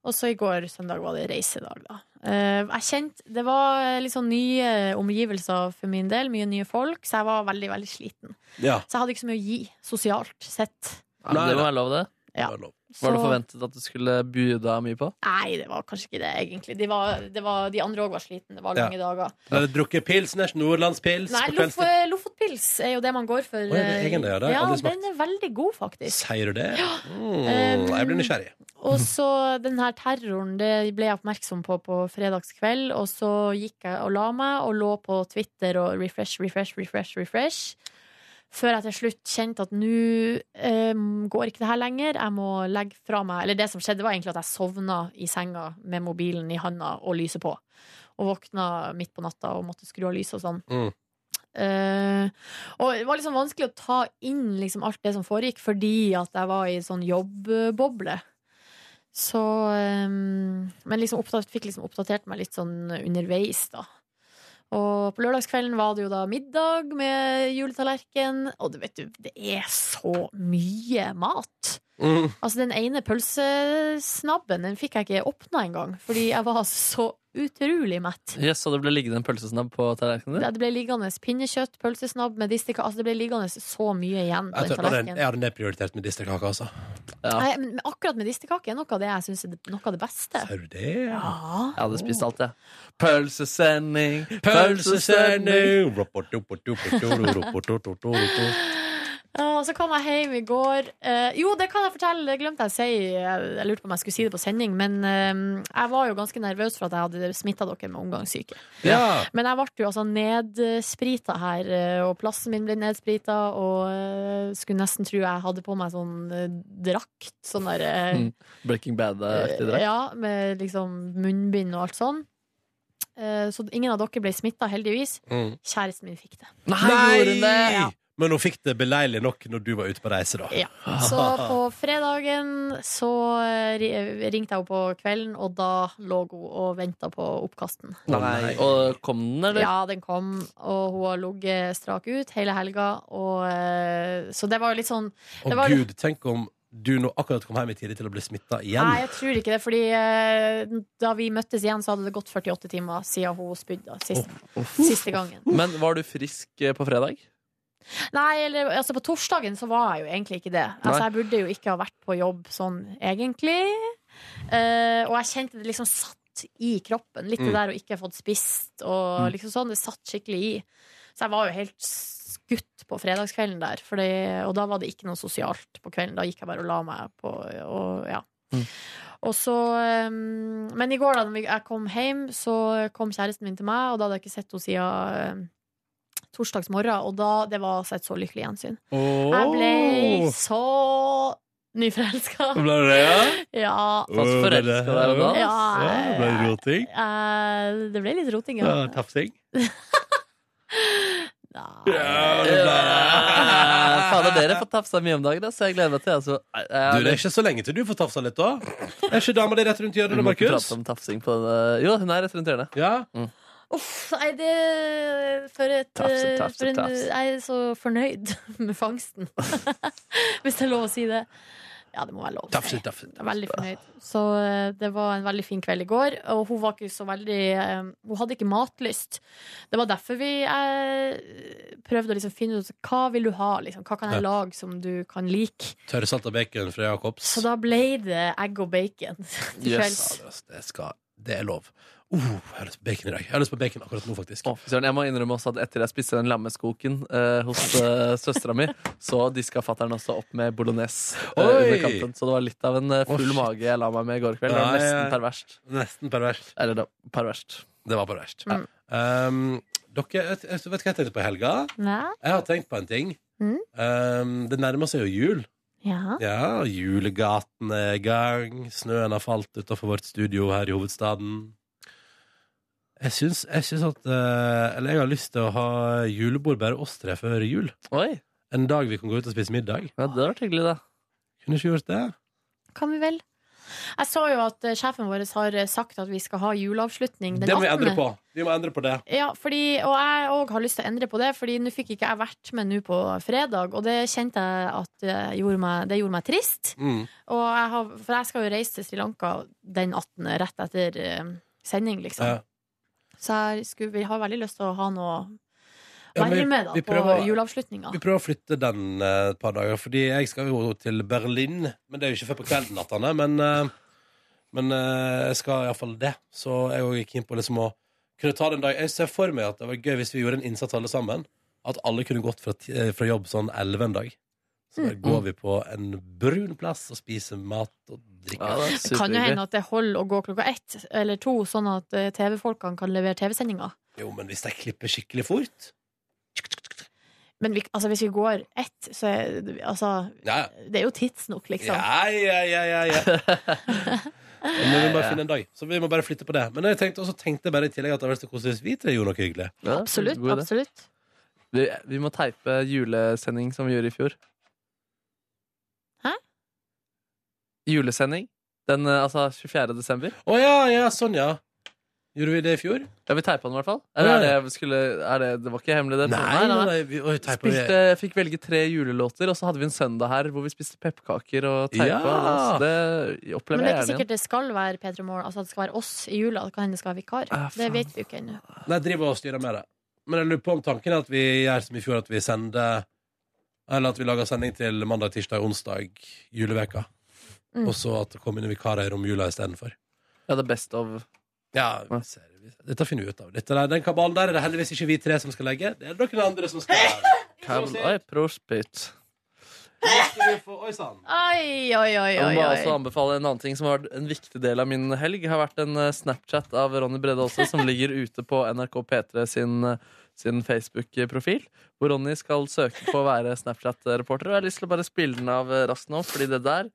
C: Og så i går, søndag, var det reisedag, da. Eh, jeg kjente, Det var eh, litt sånn nye omgivelser for min del, mye nye folk, så jeg var veldig veldig sliten.
D: Ja.
C: Så jeg hadde ikke så mye å gi sosialt sett.
D: det må være lov, det. Var det
C: Så-
D: forventet at du skulle by deg mye på?
C: Nei, det var kanskje ikke det, egentlig. De, var, det var, de andre òg var slitne. Det var lange dager.
F: Har dere drukket pilsners, nordlandspils?
C: Nei,
F: på
C: lof,
F: kveldstid?
C: Lofotpils er jo det man går for.
F: Å, er det
C: eh,
F: egen det, ja? Det har jeg
C: ja,
F: aldri smakt.
C: den er veldig god, faktisk.
F: Sier du det?
C: Ja.
F: Mm, jeg blir nysgjerrig.
C: Og så den her terroren, det ble jeg oppmerksom på på fredagskveld, og så gikk jeg og la meg og lå på Twitter og refresh, refresh, refresh, refresh. Før jeg til slutt kjente at nå eh, går ikke det her lenger, jeg må legge fra meg Eller det som skjedde, var egentlig at jeg sovna i senga med mobilen i handa og lyset på. Og våkna midt på natta og måtte skru av lyset og sånn. Eh, og det var liksom vanskelig å ta inn liksom alt det som foregikk, fordi at jeg var i sånn jobbboble. Så eh, Men liksom oppdatert, fikk liksom oppdatert meg litt sånn underveis, da. Og på lørdagskvelden var det jo da middag med juletallerken, og du vet du, det er så mye mat.
M: Mm.
C: Altså, den ene pølsesnabben den fikk jeg ikke åpna engang, fordi jeg var så utrolig mett.
D: Yes, så det ble liggende en pølsesnabb på tallerkenen
C: Ja,
D: din?
C: det ble liggende pinnekjøtt, pølsesnabb, medisterkake Altså, det ble liggende så mye igjen på
F: Jeg,
C: den
F: tør, den,
C: tallerkenen.
F: jeg hadde nedprioritert medisterkake, altså.
C: Nei, men men akkurat medisterkake er noe av det jeg syns er det- noe av det beste.
F: Ser du det?
C: Ja.
D: Jeg hadde spist alt, jeg. Pølsesending,
F: Pølsesending.
C: Ja, og så kom jeg hjem i går eh, Jo, det kan jeg fortelle, det glemte jeg å si. Jeg, jeg lurte på om jeg skulle si det på sending, men eh, jeg var jo ganske nervøs for at jeg hadde smitta dere med omgangssyke.
F: Ja.
C: Men jeg ble jo altså nedsprita her, eh, og plassen min ble nedsprita, og eh, skulle nesten tro jeg hadde på meg sånn eh, drakt. Sånn der eh,
D: Mm. Breaking Bad-aktig drakt.
C: Ja, med liksom munnbind og alt sånn. Eh, Så ingen av dere ble smitta, heldigvis.
F: Mm.
C: Kjæresten min fikk det.
F: Nei! Men hun fikk det beleilig nok når du var ute på reise, da.
C: Ja. Så på fredagen så eh, ri- ringte jeg henne på kvelden, og da lå hun og venta på oppkasten.
D: Nei. Og kom den, eller?
C: Ja, den kom, og hun har ligget strak ut hele helga, og eh, Så det var jo litt sånn
F: Å
C: det var,
F: gud, tenk om du nå akkurat kom hjem i tide til å bli smitta igjen.
C: Nei, jeg tror ikke det, fordi eh, da vi møttes igjen, så hadde det gått 48 timer siden hun spydde sist, siste gangen.
D: Men var du frisk eh, på fredag?
C: Nei, eller altså på torsdagen så var jeg jo egentlig ikke det. Altså
D: Nei.
C: Jeg burde jo ikke ha vært på jobb sånn egentlig. Eh, og jeg kjente det liksom satt i kroppen. Litt det
U: Mm.
C: der å ikke ha fått spist og
U: Mm.
C: liksom sånn. Det satt skikkelig i. Så jeg var jo helt skutt på fredagskvelden der. Fordi, og da var det ikke noe sosialt på kvelden. Da gikk jeg bare og la meg på og, ja.
U: Mm.
C: Og så, eh, men i går da når vi- jeg kom hjem, så kom kjæresten min til meg, og da hadde jeg ikke sett henne siden eh, torsdags morgen, og da det var altså et så lykkelig gjensyn. Jeg ble så nyforelska.
F: Ble du det, ja?
C: Ja.
D: Fast
F: Åh, ble det-
D: forelska der og da?
C: Ja,
F: Ja, ble det roting?
C: Eh, det ble litt roting, ja.
F: Ja, Tafsing?
D: Eh, Fader, dere får tafsa mye om dagen, da, så jeg gleder meg til altså,
F: Du, Det er ikke så lenge til du får tafsa litt, da. Er ikke dama di rett rundt hjørnet,
D: Vi må ikke
F: Markus?
D: prate om tafsing på det. Jo, hun er rett rundt hjørnet.
F: Ja.
D: Mm.
C: Uff, nei, det For et eh,
D: Tafse, tafse,
C: for en,
D: tafse.
C: Jeg er så fornøyd med fangsten. Hvis det er lov å si det. Ja, det må være lov. å si.
F: Tafse, tafse,
C: Jeg er Veldig fornøyd. Så eh, det var en veldig fin kveld i går. Og hun var ikke så veldig eh, Hun hadde ikke matlyst. Det var derfor vi eh, prøvde å liksom finne ut hva vil du ha. Liksom. Hva kan jeg
F: Ja.
C: lage som du kan like?
F: Tørrsalt og bacon fra Jacobs.
C: Så da ble det egg og bacon til kvelds.
F: Yes. Ja, Det, skal, det er lov. Uh, jeg har lyst på bacon i dag. Jeg har lyst på bacon akkurat nå, faktisk.
D: Å, fy søren, jeg må innrømme også at etter jeg spiste den lammeskoken eh, hos eh, søstera mi, så diska fatter'n også opp med bolognese eh,
F: Oi!
D: under kampen. Så det var litt av en eh, full
F: shit.
D: mage jeg la meg med i går kveld. Det
F: Ja,
D: var
F: ja, ja.
D: nesten perverst.
F: Nesten perverst.
D: Eller da, perverst.
F: Det var perverst.
D: Mm.
F: Um,
B: Dere, vet, vet du hva jeg tenkte på i helga?
C: Nei?
B: Jeg har tenkt på en ting.
C: Mm?
B: Um, det nærmer seg jo jul.
C: Ja.
B: Ja, julegaten er i gang. Snøen har falt utenfor vårt studio her i hovedstaden. Jeg syns, jeg syns at eh, Eller jeg har lyst til å ha julebord bare oss tre før jul.
D: Oi.
B: En dag vi kan gå ut og spise middag.
D: Ja, det vært hyggelig, da.
B: Kunne ikke gjort det.
C: Kan vi vel? Jeg så jo at eh, sjefen vår har eh, sagt at vi skal ha juleavslutning den eh.
B: det må vi
C: 18.
B: endre på. Vi må endre på det.
C: Ja, fordi, og jeg òg har lyst til å endre på det, Fordi nå fikk ikke jeg vært med nå på fredag. Og det kjente jeg at eh, gjorde meg, det gjorde meg trist.
B: Mm.
C: Og jeg har, for jeg skal jo reise til Sri Lanka den 18. rett etter eh, sending, liksom.
B: Ja.
C: Så jeg skulle, vi har veldig lyst til å ha noe
B: Ja, men
C: være
B: vi-
C: med da,
B: vi
C: på
B: prøver-
C: juleavslutninga.
B: Vi prøver å flytte den eh, et par dager, fordi jeg skal jo til Berlin. Men det er jo ikke før på kvelden, at han er. Men, eh, men eh, jeg skal iallfall det. Så jeg òg gikk inn på liksom å kunne ta den dag. Jeg ser for meg at det var gøy hvis vi gjorde en innsats alle sammen. At alle kunne gått fra, ti- eh, fra jobb sånn elleve en dag. Så da
C: Mm.
B: går vi på en brun plass og spiser mat og drikker.
C: Det kan jo hende at det holder å gå klokka ett eller to, sånn at eh, TV-folkene kan levere TV-sendinga.
B: Jo, men hvis de klipper skikkelig fort
C: Men vi, altså, hvis vi går ett, så er det- altså,
B: Ja, ja.
C: Det er jo tidsnok, liksom.
B: Ja, ja, ja, ja, ja. Men vi må bare finne en dag. Så vi må bare flytte på det. Men jeg tenkte også tenkte jeg bare i tillegg at det hadde vært så koselig hvis vi tre gjorde noe hyggelig.
C: Absolutt.
D: God idé.
C: absolutt
D: Vi, vi må teipe julesending som vi gjorde i fjor.
C: Hæ?
D: Julesending. Den, eh, altså 24. desember.
B: Å ja, ja, sånn, ja. Gjorde vi det i fjor?
D: Ja, vi teipa den i hvert fall.
B: Å,
D: Eller
B: ja,
D: er det,
B: ja.
D: jeg skulle, er det, det var ikke hemmelig, det.
B: Nei, nei, nei, vi- oi, teipa vi-
D: Spilte, fikk velge tre julelåter, og så hadde vi en søndag her hvor vi spiste pepperkaker og teipa.
B: Ja.
D: og Det
C: Men
D: opplever
C: det er
D: jeg
C: ikke
D: gjerne
C: sikkert det skal være P3 Morgen. Altså, det skal være oss i jula. Det kan hende det skal være vikar. det vet vi jo ikke ennå.
B: Nei, driver og styrer med det. Men jeg lurer på om tanken er at vi gjør som i fjor, at vi sender Eller at vi lager sending til mandag, tirsdag, onsdag, juleveka.
C: Mm.
B: Og så at det kommer inn vikarer i romjula istedenfor.
D: Ja, det er best of.
B: Ja, vi ser, vi ser. Dette finner vi ut av. Dette, der- den kabalen der er det heldigvis ikke vi tre som skal legge. Det er det noen andre som skal
D: Kabel, oi, prospect.
B: legge. Oi sann.
C: Oi, oi, oi,
D: Jeg må også
C: oi. oi.
D: anbefale en annen ting som har vært en viktig del av min helg. har vært en eh, Snapchat av Ronny Brede også, som ligger ute på NRK P3 sin, eh, sin Facebook-profil. Hvor Ronny skal søke på å være Snapchat-reporter. Og jeg har lyst til å bare spille den av eh, raskt nå, fordi det der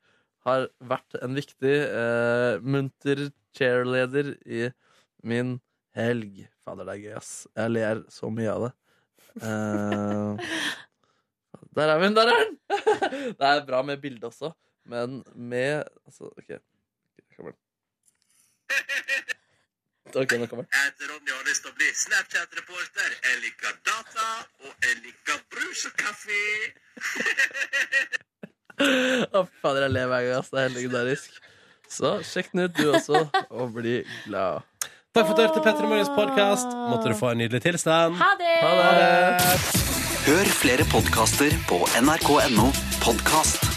D: har vært en viktig eh, munter cheerleader i min helg. Fader, det er gøy, ass. Jeg ler så mye av det. Eh, der er vi, der er den! Det er bra med bilde også, men med altså, OK. Der kommer den. Ok, nå kommer den.
E: at Ronny har lyst til å bli Snapchat-reporter. Jeg liker data, og jeg liker brus og kaffe.
D: Å, fader, jeg ler hver gang. ass. Det er helt legendarisk. Så sjekk den ut, du også, og bli glad.
B: Takk for at du hørte Petter i Morgens podkast. Måtte du få en nydelig tilstand.
C: Ha det!
E: Hør flere podkaster på nrk.no podkast.